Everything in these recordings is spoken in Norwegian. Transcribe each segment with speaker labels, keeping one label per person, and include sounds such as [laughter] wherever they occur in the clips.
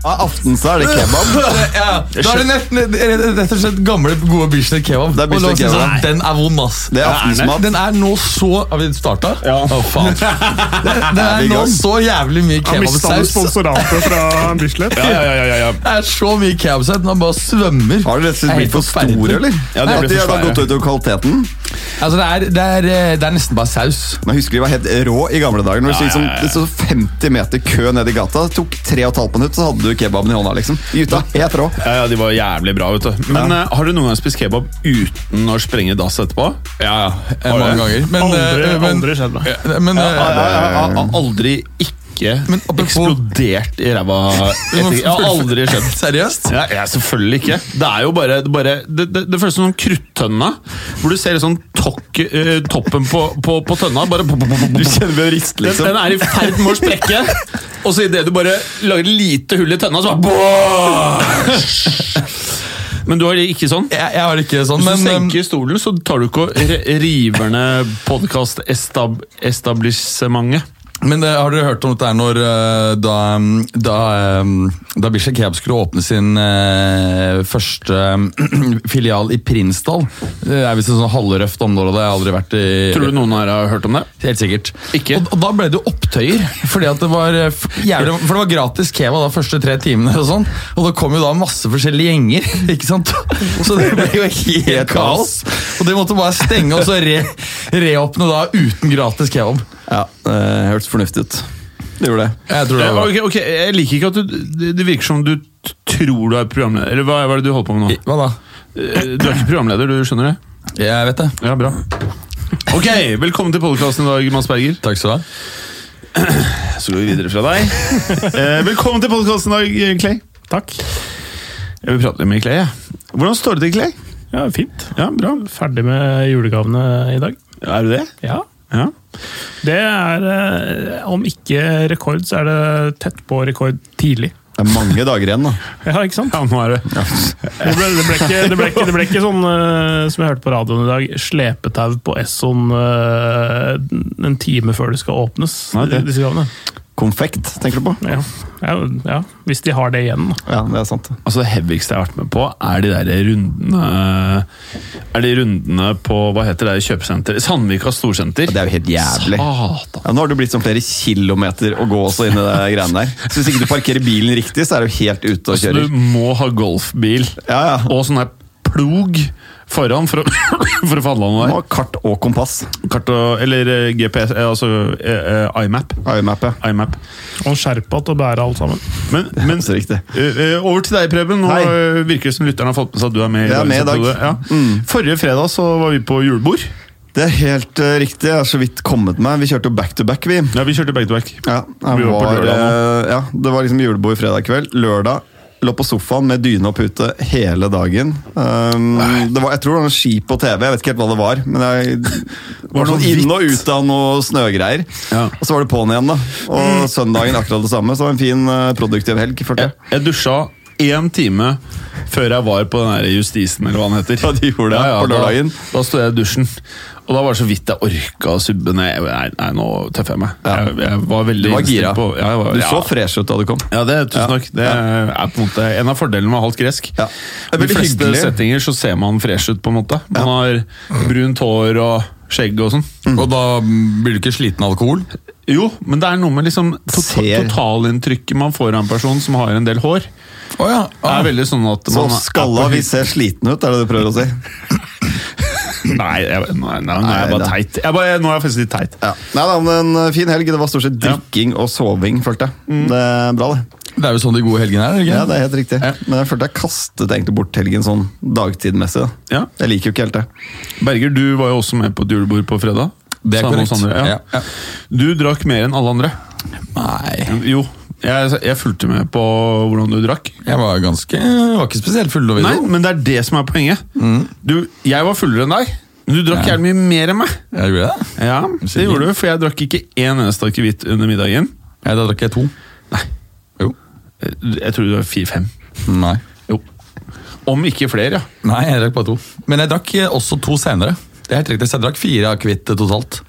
Speaker 1: Av aften så er det
Speaker 2: [laughs]
Speaker 1: kebab.
Speaker 3: Ja, da er det nesten rett og slett gamle, gode Bislett kebab.
Speaker 1: Det er Bislett
Speaker 3: Og la oss si
Speaker 1: kebab.
Speaker 3: sånn, Den er vond, ass.
Speaker 1: Det er aftensmat.
Speaker 3: Den er nå så Har vi starta?
Speaker 4: Ja.
Speaker 3: Å, faen. Den, den
Speaker 1: vi
Speaker 3: er
Speaker 1: i
Speaker 3: nå
Speaker 1: gang?
Speaker 3: så jævlig mye
Speaker 4: Han mista
Speaker 3: kebabsaus.
Speaker 4: sponsoratet fra Bislett.
Speaker 2: Ja, ja, ja, ja, ja.
Speaker 3: Det er så mye kebabsaus. Den bare svømmer.
Speaker 1: Har dere rett og slett blitt for
Speaker 3: Helt
Speaker 1: store, eller?
Speaker 2: Ja, de
Speaker 1: At
Speaker 2: ble
Speaker 1: de
Speaker 2: for
Speaker 1: har
Speaker 2: svære.
Speaker 1: gått utover kvaliteten.
Speaker 3: Altså, det, er, det, er, eh, det er nesten bare saus.
Speaker 1: Men jeg husker de var helt rå i gamle dager. Når det,
Speaker 2: Ja,
Speaker 1: liksom,
Speaker 2: ja, ja.
Speaker 1: det stod 50 meter kø ned i gata. Det tok 3,5 minutter, så hadde du kebaben i hånda. liksom. Gutta, helt rå.
Speaker 2: Ja, ja, De var jævlig bra. vet du Men eh, Har du noen gang spist kebab uten å sprenge dass etterpå? Ja, ja
Speaker 3: eh, Mange ganger. Men,
Speaker 4: Aldri,
Speaker 3: eh, men,
Speaker 4: aldri skjedd meg.
Speaker 3: eh, men, eh,
Speaker 2: Jeg har aldri ikke
Speaker 3: Men apropos-
Speaker 2: eksplodert [laughs] i ræva. etter- Jeg har aldri skjedd.
Speaker 3: [laughs] Seriøst?
Speaker 2: Ja, ja, selvfølgelig ikke. Det er jo bare, det bare det, det, det føles som en kruttønne. Hvor du ser sånn tokk, eh, toppen på, på, på tønna. Bare pop, pop, pop, liksom. pop, pop.
Speaker 1: ved å riste,
Speaker 2: Den, den er i ferd med å sprekke, og så idet du bare lager et lite hull i tønna, så bare Men du har ikke sånn?
Speaker 3: Jeg, jeg har det ikke sånn,
Speaker 2: Hvis
Speaker 3: men
Speaker 2: du
Speaker 3: eh,
Speaker 2: senker stolen, så tar du ikke og re- river ned podkast-establissementet.
Speaker 3: Men eh, har dere hørt om dette her når eh, da, mm, da, eh, da Bishek Kebab skulle åpne sin eh, første [clears throat] eh, filial i Prinsdal? Det er visst et sånn halvrøft område, det har jeg aldri vært i.
Speaker 2: Tror du noen her har hørt om det?
Speaker 3: Helt sikkert.
Speaker 2: Ikke?
Speaker 3: Og, og da ble det jo opptøyer, fordi at det var eh, f- jævlig, for det var gratis kebab de første tre timene. Og sånn, og det kom jo da masse forskjellige gjenger, [laughs] ikke sant? Så det ble jo helt kaos. Og de måtte bare stenge og så re, reåpne da uten gratis kebab.
Speaker 1: Ja, eh, Hørtes fornuftig ut. Det gjorde det.
Speaker 3: Jeg tror det
Speaker 2: Eh,
Speaker 3: var
Speaker 2: ok, ok, Jeg liker ikke at du Det det virker som du t- tror du er programleder. Eller hva, hva er det du holder på med nå?
Speaker 3: Hva da?
Speaker 2: Eh, Du er ikke programleder, du skjønner det?
Speaker 3: Jeg vet det.
Speaker 2: Ja, bra. Ok, Velkommen til podkasten i dag, Mads Berger.
Speaker 3: Takk skal du ha.
Speaker 2: Så går vi videre fra
Speaker 4: [laughs]
Speaker 2: deg. Eh, velkommen til podkasten i dag, eh, Clay.
Speaker 4: Takk.
Speaker 2: Jeg vil prate litt med Clay. jeg. Hvordan står det til, Clay?
Speaker 4: Ja, fint.
Speaker 2: Ja, bra.
Speaker 4: Ferdig med julegavene i dag.
Speaker 2: Er du det?
Speaker 4: Ja.
Speaker 2: Ja.
Speaker 4: Det er eh, Om ikke rekord, så er det tett på rekord tidlig.
Speaker 1: Det er mange dager igjen, da.
Speaker 4: Ja, ikke sant?
Speaker 2: ja nå er det.
Speaker 4: Det ble, det ble, ikke, det ble, ikke, det ble ikke sånn eh, som jeg hørte på radioen i dag, slepetau på Esson eh, en time før det skal åpnes.
Speaker 2: Nei, det-
Speaker 4: disse gavene.
Speaker 1: Konfekt, tenker du på?
Speaker 4: Ja. Ja, ja, hvis de har det igjen, da.
Speaker 1: Ja, det er sant.
Speaker 2: Altså, det heavigste jeg har vært med på, er de der rundene eh, Er de rundene på Hva heter det kjøpesenteret? Sandvika storsenter.
Speaker 1: Det er jo helt jævlig.
Speaker 2: Satan.
Speaker 1: Ja, nå har du blitt sånn flere kilometer å gå også inn i det greiene der. Så hvis ikke du parkerer bilen riktig, så er du helt ute og
Speaker 2: Så
Speaker 1: kjører.
Speaker 2: Altså, du må ha golfbil
Speaker 1: Ja, ja.
Speaker 2: og sånn her plog foran for å, [coughs] for å få handla
Speaker 1: Du
Speaker 2: noe
Speaker 1: må ha kart og kompass.
Speaker 2: der. Kart og Eller eh, GPS, eh, altså eh, eh, iMap.
Speaker 1: IMAP-et.
Speaker 2: iMap.
Speaker 4: Og skjerpa til å bære alt sammen.
Speaker 2: Men,
Speaker 1: [laughs]
Speaker 2: men
Speaker 1: Så riktig.
Speaker 2: eh, eh, over til deg, Preben. Nå
Speaker 1: Hei.
Speaker 2: eh, virker det som lytterne har fått med seg at du er med.
Speaker 1: Jeg er med i dag. Mm.
Speaker 2: episode. Ja. Forrige fredag så var vi på julebord.
Speaker 1: Det er helt eh, riktig. Jeg har så vidt kommet meg. Vi kjørte jo back to back, vi.
Speaker 2: Ja, Vi kjørte back to back.
Speaker 1: Ja, jeg
Speaker 2: Vi var på
Speaker 1: var,
Speaker 2: lørdag
Speaker 1: eh, ja, det var liksom julebord fredag kveld. Lørdag lå på sofaen med dyne og pute hele dagen. Um, det var, jeg tror det var noe ski på TV, jeg vet ikke helt hva det var. Men jeg
Speaker 2: Var
Speaker 1: var
Speaker 2: [laughs] det
Speaker 1: sånn
Speaker 2: noe
Speaker 1: inn og ut av noe snøgreier.
Speaker 2: Ja. Mm.
Speaker 1: Og så var det på'n igjen, da. Og søndagen akkurat det samme. Så det var en fin, eh, produktiv helg. følte jeg.
Speaker 2: Jeg, jeg dusja én time før jeg var på den her justisen, eller hva den heter.
Speaker 1: Ja, de gjorde det, på lørdagen.
Speaker 2: Da, da stod jeg i dusjen, og da var det så vidt jeg orka å subbe ned. Nei, nei, nå tøffer jeg meg. Jeg, jeg var veldig
Speaker 1: Du var
Speaker 2: innstilt
Speaker 1: gira.
Speaker 2: På, ja, jeg var,
Speaker 1: Du
Speaker 2: ja.
Speaker 1: så fresh ut da du kom.
Speaker 2: ja, det, tusen takk. Det er på en måte en av fordelene med halvt gresk.
Speaker 1: Ja. Det er
Speaker 2: I de
Speaker 1: veldig
Speaker 2: fleste
Speaker 1: hyggelig.
Speaker 2: settinger så ser man fresh ut, på en måte. Man har brunt hår og skjegg og sånn.
Speaker 3: Og da mm, blir du ikke sliten av alkohol?
Speaker 2: Jo, men det er noe med liksom to
Speaker 1: Ser.
Speaker 2: totalinntrykket man får av en person som har en del hår.
Speaker 3: Å ja.
Speaker 2: Det er veldig sånn at
Speaker 1: Så
Speaker 2: man er på
Speaker 1: skalla vi ser sliten ut, er det du prøver å si?
Speaker 2: Nei, jeg, nei, nei, nå er jeg
Speaker 1: Nei,
Speaker 2: bare
Speaker 1: da.
Speaker 2: teit. Jeg bare, nå er jeg faktisk litt teit.
Speaker 1: Ja. Nei da, men en fin helg. Det var stort sett drikking og soving, følte jeg.
Speaker 3: Mm.
Speaker 1: Det er bra, det.
Speaker 3: Det er jo sånn de gode helgene er?
Speaker 1: Ja,
Speaker 3: ikke?
Speaker 1: det er helt riktig. Men jeg følte jeg kastet egentlig bort helgen sånn dagtidmessig. da.
Speaker 2: Ja.
Speaker 1: Jeg liker jo ikke helt det.
Speaker 2: Berger, du var jo også med på et julebord på fredag.
Speaker 3: Det er
Speaker 2: Sammen med
Speaker 3: korrekt.
Speaker 2: oss andre, ja.
Speaker 3: Ja, ja.
Speaker 2: Du drakk mer enn alle andre.
Speaker 3: Nei,
Speaker 2: Jo, jeg, jeg fulgte med på hvordan du drakk.
Speaker 3: jeg var ganske Var ikke spesielt full da vi
Speaker 2: Nei,
Speaker 3: dro.
Speaker 2: men det er det som er poenget. Du, jeg var fullere enn deg. men Du drakk jævlig mye mer enn meg.
Speaker 3: Jeg gjorde det.
Speaker 2: Ja, det
Speaker 3: Sikkert.
Speaker 2: gjorde du, for jeg drakk ikke én eneste akevitt under middagen.
Speaker 3: Ja, da drakk jeg to.
Speaker 2: Nei.
Speaker 3: Jo.
Speaker 2: Jeg tror det var fire-fem.
Speaker 3: Nei.
Speaker 2: Jo. Om ikke flere, ja.
Speaker 3: Nei, jeg drakk bare to. Men jeg drakk eh, også to senere. Det er helt riktig, så jeg drakk fire akevitt eh, totalt.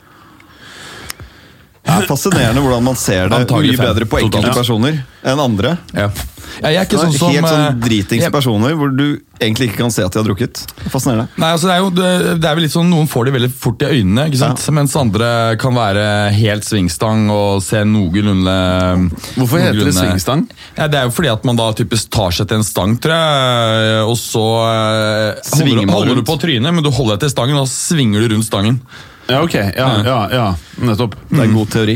Speaker 1: Det er fascinerende hvordan man ser det
Speaker 3: Antagelig
Speaker 1: mye
Speaker 3: fem.
Speaker 1: bedre på enkelte
Speaker 3: Totalt.
Speaker 1: personer enn andre.
Speaker 3: Ja. Ja, jeg er
Speaker 1: Det
Speaker 3: ikke sånn
Speaker 1: er
Speaker 3: som
Speaker 1: Helt
Speaker 3: eh,
Speaker 1: sånn dritings
Speaker 3: jeg-
Speaker 1: personer hvor du egentlig ikke kan se at de har drukket. Fascinerende.
Speaker 3: Nei, altså det er jo det, det er vel litt sånn Noen får de veldig fort i øynene, ikke sant? mens andre kan være helt svingstang og se noenlunde
Speaker 2: Hvorfor heter det
Speaker 3: noenlunde-
Speaker 2: svingstang?
Speaker 3: Ja, det er jo fordi at man da typisk tar seg til en stang, tror jeg, og så eh,
Speaker 1: Svinger
Speaker 3: holder,
Speaker 1: man
Speaker 3: holder du
Speaker 1: rundt.
Speaker 3: på trynet, men du holder deg til stangen, og da svinger du rundt stangen.
Speaker 2: Ja, ok. Ja, ja, ja. Nettopp.
Speaker 1: Det er en god teori.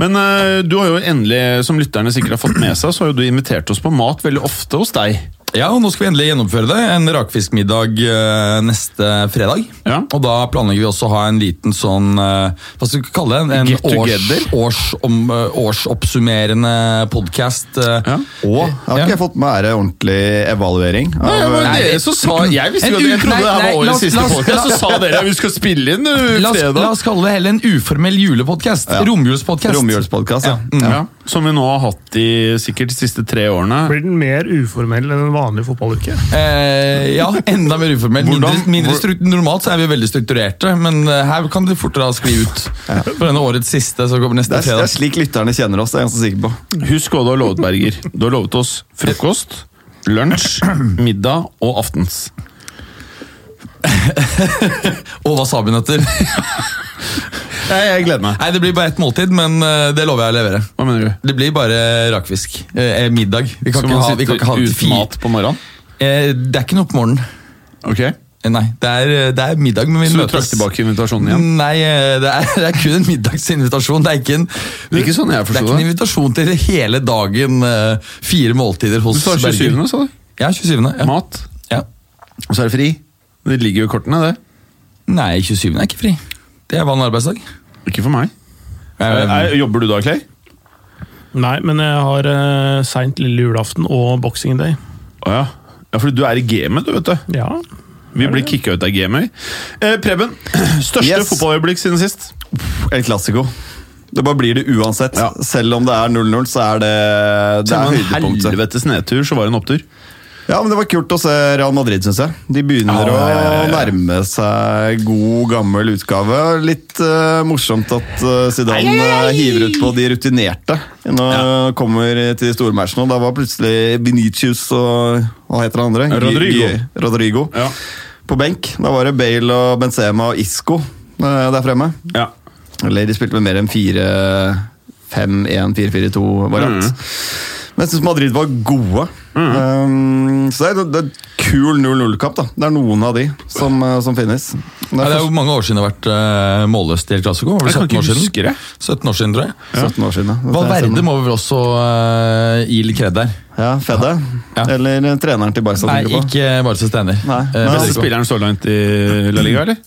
Speaker 2: Men eh, du har jo endelig, som lytterne sikkert har fått med seg, så har jo du invitert oss på mat veldig ofte hos deg.
Speaker 3: Ja, og nå skal vi endelig gjennomføre det. En rakfiskmiddag eh, neste fredag.
Speaker 2: Ja.
Speaker 3: Og da planlegger vi også å ha en liten sånn eh, Hva skal vi kalle det? En,
Speaker 2: Get
Speaker 3: en
Speaker 2: together?
Speaker 3: års, års, om, eh, årsoppsummerende podkast. eh.
Speaker 2: Ja.
Speaker 1: Og jeg har
Speaker 3: Ja.
Speaker 1: ikke fått med ære ordentlig evaluering. Av, eh,
Speaker 2: det var jo
Speaker 3: Nei.
Speaker 2: dere som sa Jeg visste
Speaker 3: En
Speaker 2: jo at
Speaker 3: uke-
Speaker 2: jeg trodde det her
Speaker 3: nei, nei,
Speaker 2: var
Speaker 3: la oss-
Speaker 2: årets siste
Speaker 3: la oss- la-
Speaker 2: podcast, så sa dere at vi skal spille inn eh,
Speaker 3: La oss, la
Speaker 2: fredag.
Speaker 3: oss kalle det heller en uformell julepodkast.
Speaker 1: Ja.
Speaker 3: Romjulspodkast.
Speaker 1: Romjulspodkast, ja.
Speaker 3: Mm.
Speaker 2: Ja, som vi nå har hatt i sikkert de siste tre årene.
Speaker 4: Blir den mer uformell enn en vanlig fotballuke?
Speaker 3: Eh, ja, enda mer uformell. Mindre,
Speaker 2: Hvordan-
Speaker 3: mindre
Speaker 2: hvor-
Speaker 3: struk- Normalt så er vi veldig strukturerte, men eh, her kan det fortere skli ut. For denne årets siste, så kommer
Speaker 1: Det
Speaker 3: neste
Speaker 1: er, det er
Speaker 3: fredag.
Speaker 1: slik lytterne kjenner oss. det er jeg ganske sikker på.
Speaker 2: Husk hva du har lovet, Berger. Du har lovet oss frokost, lunsj, middag og aftens.
Speaker 3: Og
Speaker 2: [laughs]
Speaker 3: wasabinøtter.
Speaker 2: Jeg, jeg gleder meg.
Speaker 3: Nei, det blir bare ett måltid, men eh, det lover jeg å levere.
Speaker 2: Hva mener du?
Speaker 3: Det blir bare rakfisk. Eh, eh, middag. Vi kan, ikke
Speaker 2: Skal man
Speaker 3: ha, vi
Speaker 2: sitte
Speaker 3: kan ikke ha
Speaker 2: uten
Speaker 3: fi-
Speaker 2: mat på morgenen?
Speaker 3: Eh, det er ikke noe på morgenen.
Speaker 2: Ok.
Speaker 3: Eh, Nei, det er, eh, det er middag, men vi
Speaker 2: Så du trakk
Speaker 3: møtes.
Speaker 2: tilbake invitasjonen igjen?
Speaker 3: Nei, eh, det er, [laughs] det er kun en middagsinvitasjon. Det er ikke en,
Speaker 2: Det er ikke sånn jeg
Speaker 3: det er
Speaker 2: forsto
Speaker 3: ikke en
Speaker 2: det.
Speaker 3: invitasjon til hele dagen, eh, fire måltider
Speaker 2: Du
Speaker 3: hos
Speaker 2: sa 27., sa du?
Speaker 3: Ja, 27. Ja.
Speaker 2: Mat.
Speaker 3: Ja.
Speaker 2: Og så er det fri. Det ligger jo i kortene, det.
Speaker 3: Nei, 27. er ikke fri. Det er vanlig arbeidsdag.
Speaker 2: Ikke for meg.
Speaker 3: Eh,
Speaker 2: Er- jobber du da, Clay?
Speaker 4: Nei, men jeg har uh, seint lille julaften og boxing day.
Speaker 2: Å ja. Ja, fordi du er i gamet, du, vet du.
Speaker 4: Ja.
Speaker 2: Vi blir kicka ut av gamet. Eh, Preben, [clears throat] største
Speaker 1: Yes.
Speaker 2: fotballøyeblikk siden sist?
Speaker 1: El Clasico. Det bare blir det uansett.
Speaker 2: Ja.
Speaker 1: Selv om det er 0-0, så er det, det
Speaker 2: Selv
Speaker 1: er
Speaker 2: om en
Speaker 1: høydepunktet.
Speaker 2: helvetes nedtur, så var det en opptur.
Speaker 1: Ja, men Det var kult å se Real Madrid, syns jeg. De begynner
Speaker 2: Ja, ja, ja, ja.
Speaker 1: å nærme seg god, gammel utgave. Litt eh, morsomt at eh, Zidane eh, hiver ut på de rutinerte når ja. kommer til de store matchene. Og Da var plutselig Benicius og hva heter han andre? G-
Speaker 2: Rodrigo.
Speaker 1: G- Rodrigo.
Speaker 2: Ja.
Speaker 1: På benk. Da var det Bale og Benzema og Isco eh, der fremme.
Speaker 2: Ja.
Speaker 1: Eller de spilte med mer enn 4-5-1-4-4-2-variant.
Speaker 3: Mm.
Speaker 1: Men jeg syns Madrid var gode. Um, så det er, det er et kul 0-0-kamp. da. Det er noen av de som, eh, som finnes. Det
Speaker 3: Nei,
Speaker 1: er
Speaker 3: det er jo mange år siden det har vært eh, målløst i El Clasico. Var det
Speaker 2: Jeg
Speaker 3: 17
Speaker 2: kan
Speaker 3: år
Speaker 2: ikke
Speaker 3: siden?
Speaker 2: huske det. sånn-
Speaker 3: 17 år siden, tror jeg.
Speaker 1: først 17 år siden. da.
Speaker 3: Valverde må vi vel også uh, gi litt kred der.
Speaker 1: Ja, Fedde.
Speaker 3: Ja.
Speaker 1: Eller eh, treneren til Barca.
Speaker 3: Nei,
Speaker 1: tenker du på.
Speaker 3: ikke Barces trener.
Speaker 1: Nei.
Speaker 3: Eh,
Speaker 1: Nei.
Speaker 2: Beste
Speaker 3: Federico.
Speaker 2: spilleren så langt i La Liga, eller?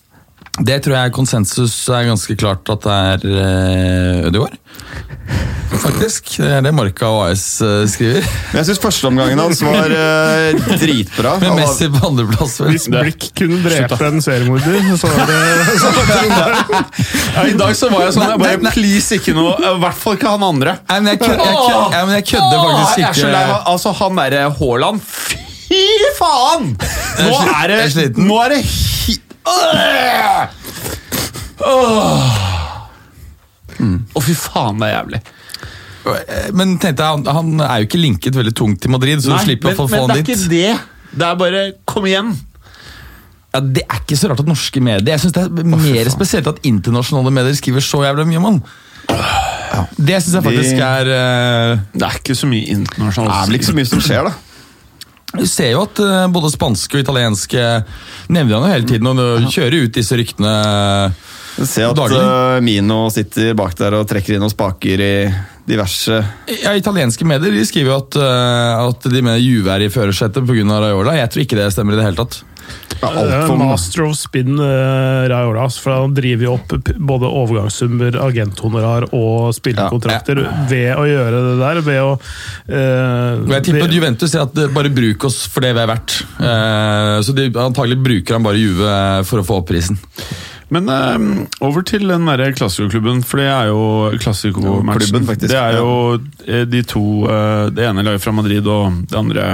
Speaker 3: det tror jeg konsensus er ganske klart at det er uh, Ødegaard. Faktisk. Det er det Marca og AS eh, skriver.
Speaker 1: Men jeg syns førsteomgangen hans var eh,
Speaker 3: [laughs]
Speaker 1: dritbra.
Speaker 3: Med
Speaker 1: Han var-
Speaker 3: Messi på andreplass. vel.
Speaker 4: Hvis blikk kunne drepe en seriemorder, så var det så var det Trondheim.
Speaker 2: Ja, I dag så var jeg sånn
Speaker 3: Nei,
Speaker 2: jeg bare,
Speaker 3: nei, nei.
Speaker 2: Please, ikke noe. I hvert fall ikke han andre.
Speaker 3: Nei, men jeg kødder jeg kødder- ja, men jeg kødder faktisk
Speaker 2: Jeg er så
Speaker 3: ikke.
Speaker 2: lei av altså, han derre Haaland. Fy faen!
Speaker 3: Jeg
Speaker 2: Nå
Speaker 3: er sli-
Speaker 2: er det
Speaker 3: jeg er sliten.
Speaker 2: Nå er det hi... Øh! Åh. Å, fy faen, det er jævlig.
Speaker 3: Eh, Men tenkte jeg, han, han er jo ikke linket veldig tungt til Madrid, så du slipper å få få
Speaker 2: men det
Speaker 3: han
Speaker 2: er
Speaker 3: dit.
Speaker 2: ikke det. Det er bare Kom igjen.
Speaker 3: Ja, Det er ikke så rart at norske medier Jeg synes det er mer spesielt at internasjonale medier skriver så jævlig mye om han. Det syns jeg faktisk er eh,
Speaker 2: Det er ikke så mye internasjonalt.
Speaker 1: Det er vel ikke så mye som skjer, da.
Speaker 3: Du ser jo at eh, både spanske og italienske nevner han jo hele tiden, og nå kjører ut disse ryktene.
Speaker 1: Se at
Speaker 3: Daglig.
Speaker 1: eh, Mino sitter bak der og trekker inn og spaker i diverse
Speaker 3: Ja, Italienske medier de skriver jo at, eh, at de mener Juve er i førersetet pga. Raiola. Jeg tror ikke det stemmer i det hele tatt.
Speaker 1: ja,
Speaker 4: Det er
Speaker 1: alt for
Speaker 4: Master of spin, uh, Raiola. altså, For han driver jo opp p- både overgangssummer, agenthonorar og spillekontrakter ved å gjøre det der. Ved å eh,
Speaker 3: Og jeg tipper at
Speaker 4: ved-
Speaker 3: Juventus sier at eh, bare bruk oss for det vi er verdt. Eh, så de, antagelig bruker han bare Juve eh, for å få opp prisen.
Speaker 2: Men eh, over til den derre klassikerklubben, for det er jo klassikerklubben,
Speaker 1: Klubben, faktisk,
Speaker 2: Det er
Speaker 1: ja.
Speaker 2: jo eh, de to eh, Det ene laget fra Madrid, og det andre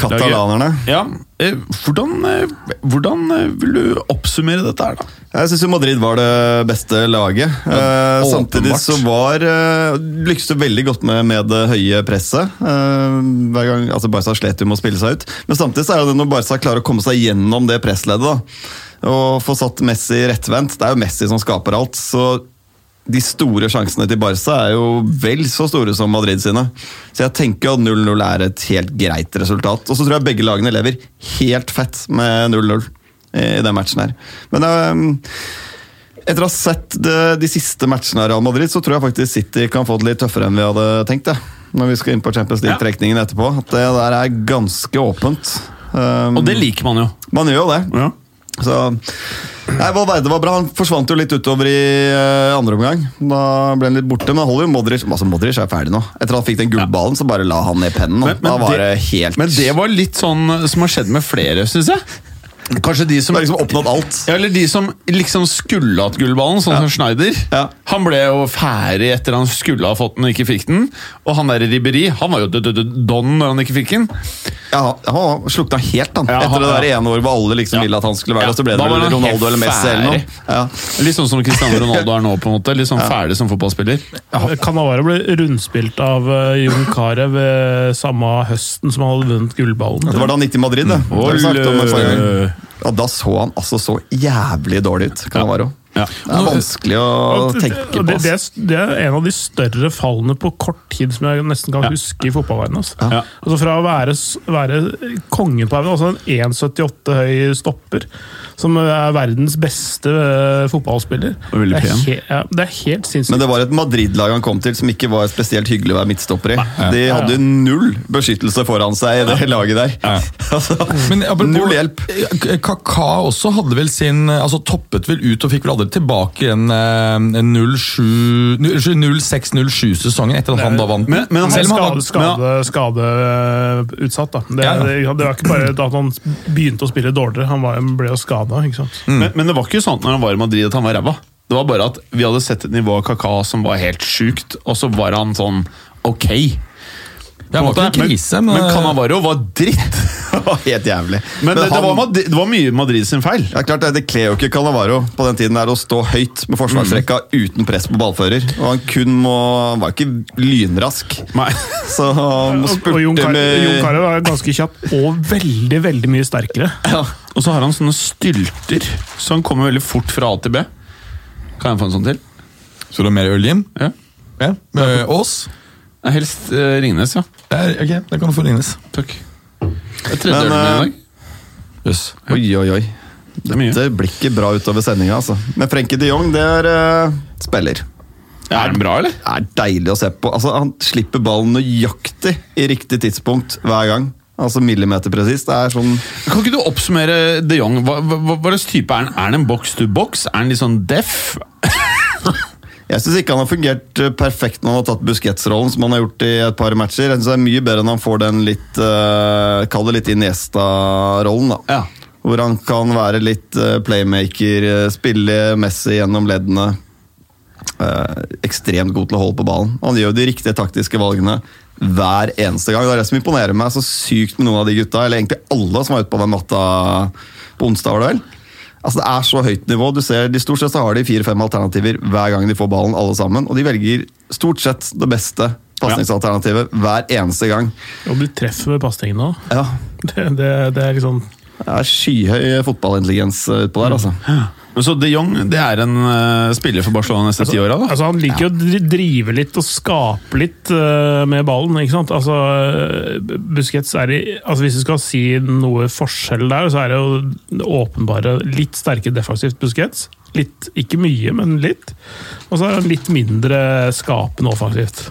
Speaker 1: katalanerne.
Speaker 2: Ja, eh, hvordan, eh, hvordan eh, vil du oppsummere dette her, da?
Speaker 1: Jeg syns Madrid var det beste laget. Eh, samtidig
Speaker 2: åpenbart.
Speaker 1: så var eh, lykkes det veldig godt med, med det høye presset. Eh, hver gang, altså Barca slet jo med å spille seg ut. Men samtidig så er det når Barca klarer å komme seg gjennom det pressleddet da, og få satt Messi rettvendt Det er jo Messi som skaper alt. så de store sjansene til Barca er jo vel så store som Madrid sine. Så jeg tenker at 0-0 er et helt greit resultat. Og så tror jeg begge lagene lever helt fett med 0-0 i den matchen her. Men ehm, etter å ha sett de, de siste matchene av Real Madrid, så tror jeg faktisk City kan få det litt tøffere enn vi hadde tenkt. Jeg. Når vi skal inn på Champions League-trekningen etterpå. At det der er ganske åpent. Ehm,
Speaker 2: Og det liker man jo.
Speaker 1: man gjør jo det.
Speaker 2: Ja.
Speaker 1: Så Nei, Valverde var bra. Han forsvant jo litt utover i eh, andre omgang. Da ble han litt borte, men holder jo Modric Altså, Modric er ferdig nå. Etter at han fikk den gullballen, så bare la han ned pennen.
Speaker 2: Men-
Speaker 1: Men,
Speaker 2: men
Speaker 1: da var det
Speaker 2: det-
Speaker 1: helt
Speaker 2: Men det var litt sånn eh, som har skjedd med flere, syns jeg. Kanskje de
Speaker 1: Du
Speaker 2: som
Speaker 1: har liksom oppnådd alt.
Speaker 2: ja, eller de som liksom skulle hatt gullballen, sånn som Schneider.
Speaker 1: Ja.
Speaker 2: Han ble jo ferdig etter han skulle ha fått den og ikke fikk den. Og han der Ribberi, han var jo d- d- d- don når han ikke fikk den.
Speaker 1: Ja, han slukna helt, han.
Speaker 2: Ja,
Speaker 1: Etter det
Speaker 2: han-
Speaker 1: der
Speaker 2: ja.
Speaker 1: ene året hvor alle liksom
Speaker 2: Ja.
Speaker 1: ville at han skulle
Speaker 2: Ja,
Speaker 1: være der, så ble
Speaker 2: da
Speaker 1: det
Speaker 2: var
Speaker 1: vel
Speaker 2: han helt
Speaker 1: Ronaldo eller Messi eller
Speaker 2: ferdig.
Speaker 1: noe. Ja.
Speaker 2: Litt sånn som
Speaker 1: [laughs]
Speaker 2: Cristiano Ronaldo er nå, på en måte. Litt sånn ferdig som fotballspiller.
Speaker 4: Cannavaro ble rundspilt av eh, Jon Carew eh, samme høsten som han hadde vunnet gullballen.
Speaker 1: Det var da han gikk til Madrid, det. det. har vi snakket om det forrige gang.
Speaker 2: Olle.
Speaker 1: Og da så han altså så jævlig dårlig ut, Canavaro.
Speaker 2: eh, Ja. eh,
Speaker 1: Det er vanskelig å tenke på.
Speaker 4: det,
Speaker 1: ass.
Speaker 4: det, det er en av de større fallene på kort tid som jeg nesten kan huske i fotballverdenen. Altså.
Speaker 2: Ja.
Speaker 4: Altså fra å være, s- være kongen på haugen, altså en 1,78 høy stopper, som er verdens beste eh, fotballspiller
Speaker 2: Og veldig
Speaker 4: Det er
Speaker 2: pen.
Speaker 4: he- ja, Det er helt sinnssykt.
Speaker 1: Men det var et Madrid-lag han kom til som ikke var spesielt hyggelig å være midtstopper i. De hadde null beskyttelse foran seg i det laget der. [laughs] Altså,
Speaker 3: Men apropos-
Speaker 1: null hjelp.
Speaker 3: K- Kaka også hadde vel sin altså toppet vel ut og fikk vel aldri tilbake en, en 06-07-sesongen etter at han da vant.
Speaker 2: Men- men han-
Speaker 3: Selv om han
Speaker 4: skade,
Speaker 3: hadde-
Speaker 4: skade, skadeutsatt, da. Det,
Speaker 3: Ja, ja.
Speaker 4: det- det var ikke bare at han begynte å spille dårligere, han var, ble jo skada.
Speaker 2: Men, men det var ikke sånn at når han var i Madrid at han var ræva. Det var bare at vi hadde sett et nivå av Kaka som var helt sjukt, og så var han sånn ok.
Speaker 3: Ja, det var ikke noe krise, men,
Speaker 2: men Cannavaro var
Speaker 1: [laughs]
Speaker 2: dritt!
Speaker 1: Det var helt jævlig.
Speaker 2: Men, det, det,
Speaker 1: han-
Speaker 2: var Madrid, det var mye Madrid sin feil.
Speaker 1: ja, klart det, det kler jo ikke Canavaro på den tiden der å stå høyt med forsvarsrekka
Speaker 4: Mm.
Speaker 1: uten press på ballfører. Og han kun må Han var ikke lynrask,
Speaker 2: Nei. [laughs]
Speaker 1: så han må
Speaker 4: Og, og Jon
Speaker 1: spurte
Speaker 4: Kar- Jon
Speaker 1: med
Speaker 4: Carew var ganske kjapp og veldig, veldig mye sterkere.
Speaker 2: Og så har han sånne stylter, så han kommer veldig fort fra A til B. Kan jeg få en sånn til?
Speaker 3: Så det var mer øl, Jim?
Speaker 2: Ja.
Speaker 3: Ja. Med Ås?
Speaker 2: Nei, Helst uh, Ringnes, ja.
Speaker 3: Der, ok, det kan du få Ringnes.
Speaker 2: Takk. Det er tredje
Speaker 1: Men,
Speaker 2: ølen min i dag.
Speaker 3: Jøss.
Speaker 1: Oi, oi, oi.
Speaker 2: Det er mye.
Speaker 1: Det blir ikke bra utover sendinga, altså. Men Frenkie de Jong, det er eh, spiller.
Speaker 2: Er den bra, eller?
Speaker 1: Det er deilig å se på. Altså, han slipper ballen nøyaktig i riktig tidspunkt hver gang. Altså millimeter presis. Det er sånn
Speaker 2: Kan ikke du oppsummere de Jong? Hva, hva, hva hva slags type er han? Er han en box to box? Er han litt sånn deaf?
Speaker 1: Jeg syns ikke han har fungert eh, perfekt når han har tatt busketsrollen, som han har gjort i et par matcher. Jeg synes det er mye bedre når han får den litt uh, Kall det litt Iniesta-rollen, da.
Speaker 2: Ja.
Speaker 1: Hvor han kan være litt eh, playmaker, eh, spille Messi gjennom leddene. Eh, ekstremt god til å holde på ballen. Han gjør jo de riktige taktiske valgene hver eneste gang. Det er det som imponerer meg så sykt med noen av de gutta, eller egentlig alle som var ute på den natta på onsdag, var det vel. Altså Det er så høyt nivå. du ser, de Stort sett så har de fire-fem alternativer hver gang de får ballen, alle sammen. Og de velger stort sett det beste pasningsalternativet hver eneste gang.
Speaker 4: Og du treffer med pasningene òg.
Speaker 1: Ja,
Speaker 4: Det, det, det er liksom
Speaker 1: det er skyhøy fotballintelligens eh, utpå der, altså.
Speaker 2: Men Så de Jong det er en eh, spiller for Barcelona neste ti åra, da?
Speaker 4: Altså, han liker jo å dri- drive litt og skape litt eh, med ballen, ikke sant? Altså, eh, Busquets er i altså, Hvis du skal si noe forskjell der, så er det jo det åpenbare litt sterke defensivt Busquets. Litt, ikke mye, men litt. Og så er han litt mindre skapende offensivt.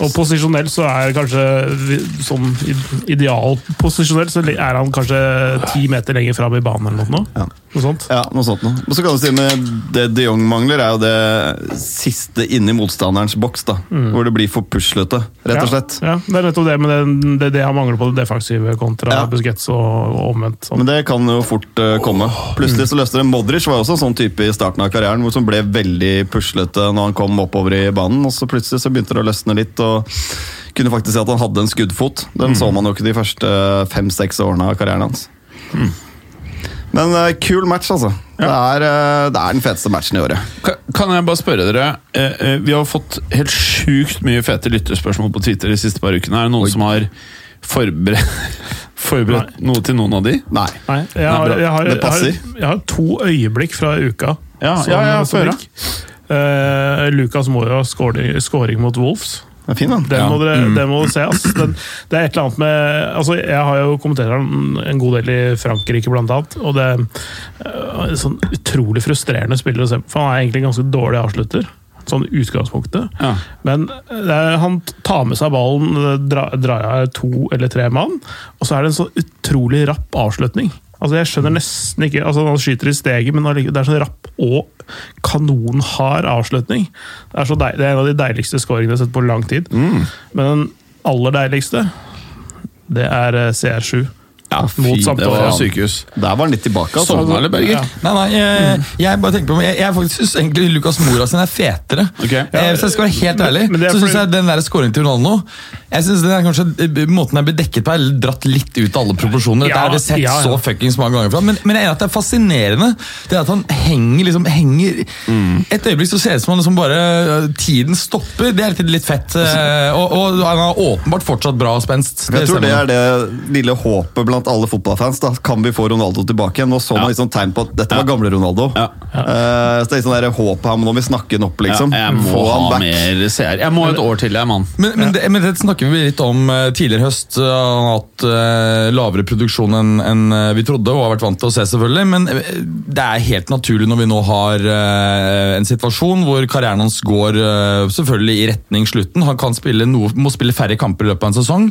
Speaker 4: Og posisjonelt så er kanskje vi- sånn i- idealposisjonelt så er han kanskje ti meter lenger fram i banen eller noe.
Speaker 1: Ja.
Speaker 4: noe sånt.
Speaker 1: Ja, noe sånt noe. Men så kan du si med det de Jong mangler, er jo det siste inni motstanderens boks. da. Hvor det blir for puslete, rett og slett.
Speaker 4: Mm. Ja, ja, det er nettopp det, men det, det, det han mangler på det defensive kontra
Speaker 1: Ja.
Speaker 4: Busquets og, og omvendt. Sånn.
Speaker 1: Men det kan jo fort eh, komme. Plutselig så løste det. Modric var jo også en sånn type i starten av karrieren hvor som ble veldig puslete når han kom oppover i banen. og så Plutselig så begynte det å løsne litt. og kunne faktisk si at han hadde en skuddfot. Den
Speaker 4: Mm.
Speaker 1: så man jo ikke de første fem-seks årene av karrieren hans.
Speaker 4: Mm.
Speaker 1: Men eh, kul match, altså. Det, er, eh, det er den feteste matchen i året.
Speaker 2: Ka- Kan jeg bare spørre dere eh, eh, Vi har fått helt sjukt mye fete lytterspørsmål på Twitter de siste par ukene. Er det noen som har forberedt, [laughs] forberedt noe til noen av de?
Speaker 1: Nei.
Speaker 4: Nei, jeg har,
Speaker 2: bra.
Speaker 4: jeg, har,
Speaker 1: Det
Speaker 4: jeg, har,
Speaker 1: passer.
Speaker 4: jeg har to øyeblikk fra uka.
Speaker 2: Ja, ja, ja, få høre.
Speaker 4: Eh, Lucas Moya scoring, scoring mot Wolves.
Speaker 1: Det er fin, den.
Speaker 4: Den, må dere, den må dere se. ass. Den, det er et eller annet med altså Jeg har jo kommentert den en god del i Frankrike, blant annet. Og det er en sånn utrolig frustrerende spiller å se på. for Han er egentlig en ganske dårlig avslutter. Sånn i utgangspunktet.
Speaker 2: Ja.
Speaker 4: Men det er, han tar med seg ballen, eh, dra- drar av to eller tre mann, og så er det en sånn utrolig rapp avslutning. Altså Jeg skjønner nesten ikke altså Han skyter i steget, men allike- det er sånn rapp og kanonhard avslutning. Det er, så deil, det er en av de deiligste scoringene jeg har sett på lang tid. Men den aller deiligste, det er eh, CR7.
Speaker 1: Ja,
Speaker 4: Mot
Speaker 1: det
Speaker 2: Det
Speaker 4: Sampdoria.
Speaker 2: var
Speaker 1: var syk.
Speaker 2: sykehus.
Speaker 1: Der var han litt tilbake. altså.
Speaker 2: Sovna, eller, Berger?
Speaker 4: Ja.
Speaker 3: Nei, nei,
Speaker 4: Mm.
Speaker 3: jeg, jeg bare tenker på Jeg, jeg faktisk synes egentlig Lucas Mora sin er fetere.
Speaker 2: Ok.
Speaker 3: Eh, Hvis jeg skal være helt ærlig,
Speaker 4: men det er
Speaker 3: så synes
Speaker 4: fordi-
Speaker 3: jeg den der scoringen til Ronaldo Jeg synes den er kanskje eh, Måten den blir dekket på, er dratt litt ut av alle proporsjoner. Dette
Speaker 4: Ja,
Speaker 3: har vi sett
Speaker 4: ja, ja.
Speaker 3: så fuckings mange ganger fra. Men, men jeg er enig at det er fascinerende. Det er at han henger liksom henger
Speaker 4: Mm.
Speaker 3: Et øyeblikk så ser det ut som han liksom bare eh, Tiden stopper. Det er litt, litt fett.
Speaker 4: Altså-
Speaker 3: eh, Og, og han er åpenbart fortsatt bra og spenst.
Speaker 1: Jeg tror det
Speaker 3: stemmer.
Speaker 1: er det lille håpet blant alle fotballfans. da Kan vi få Ronaldo tilbake igjen? Nå så man liksom tegn på at dette var gamle Ronaldo.
Speaker 2: Ja.
Speaker 1: Eh, så det er sånn der håp her, men nå må vi snakke han opp, liksom.
Speaker 2: Ja, jeg må
Speaker 1: få han
Speaker 2: ha
Speaker 1: back. [laughs]
Speaker 2: mer seere. Jeg må et år til, jeg, mann.
Speaker 3: Men, men, det, men det snakker vi litt om eh, tidligere i høst. eh, Han har hatt eh, lavere produksjon enn enn, eh, vi trodde og har vært vant til å se, selvfølgelig. Men eh, det er helt naturlig når vi nå har eh, en situasjon hvor karrieren hans går eh, selvfølgelig i retning slutten. Han kan spille noe, må spille færre kamper i løpet av en sesong.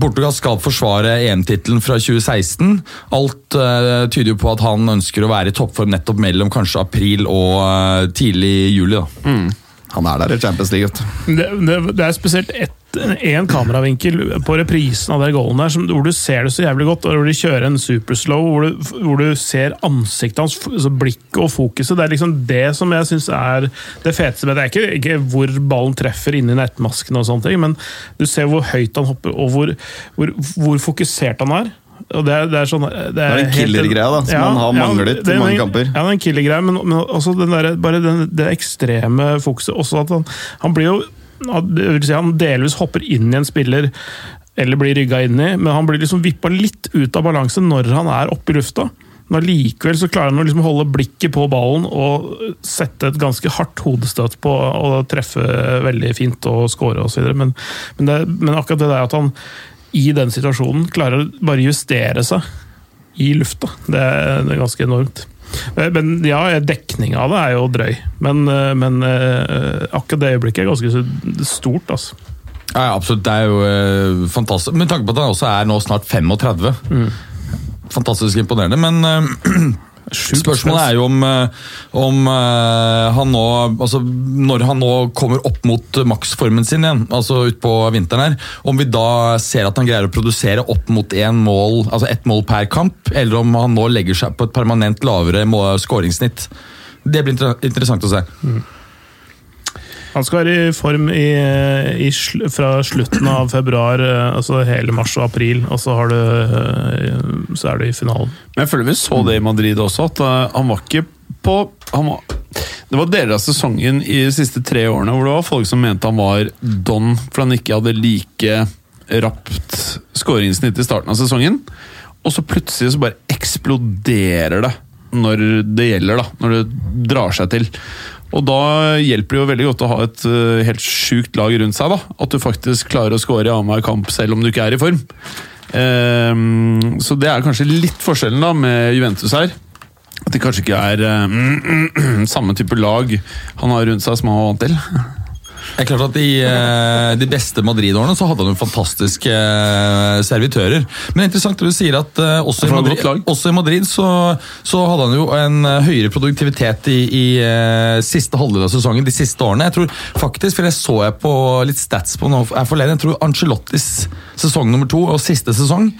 Speaker 3: Portugal skal forsvare EM-tittelen fra 2016. Alt eh, tyder jo på at han ønsker å være i toppform nettopp mellom kanskje april og eh, tidlig juli. da.
Speaker 1: Han er der i Champions League, vet du.
Speaker 4: Det, det, det er spesielt én kameravinkel på reprisen av det goalen der, som, hvor du ser det så jævlig godt, og hvor de kjører en superslow, hvor du, hvor du ser ansiktet hans, f- altså blikket og fokuset. Det er liksom det som jeg syns er det feteste med det. Det er ikke, ikke hvor ballen treffer inni nettmasken, og sånne ting, men du ser hvor høyt han hopper, og hvor, hvor, hvor fokusert han er. Og det, er, det er sånn Det er,
Speaker 1: er en
Speaker 4: helt-
Speaker 1: killer-greie, da, som han har manglet i
Speaker 4: det er
Speaker 1: mange
Speaker 4: en-
Speaker 1: kamper.
Speaker 4: Ja, det er en killer-greie, men, men også den der, bare den, det ekstreme fokuset. Også at han, han blir jo ja, det vil si Han delvis hopper inn i en spiller, eller blir rygga inn i, men han blir liksom vippa litt ut av balanse når han er oppe i lufta. Men allikevel så klarer han å liksom holde blikket på ballen og sette et ganske hardt hodestøt på og treffe veldig fint og score osv. Men, men, det- men akkurat det der at han i den situasjonen klarer å bare justere seg i lufta. Det er, det er ganske enormt. Eh, Men ja, dekninga av det er jo drøy. Men, eh, men eh, akkurat det øyeblikket er ganske så stort, altså.
Speaker 3: Ja, ja, absolutt. Det er jo eh, fantastisk. Med tanke på at han også er nå snart 35. Fantastisk imponerende. Men eh, spørsmålet er jo om, eh, om eh, han nå Altså, når han nå kommer opp mot eh, maksformen sin igjen, altså utpå vinteren her, om vi da ser at han greier å produsere opp mot én mål, altså ett mål per kamp, eller om han nå legger seg på et permanent lavere mål- skåringssnitt. Det blir inter interessant å se.
Speaker 4: Han skal være i form i, eh, i, sl- fra slutten av februar, eh, altså hele mars og april, og så, har du, eh, så er du i finalen.
Speaker 2: Men jeg føler vi så det i Madrid også, at eh, han var ikke på han var, Det var deler av sesongen i de siste tre årene hvor det var folk som mente han var don for han ikke hadde like rapt skåringssnitt i starten av sesongen. Og så plutselig så bare eksploderer det når det gjelder, da. Når det drar seg til. Og da hjelper det jo veldig godt å ha et eh, helt sjukt lag rundt seg. da, At du faktisk klarer å skåre i annenhver kamp selv om du ikke er i form. Ehm, så det er kanskje litt forskjellen da med Juventus her. At de kanskje ikke er eh, [clears throat] samme type lag han har rundt seg som han var vant til.
Speaker 3: Det er klart at I eh, de beste Madrid-årene så hadde han jo fantastiske eh, servitører. Men det er interessant det du sier at eh, også, i
Speaker 2: For han har
Speaker 3: Madrid,
Speaker 2: godt lag.
Speaker 3: også i Madrid så, så hadde han jo en eh, høyere produktivitet i, i eh, siste halvdel av sesongen de siste årene. Jeg tror faktisk, for det så jeg på litt stats på nå her forleden, jeg tror Ancelottis sesong nummer to og siste sesong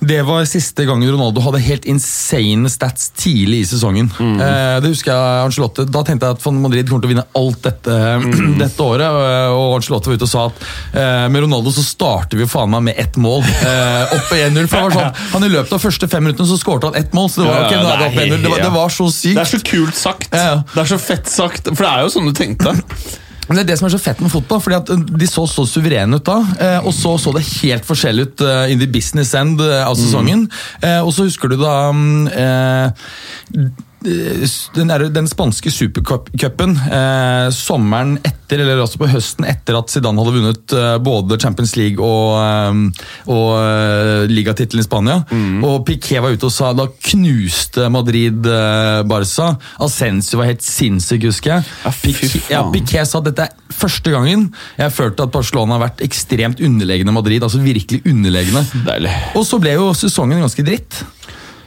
Speaker 3: det var siste gangen Ronaldo hadde helt insane stats tidlig i sesongen.
Speaker 2: Mm.
Speaker 3: Eh, det husker jeg Ancelotte, Da tenkte jeg at Van Madrid kommer til å vinne alt dette, [clears throat]
Speaker 2: Mm.
Speaker 3: dette året. eh, Og Ancelotte var ute og sa at eh, med Ronaldo så starter vi jo faen meg med ett mål. Eh, opp 1-0. for det var
Speaker 2: [laughs]
Speaker 3: sånn, Han I løpet av første fem minuttene så skårte han ett mål. så Det var,
Speaker 2: Ja,
Speaker 3: ok,
Speaker 2: ja,
Speaker 3: nå er det
Speaker 2: det er
Speaker 3: opp 1-0. Det, var- det var så
Speaker 2: Det er
Speaker 3: sykt.
Speaker 2: så kult sagt.
Speaker 3: Ja, ja.
Speaker 2: Det er så fett sagt. For det er jo sånn du tenkte. [laughs]
Speaker 3: Men det er det som er så fett med fotball, fordi at eh, de så så suverene ut da, eh, og så så det helt forskjellig ut eh, in the business end eh, av sesongen. Eh, Og så husker du da mm, eh, s- den, der, den spanske supercupen eh, sommeren etter, eller altså på høsten etter at Zidane hadde vunnet eh, både Champions League og, eh, og eh, ligatittelen i Spania.
Speaker 2: Mm.
Speaker 3: Og Piquet var ute og sa da knuste Madrid eh, Barca. Ascenso var helt sinnssyk, husker jeg.
Speaker 2: Ja, fy
Speaker 3: Piqué-
Speaker 2: faen.
Speaker 3: ja, Piqué sa at dette er første gangen jeg har følt at Barcelona har vært ekstremt underlegne Madrid. altså virkelig underlegne.
Speaker 2: Deilig.
Speaker 3: Og så ble jo sesongen ganske dritt.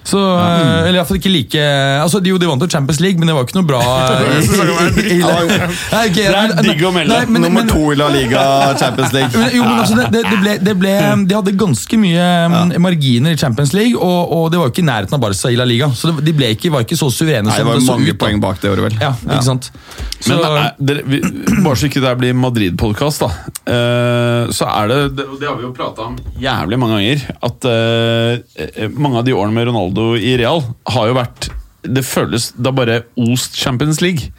Speaker 3: Så, eh, Eller iallfall ikke like altså, de- Jo, de vant jo Champions League, men det var jo ikke noe bra. eh, i- i- i- Nei, ok,
Speaker 2: er
Speaker 3: nei, nei,
Speaker 2: digg å melde.
Speaker 3: nei, men-
Speaker 1: Nummer
Speaker 3: men-
Speaker 1: to i La Liga Champions League.
Speaker 3: men, jo, men altså, det, det, det ble, det ble, de hadde ganske mye mm, marginer i Champions League, og, og det var jo ikke i nærheten av Barca i La Liga. Så det, de ble ikke, var ikke så suverene
Speaker 1: Nei, det
Speaker 3: som
Speaker 1: var
Speaker 2: sånn
Speaker 3: det så
Speaker 1: mange
Speaker 3: ut. da.
Speaker 1: poeng bak det året, vel.
Speaker 3: Ja, ikke sant? Så,
Speaker 2: Men er, dere, vi, bare så ikke det her blir Madrid-podkast, da. eh, så er det, det Og det har vi jo prata om jævlig mange ganger. At eh, eh, mange av de årene med Ronaldo i Real har jo vært Det føles da bare ost Champions League.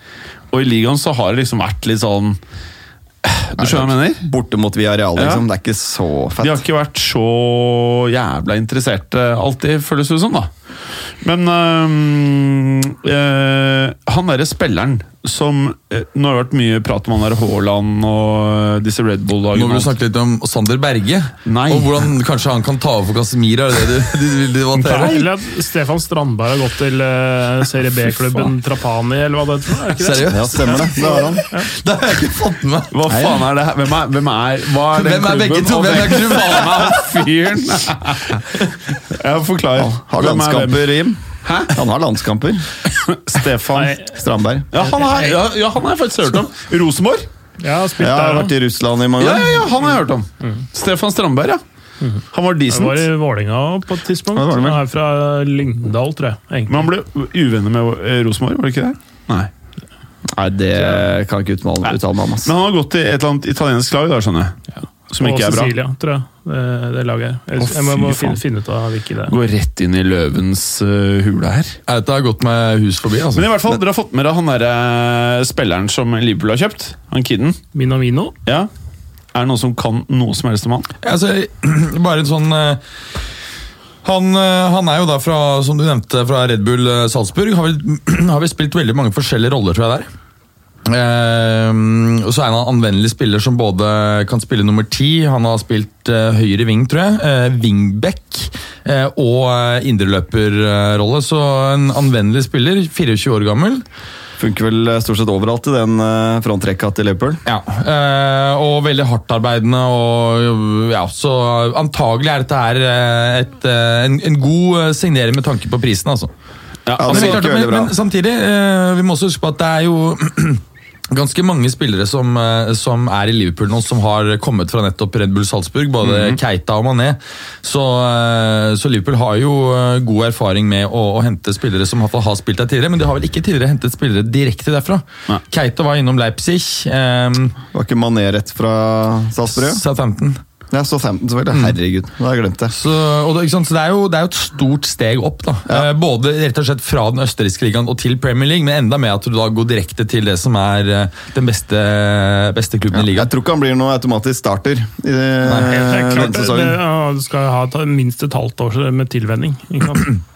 Speaker 2: Og i ligaen så har det liksom vært litt sånn Du skjønner hva jeg mener?
Speaker 1: Borte mot Villarreal, liksom.
Speaker 2: Ja.
Speaker 1: Det er ikke så
Speaker 2: De har
Speaker 1: fett.
Speaker 2: ikke vært så jævla interesserte, alltid, føles det som, da. Men øhm, øh, han derre spilleren som øh, Nå har det vært mye prat om han der Haaland og øh, disse Red
Speaker 3: nå vil
Speaker 2: Bull-dagene.
Speaker 3: du snakke litt om Sander Berge,
Speaker 2: Nei.
Speaker 3: og hvordan kanskje han kan ta over for Casemira. Er det det du, [laughs] du vil debattere?
Speaker 4: Eller at Stefan Strandberg har gått til eh, Serie B-klubben Trapani, eller hva det heter. for noe, Er det ikke det?
Speaker 3: Seriøst?
Speaker 1: Ja, stemmer det. Det har han.
Speaker 3: Det har jeg ikke fått med meg.
Speaker 2: Hva faen er det her? Hvem er, hvem er, hva er den
Speaker 3: Hvem er begge
Speaker 2: klubben,
Speaker 3: to?
Speaker 2: og
Speaker 3: Hvem er klubben?
Speaker 2: fyren? Ja, forklar.
Speaker 1: Har
Speaker 2: Hvem er hvem?
Speaker 1: landskamper, Jim.
Speaker 2: Hæ?
Speaker 1: Han har landskamper.
Speaker 2: Stefan
Speaker 4: Nei,
Speaker 1: Strandberg.
Speaker 2: ja han, har, ja, ja, han har jeg faktisk hørt om. Rosenborg?
Speaker 4: jeg har spilt
Speaker 1: Jeg har
Speaker 4: der
Speaker 1: vært
Speaker 4: òg.
Speaker 1: i Russland i mange
Speaker 2: Ja,
Speaker 1: år.
Speaker 2: ja, ja, han har jeg hørt om. Stefan Strandberg, ja. Han var
Speaker 4: Jeg Mm. var
Speaker 2: decent.
Speaker 4: i Vålinga også på et tidspunkt.
Speaker 1: Ja, det var det vel.
Speaker 4: Jeg er fra Lyngdal, tror jeg. egentlig.
Speaker 2: Men han ble uvenner med eh, Rosenborg, var det ikke det? Nei.
Speaker 1: Nei, det kan jeg ikke uttale, uttale meg om. ass.
Speaker 2: Men han har gått til et eller annet italiensk lag, da, skjønner jeg. Som ikke
Speaker 4: og
Speaker 2: er bra.
Speaker 4: Cecilia, tror jeg. Det, det laget her. Ellers-
Speaker 2: Å,
Speaker 4: Jeg må,
Speaker 2: fy
Speaker 4: må
Speaker 2: faen.
Speaker 4: finne, finne ut av hvilke det er.
Speaker 2: Går rett inn i løvens eh, hule her.
Speaker 3: [laughs] Nei, Dette har gått meg hus forbi. altså.
Speaker 2: Men i hvert fall, dere har fått med dere han derre spilleren som Liverpool har kjøpt? Han kiden?
Speaker 4: Minamino.
Speaker 2: Ja? Er det noen som kan noe som helst om han?
Speaker 3: Altså, [clears throat] bare en sånn eh, han, eh, han er jo da fra, som du nevnte, fra Red Bull eh, Salzburg. Har vel, [clears throat] har vel spilt veldig mange forskjellige roller, tror jeg der. Ehm, og så er han en anvendelig spiller som både kan spille nummer ti, han har spilt eh, høyre ving, tror jeg, uh, wingback eh, og eh, indreløperrolle. så en anvendelig spiller, 24 år gammel.
Speaker 1: Funker vel eh, stort sett overalt i den eh, frontrekka til Liverpool.
Speaker 3: Ja, eh, og veldig hardtarbeidende. Og, ja, så antagelig er dette her eh, et, eh, en, en god eh, signering med tanke på prisen, altså.
Speaker 2: Ja,
Speaker 1: Ja,
Speaker 3: Men, det er
Speaker 2: altså,
Speaker 1: det
Speaker 3: klart,
Speaker 1: virker
Speaker 3: men,
Speaker 1: veldig bra.
Speaker 3: men samtidig, eh, vi må også huske på at det er jo [clears throat] Ganske mange spillere som, eh, som er i Liverpool nå, som har kommet fra nettopp Red Bull Salzburg. Både
Speaker 1: Mhm.
Speaker 3: Keita og Mané. Så, eh, så Liverpool har jo eh, god erfaring med å, å hente spillere som har, har spilt der tidligere, men de har vel ikke tidligere hentet spillere direkte derfra.
Speaker 2: Nei.
Speaker 3: Keita var innom Leipzig. ehm,
Speaker 1: Var ikke Mané rett fra Salzburg? Mm.
Speaker 3: Sa 15.
Speaker 1: Ja, så 15, selvfølgelig. Herregud, da har jeg glemt det.
Speaker 3: Så, og det, ikke sant? så det, er jo, det er jo et stort steg opp, da. Eh, Både rett og slett fra den østerrikske ligaen og til Premier League, men enda med at du da går direkte til det som er eh, den beste, beste klubben i
Speaker 1: Jeg
Speaker 3: ligaen.
Speaker 1: tror ikke han blir noen automatisk starter i eh,
Speaker 4: Det er klart,
Speaker 1: denne
Speaker 4: det, det,
Speaker 1: sesongen.
Speaker 2: [clears throat]
Speaker 4: ja, du skal ha ta, minst et halvt år med tilvenning. eh, Ikke sant?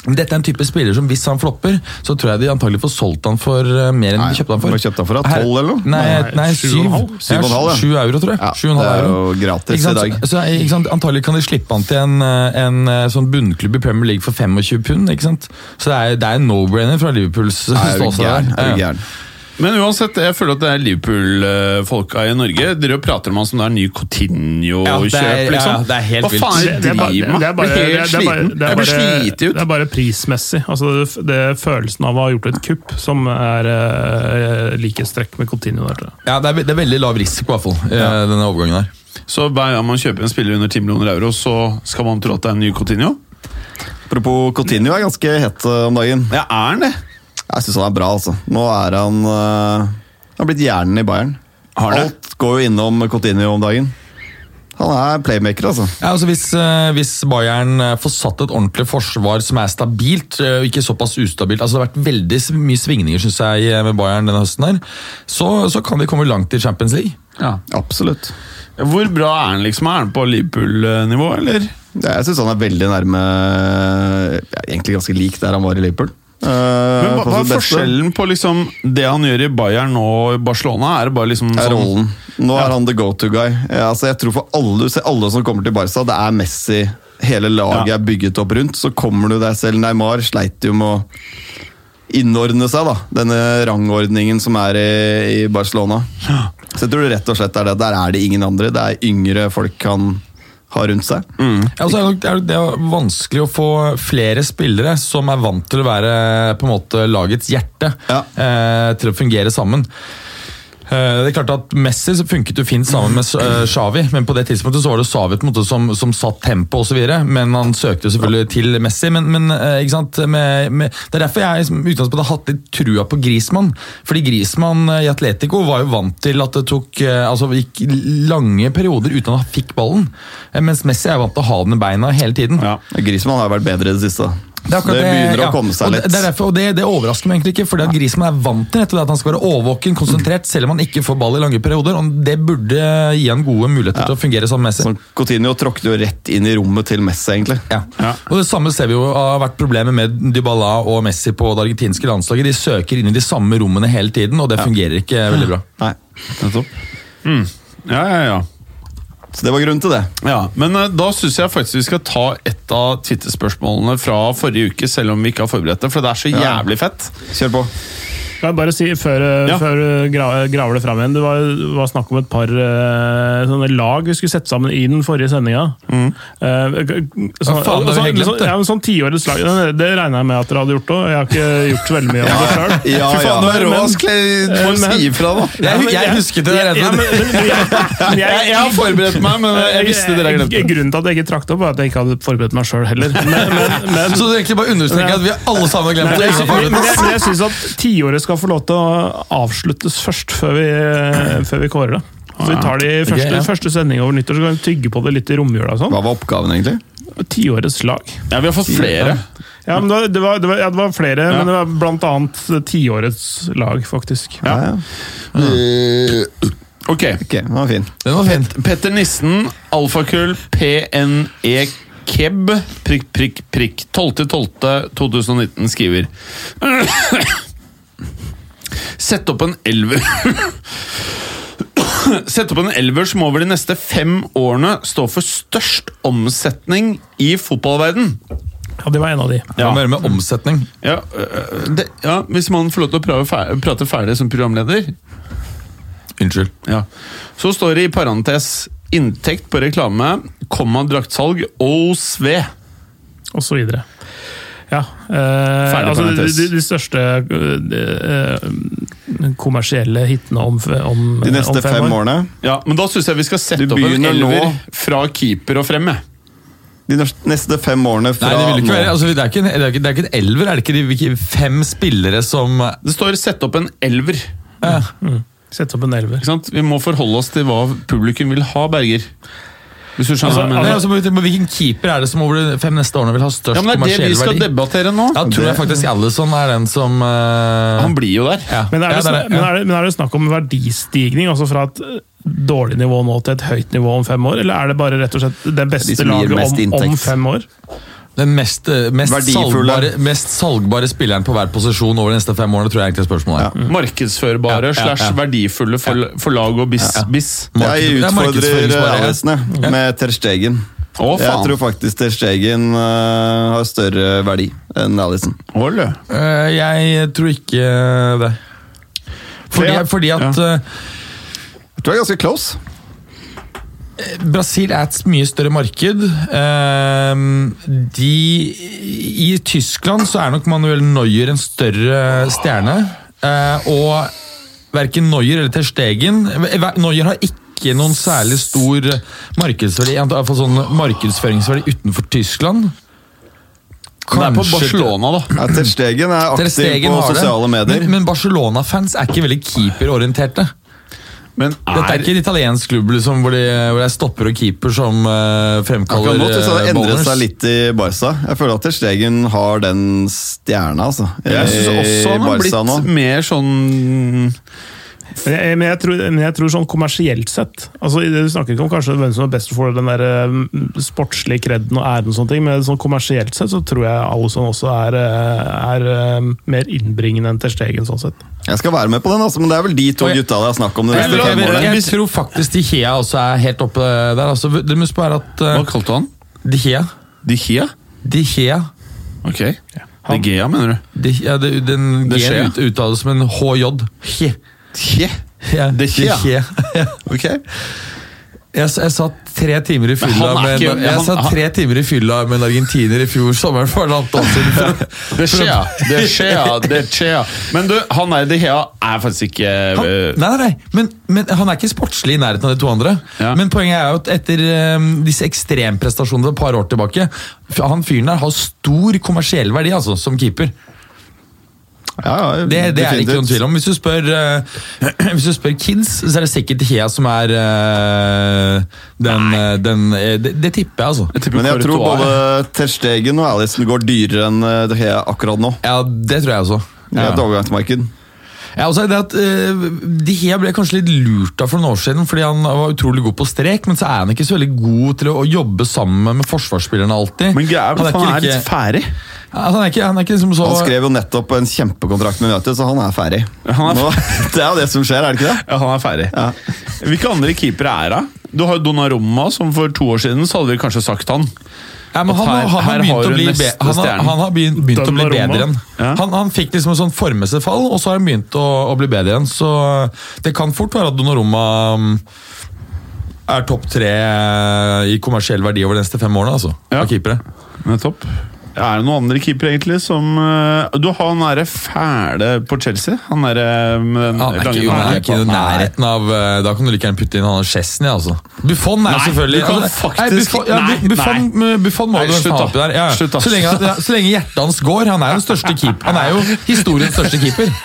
Speaker 3: Men Dette er en type spiller som hvis han flopper, så tror jeg de antagelig får solgt han for eh, mer enn
Speaker 1: Nei,
Speaker 3: de kjøpte han for.
Speaker 1: de har kjøpt han for, da,
Speaker 3: Her-
Speaker 1: 12 eller noe?
Speaker 3: Nei,
Speaker 4: Nei,
Speaker 3: nei,
Speaker 4: sju og
Speaker 3: syv.
Speaker 4: en halv.
Speaker 1: Syv og en halv,
Speaker 3: Ja,
Speaker 1: ja.
Speaker 3: sju euro, tror jeg.
Speaker 1: Ja,
Speaker 3: Sju og en
Speaker 1: det
Speaker 3: halv
Speaker 1: er
Speaker 3: euro.
Speaker 1: jo gratis
Speaker 3: Ikke
Speaker 1: i
Speaker 3: sant?
Speaker 1: dag.
Speaker 3: Så, så, ikke sant? Antagelig kan de slippe han til en, eh, en eh, sånn bunnklubb i Premier League for 25 pund. ikke sant? Så det er, det er en no-brainer fra Liverpools
Speaker 1: Nei, Er du
Speaker 3: ståsted.
Speaker 1: gæren?
Speaker 3: Ja,
Speaker 1: Er
Speaker 3: ja.
Speaker 1: du gæren?
Speaker 2: Men uansett, jeg føler at det er Liverpool-folka i Norge. Dere prater om han som det er ny
Speaker 3: Ja, det er- ja,
Speaker 2: Cotinho-kjøp, liksom.
Speaker 3: ja, det er helt
Speaker 2: Hva faen
Speaker 4: Det,
Speaker 2: er
Speaker 4: det, er
Speaker 2: det de
Speaker 4: bare,
Speaker 2: driver
Speaker 4: det, er
Speaker 2: med?
Speaker 4: bare,
Speaker 2: Jeg
Speaker 4: det, er
Speaker 2: blir helt
Speaker 4: bare,
Speaker 2: sliten.
Speaker 4: det, er
Speaker 2: Jeg blir
Speaker 4: bare,
Speaker 2: slitet
Speaker 4: det
Speaker 2: ut.
Speaker 4: er bare prismessig. Altså det, det er følelsen av å ha gjort et kupp som er uh, likhetstrekk med Coutinho der. tror jeg.
Speaker 3: Ja, det, er, ve- det er veldig lav risiko, i hvert fall, eh, denne overgangen her.
Speaker 2: Så hver gang man kjøper en spiller under 10 millioner euro, så skal man tro at det er en ny Cotinho?
Speaker 1: Apropos Coutinho er ganske het eh, om dagen.
Speaker 2: Ja, er han det?
Speaker 1: Jeg syns han er bra, altså. Nå er han eh, Han har blitt hjernen i Bayern.
Speaker 2: Har det?
Speaker 1: Alt går jo innom Coutinho om dagen. Han er playmaker, altså.
Speaker 3: Ja, altså hvis, eh, hvis Bayern eh, får satt et ordentlig forsvar som er stabilt, eh, og ikke såpass ustabilt altså Det har vært veldig s- mye svingninger synes jeg, eh, med Bayern denne høsten, her, så, så kan de komme langt i Champions League.
Speaker 2: Ja.
Speaker 1: Absolutt.
Speaker 2: Hvor bra er han liksom? Er han på Liverpool-nivå, eller?
Speaker 1: Ja, Jeg syns han er veldig nærme ja, Egentlig ganske lik der han var i Liverpool. Eh,
Speaker 2: Men hva,
Speaker 1: på
Speaker 2: hva
Speaker 1: sitt
Speaker 2: er
Speaker 1: beste.
Speaker 2: forskjellen på liksom det han gjør i Bayern og i Barcelona? Er det bare liksom
Speaker 1: er
Speaker 2: sånn
Speaker 1: rollen. Nå er han the go-to-guy. Altså, jeg tror for alle, se, alle som kommer til Barca, det er Messi hele laget
Speaker 2: Ja.
Speaker 1: er bygget opp rundt. Så kommer du deg selv. Neymar sleit jo med å innordne seg, da. Denne rangordningen som er i, i Barcelona. Så jeg tror det rett og slett er det. Der er det ingen andre. Det er yngre folk han har rundt seg.
Speaker 3: Ja, og så er det, nok- er det- det er vanskelig å få flere spillere som er vant til å være eh, på en måte lagets hjerte,
Speaker 1: Ja.
Speaker 3: eh, til å fungere sammen. Eh, Det er klart at Messi så funket jo fint sammen med eh, Xavi, men på det tidspunktet så var det Xavi på en måte som, som satt tempo og så videre, men han søkte jo selvfølgelig til Messi. Men, men eh, ikke sant? Med, med, det er derfor jeg som utgangspunkt har hatt litt trua på Griezmann. Fordi Griezmann eh, i Atletico var jo vant til at det tok eh, altså gikk lange perioder uten at han fikk ballen. Eh, Mens Messi er vant til å ha den i beina hele tiden.
Speaker 2: Ja.
Speaker 1: Grismann har vært bedre i det siste.
Speaker 3: Det, er akkurat
Speaker 1: begynner å
Speaker 3: ja.
Speaker 1: komme seg
Speaker 3: Og
Speaker 1: litt.
Speaker 3: Det, det, er derfor, og det, det overrasker meg egentlig ikke, fordi at Griezmann er vant til dette, at han skal være årvåken, konsentrert, selv om han ikke får ball i lange perioder. og Det burde gi han gode muligheter til å fungere som Messi.
Speaker 1: Sånn, Coutinho tråkket jo rett inn i rommet til Messi, egentlig.
Speaker 3: Ja. Og Det samme ser vi jo har vært problemet med Dybala og Messi på det argentinske landslaget. De søker inn i de samme rommene hele tiden, og det fungerer ikke veldig bra.
Speaker 1: Nei.
Speaker 2: Nettopp. Mm. Ja, ja, ja.
Speaker 1: Så det var grunnen til det.
Speaker 2: Ja, men eh, da syns jeg faktisk vi skal ta et av Twitter-spørsmålene fra forrige uke, selv om vi ikke har forberedt det, for det er så
Speaker 1: Ja.
Speaker 2: jævlig fett.
Speaker 1: Kjør på.
Speaker 4: Kan jeg bare si, før, eh,
Speaker 2: Ja.
Speaker 4: før du gra- graver det fram igjen Det var, det var snakk om et par eh, sånne lag vi skulle sette sammen i den forrige Eh, sendinga.
Speaker 2: Mm.
Speaker 3: Hva faen, det har vi helt glemt, det.
Speaker 4: ja, men sånn tiårets lag. Det, det regna jeg med at dere hadde gjort òg. Jeg har ikke gjort så veldig mye om det sjøl.
Speaker 1: Ja,
Speaker 2: Fy faen, du er rå,
Speaker 4: Men-
Speaker 2: Askle. Du må
Speaker 4: men-
Speaker 2: si ifra, da.
Speaker 3: Jeg,
Speaker 4: men
Speaker 3: hu- jeg
Speaker 4: jeg-
Speaker 3: husket det. Jeg,
Speaker 4: Ja, men- men- jeg-
Speaker 2: Jeg, jeg har forberedt meg, men jeg visste dere hadde glemt det.
Speaker 4: Grunnen til at jeg ikke trakk det opp, var at jeg ikke hadde forberedt meg sjøl heller. Men, men, men,
Speaker 3: så du egentlig bare understreker at vi alle sammen har
Speaker 4: Nei,
Speaker 3: glemt
Speaker 4: men
Speaker 3: det?
Speaker 4: jeg
Speaker 3: ingen har
Speaker 4: sy-
Speaker 3: forberedt
Speaker 4: men
Speaker 3: oss.
Speaker 4: jeg, men jeg syns at tiåret skal få lov til å avsluttes først, før vi, før vi kårer det. Så vi tar det i første,
Speaker 3: Ok, ja.
Speaker 4: første sending over nyttår, så kan vi tygge på det litt i romjula. og Sånn.
Speaker 1: Hva var oppgaven, egentlig?
Speaker 4: Tiårets lag.
Speaker 2: Ja, vi har fått flere.
Speaker 4: Ja, men det var, det var, det var, ja, det var flere,
Speaker 2: Ja.
Speaker 4: men det var blant annet tiårets lag, faktisk.
Speaker 2: Ja.
Speaker 1: Ja, ja.
Speaker 2: Ok.
Speaker 1: Ok, den var fin.
Speaker 3: Den var fin.
Speaker 2: Petter Nissen, alfakull, PNE E, Keb, prikk, prikk, prikk, 12.12.2019 skriver Sett opp en elver Sett opp en elver som over de neste fem årene står for størst omsetning i fotballverden.
Speaker 4: Ja, det var en av de.
Speaker 3: Det har å gjøre med omsetning.
Speaker 2: Ja, øh, det, ja, hvis man får lov til å prøve, fer- prate ferdig som programleder,
Speaker 3: Unnskyld.
Speaker 2: Ja. Så står det i parentes inntekt på reklame, komma draktsalg og sve.
Speaker 4: og så videre. Ja, eh,
Speaker 2: Ferdig
Speaker 4: altså de,
Speaker 2: parentes.
Speaker 4: de, de største eh, de, eh, kommersielle hitene om, f- om
Speaker 1: De neste
Speaker 4: om
Speaker 1: fem årene
Speaker 2: Ja, men da syns jeg vi skal sette
Speaker 1: Du
Speaker 2: opp en
Speaker 1: begynner nå.
Speaker 2: elver fra keeper og frem. jeg.
Speaker 1: De nors- neste fem årene fra
Speaker 3: Nei, det, vil ikke
Speaker 1: nå.
Speaker 3: være, altså, det, er ikke en, det, er ikke, det er ikke en elver, er det ikke de hvilke fem spillere som eh,
Speaker 2: Det står 'sette opp en elver'. Ikke
Speaker 4: Sette opp en elver.
Speaker 2: sant? Vi må forholde oss til hva publikum vil ha, Berger. Hvis du skjønner hva jeg
Speaker 4: Altså,
Speaker 3: Nei,
Speaker 2: mener.
Speaker 3: altså, men Hvilken keeper er det som over de fem neste årene vil ha størst
Speaker 2: Ja, men Det er det
Speaker 3: kommersiell
Speaker 2: vi skal
Speaker 3: verdi?
Speaker 2: debattere nå.
Speaker 3: Ja, tror jeg
Speaker 1: Det-
Speaker 3: faktisk Allison er den som eh,
Speaker 2: Han blir jo der.
Speaker 3: ja.
Speaker 4: Men er,
Speaker 3: Ja,
Speaker 4: det,
Speaker 3: der
Speaker 4: snak- men, er det, men er det snakk om verdistigning, altså fra et eh, dårlig nivå nå til et høyt nivå om fem år, eller er det bare rett og slett det
Speaker 1: De
Speaker 4: beste
Speaker 1: som gir
Speaker 4: laget
Speaker 1: mest
Speaker 4: om, om
Speaker 1: inntekt.
Speaker 4: fem år?
Speaker 3: det Den mest, eh, mest,
Speaker 1: Verdifulle.
Speaker 3: salgbare, mest salgbare spilleren på hver posisjon over de neste fem årene, tror jeg egentlig er spørsmålet er. Ja,
Speaker 2: Markedsførbare
Speaker 3: ja, ja.
Speaker 2: slash verdifulle for, for lag og bis. bis.
Speaker 3: Marked-
Speaker 1: Jeg
Speaker 3: det er
Speaker 1: utfordrer
Speaker 3: markedsføringsbare, ja.
Speaker 1: Alison jeg, med Ter Stegen.
Speaker 2: Å, faen.
Speaker 1: Jeg tror faktisk Ter Stegen eh, har større verdi enn Alison.
Speaker 2: Ole.
Speaker 3: Eh, jeg tror ikke det. Fordi,
Speaker 2: Ja.
Speaker 3: fordi at eh,
Speaker 1: Jeg tror jeg er ganske close.
Speaker 3: Brasil er et mye større marked. Ehm, De, I Tyskland så er nok Manuel Neuer en større stjerne. Eh, Og verken Neuer eller Ter Stegen eh, hver- Neuer har ikke noen særlig stor markedsverdi, i hvert fall sånn markedsføringsverdi utenfor Tyskland.
Speaker 2: Det er på
Speaker 3: Kanskje-
Speaker 2: Barcelona, da.
Speaker 1: Ja, Ter Stegen er
Speaker 3: Ter
Speaker 1: aktiv
Speaker 3: Stegen
Speaker 1: på
Speaker 3: har det,
Speaker 1: sosiale medier.
Speaker 3: Men, men Barcelona-fans er ikke veldig keeperorienterte.
Speaker 2: Men
Speaker 3: Dette er
Speaker 2: er
Speaker 3: ikke en italiensk klubb liksom, hvor, de, hvor det er stopper og keeper som eh, fremkaller
Speaker 1: Akkurat nå synes jeg det har
Speaker 3: eh,
Speaker 1: endret
Speaker 3: ballers.
Speaker 1: seg litt i Barca. Jeg føler at Ter Stegen har den stjerna, altså.
Speaker 2: Jeg syns også han har blitt mer sånn
Speaker 4: Men jeg, men, jeg tror, men jeg tror sånn kommersielt sett altså i det- Du snakker ikke om kanskje hvem som er best for den der eh, sportslige kredden og æren, og sånne ting, men sånn kommersielt sett så tror jeg Alison også er, eh, er eh, mer innbringende enn Ter Stegen. sånn sett.
Speaker 1: Jeg skal være med på den, altså, men det er vel de to
Speaker 3: Og jeg-
Speaker 1: gutta det er snakk om de
Speaker 3: Jeg,
Speaker 1: neste
Speaker 3: jeg,
Speaker 1: fem
Speaker 3: jeg,
Speaker 1: årene.
Speaker 3: jeg tror faktisk De Hea også er helt oppe der. Altså, det må bare at
Speaker 2: Hva
Speaker 3: eh,
Speaker 2: kalte du han?
Speaker 3: De Hea
Speaker 2: De Gia?
Speaker 3: De Hea
Speaker 2: Ok. De Gea, mener du?
Speaker 3: de, ja, det, Den
Speaker 2: De Gea.
Speaker 3: G-en ut, uttales som en HJ. Hje.
Speaker 2: Tje.
Speaker 3: Ja,
Speaker 2: De Gea.
Speaker 3: Ja.
Speaker 2: Ok.
Speaker 3: Jeg, s- jeg satt tre timer i fylla
Speaker 2: han er
Speaker 3: med,
Speaker 2: ikke-
Speaker 3: en- jeg
Speaker 2: han-
Speaker 3: satt tre timer i fylla med en argentiner i fjor sommer for halvannet år siden. for
Speaker 2: [laughs]
Speaker 3: å-
Speaker 2: Det skjer, det skjer, det skjer. Men du, han der De Hea er faktisk ikke
Speaker 3: Han,
Speaker 2: eh,
Speaker 3: nei, nei, nei. Men, men han er ikke sportslig i nærheten av de to andre.
Speaker 2: Ja.
Speaker 3: Men poenget er jo at etter eh, disse ekstremprestasjonene et par år tilbake f- Han fyren der har stor kommersiell verdi altså, som keeper.
Speaker 1: Ja, ja,
Speaker 3: Det, det er det ikke
Speaker 1: definitivt.
Speaker 3: noen tvil om. Hvis du spør, eh, [clears throat] hvis du spør kids, så er det sikkert Hea som er eh, den, eh, den eh, det, det tipper jeg, altså.
Speaker 2: type
Speaker 1: Men jeg tror
Speaker 2: Courtois.
Speaker 1: både Ter Stegen og Alison går dyrere enn eh, De Gea akkurat nå.
Speaker 3: Ja, det tror jeg også.
Speaker 1: Det er
Speaker 3: Ja.
Speaker 1: et overgangsmarked.
Speaker 3: Ja, også er det at eh, De Gea ble kanskje litt lurt av for noen år siden, fordi han var utrolig god på strek, men så er han ikke så veldig god til å, å jobbe sammen med forsvarsspillerne alltid.
Speaker 2: Men greia er at han er
Speaker 3: ikke
Speaker 2: litt
Speaker 3: like-
Speaker 2: ferdig.
Speaker 3: Ja, han er ikke, han er ikke liksom så
Speaker 1: Han skrev jo nettopp en kjempekontrakt med United, så han er ferdig.
Speaker 2: Han er
Speaker 1: Nå, [laughs] det er jo det som skjer, er det ikke det?
Speaker 2: Ja, han er ferdig.
Speaker 1: Ja.
Speaker 2: Hvilke andre keepere er det? Du har jo Donnarumma, som for to år siden så hadde vi kanskje sagt han.
Speaker 3: ja, men
Speaker 2: at
Speaker 3: han,
Speaker 2: her-
Speaker 3: har- han,
Speaker 2: her
Speaker 3: har begynt å
Speaker 2: har du
Speaker 3: bli
Speaker 2: neste
Speaker 3: be- han, har-
Speaker 2: stjernen.
Speaker 3: han har begynt, begynt å bli
Speaker 4: Donnarumma.
Speaker 3: bedre igjen.
Speaker 2: Ja.
Speaker 3: Han, han fikk liksom en sånn formessig fall, og så har han begynt å, å bli bedre igjen. Så det kan fort være at Donnarumma mm, er topp tre i kommersiell verdi over de neste fem årene, altså.
Speaker 2: Ja.
Speaker 3: Av keepere.
Speaker 2: Nettopp. Er det noen andre keepere, egentlig, som eh, Du har han derre fæle på Chelsea. Han derre med den
Speaker 3: Han er ikke,
Speaker 2: lange
Speaker 3: han er ikke i
Speaker 2: Nei.
Speaker 3: nærheten av eh, Da kan du like gjerne putte inn han Chesney, altså. Buffon er
Speaker 2: Nei,
Speaker 3: selvfølgelig
Speaker 2: du kan
Speaker 3: altså,
Speaker 2: faktisk-
Speaker 3: nei, Buffon, ja,
Speaker 2: nei,
Speaker 3: Buffon, Buffon må
Speaker 2: Nei,
Speaker 3: du nesten
Speaker 2: slutt
Speaker 3: ha
Speaker 2: da.
Speaker 3: oppi der. Ja, ja.
Speaker 2: Slutt da.
Speaker 3: Så, lenge, ja, så lenge hjertet hans går. Han er jo den største keeper. Han er jo historiens største
Speaker 2: [laughs]
Speaker 3: keeper.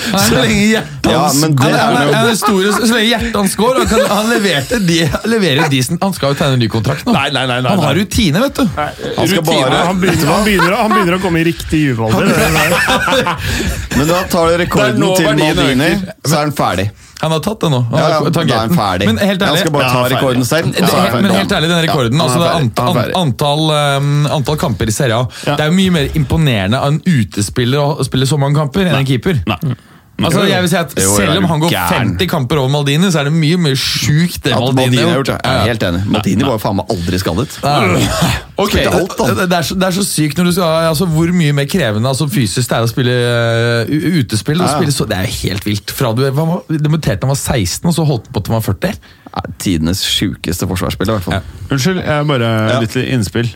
Speaker 3: Han er-
Speaker 1: hjertet ja, men det
Speaker 3: han er-
Speaker 1: er
Speaker 3: han er-
Speaker 1: jo
Speaker 3: han er historiens- Så lenge hjertet hans går og han, kan, han leverte de, han leverer decent Han skal jo tegne en ny kontrakt nå.
Speaker 2: Nei, nei, nei, nei,
Speaker 3: han har
Speaker 2: nei.
Speaker 3: rutine, vet du.
Speaker 1: Han skal
Speaker 4: Ja,
Speaker 1: bare
Speaker 4: han, begynner, han, begynner, han begynner å komme i riktig juvealder. det er det.
Speaker 1: Men da tar du
Speaker 2: Det er
Speaker 1: rekorden
Speaker 2: nå
Speaker 1: til
Speaker 2: verdien
Speaker 1: Maldini,
Speaker 2: øker.
Speaker 1: så er han ferdig.
Speaker 3: Han har tatt det nå.
Speaker 1: Ja,
Speaker 3: Han
Speaker 1: ja,
Speaker 3: har
Speaker 1: da er han
Speaker 3: tangenten.
Speaker 1: ferdig.
Speaker 3: Men helt ærlig
Speaker 1: han skal bare
Speaker 2: Ja,
Speaker 1: ta
Speaker 2: han er ferdig.
Speaker 1: rekorden selv.
Speaker 3: Det,
Speaker 1: så er han ferdig.
Speaker 3: men helt ærlig, den rekorden
Speaker 2: Ja, han er
Speaker 3: altså, det er
Speaker 2: ferdig.
Speaker 3: anta-
Speaker 2: Han er ferdig.
Speaker 3: antall, um, antall kamper i Serie A Det er jo mye mer imponerende av en utespiller å spille så mange kamper enn en keeper.
Speaker 2: Nei.
Speaker 3: Altså, jeg vil si at
Speaker 1: Jo, jo, er
Speaker 3: Selv
Speaker 1: du
Speaker 3: om han går
Speaker 1: gæren?
Speaker 3: 50 kamper over Maldini, så er det mye mer sjukt det
Speaker 1: At Maldini har gjort det. Jeg
Speaker 3: Ja, ja.
Speaker 1: er helt enig. Maldini var jo faen meg aldri skadet.
Speaker 3: Ok,
Speaker 1: Spilte alt, da.
Speaker 3: det, det, er så, det er så sykt når du skal, altså, hvor mye mer krevende altså, fysisk det er å spille øh, u- utespill. og
Speaker 1: ja.
Speaker 3: Spille så, det er jo helt vilt. Fra du hva var- debuterte da han var 16, og så holdt han på til han var 40.
Speaker 1: Ja, Tidenes sjukeste forsvarsspiller, i hvert fall.
Speaker 2: Unnskyld, jeg bare
Speaker 1: Ja.
Speaker 2: litt innspill.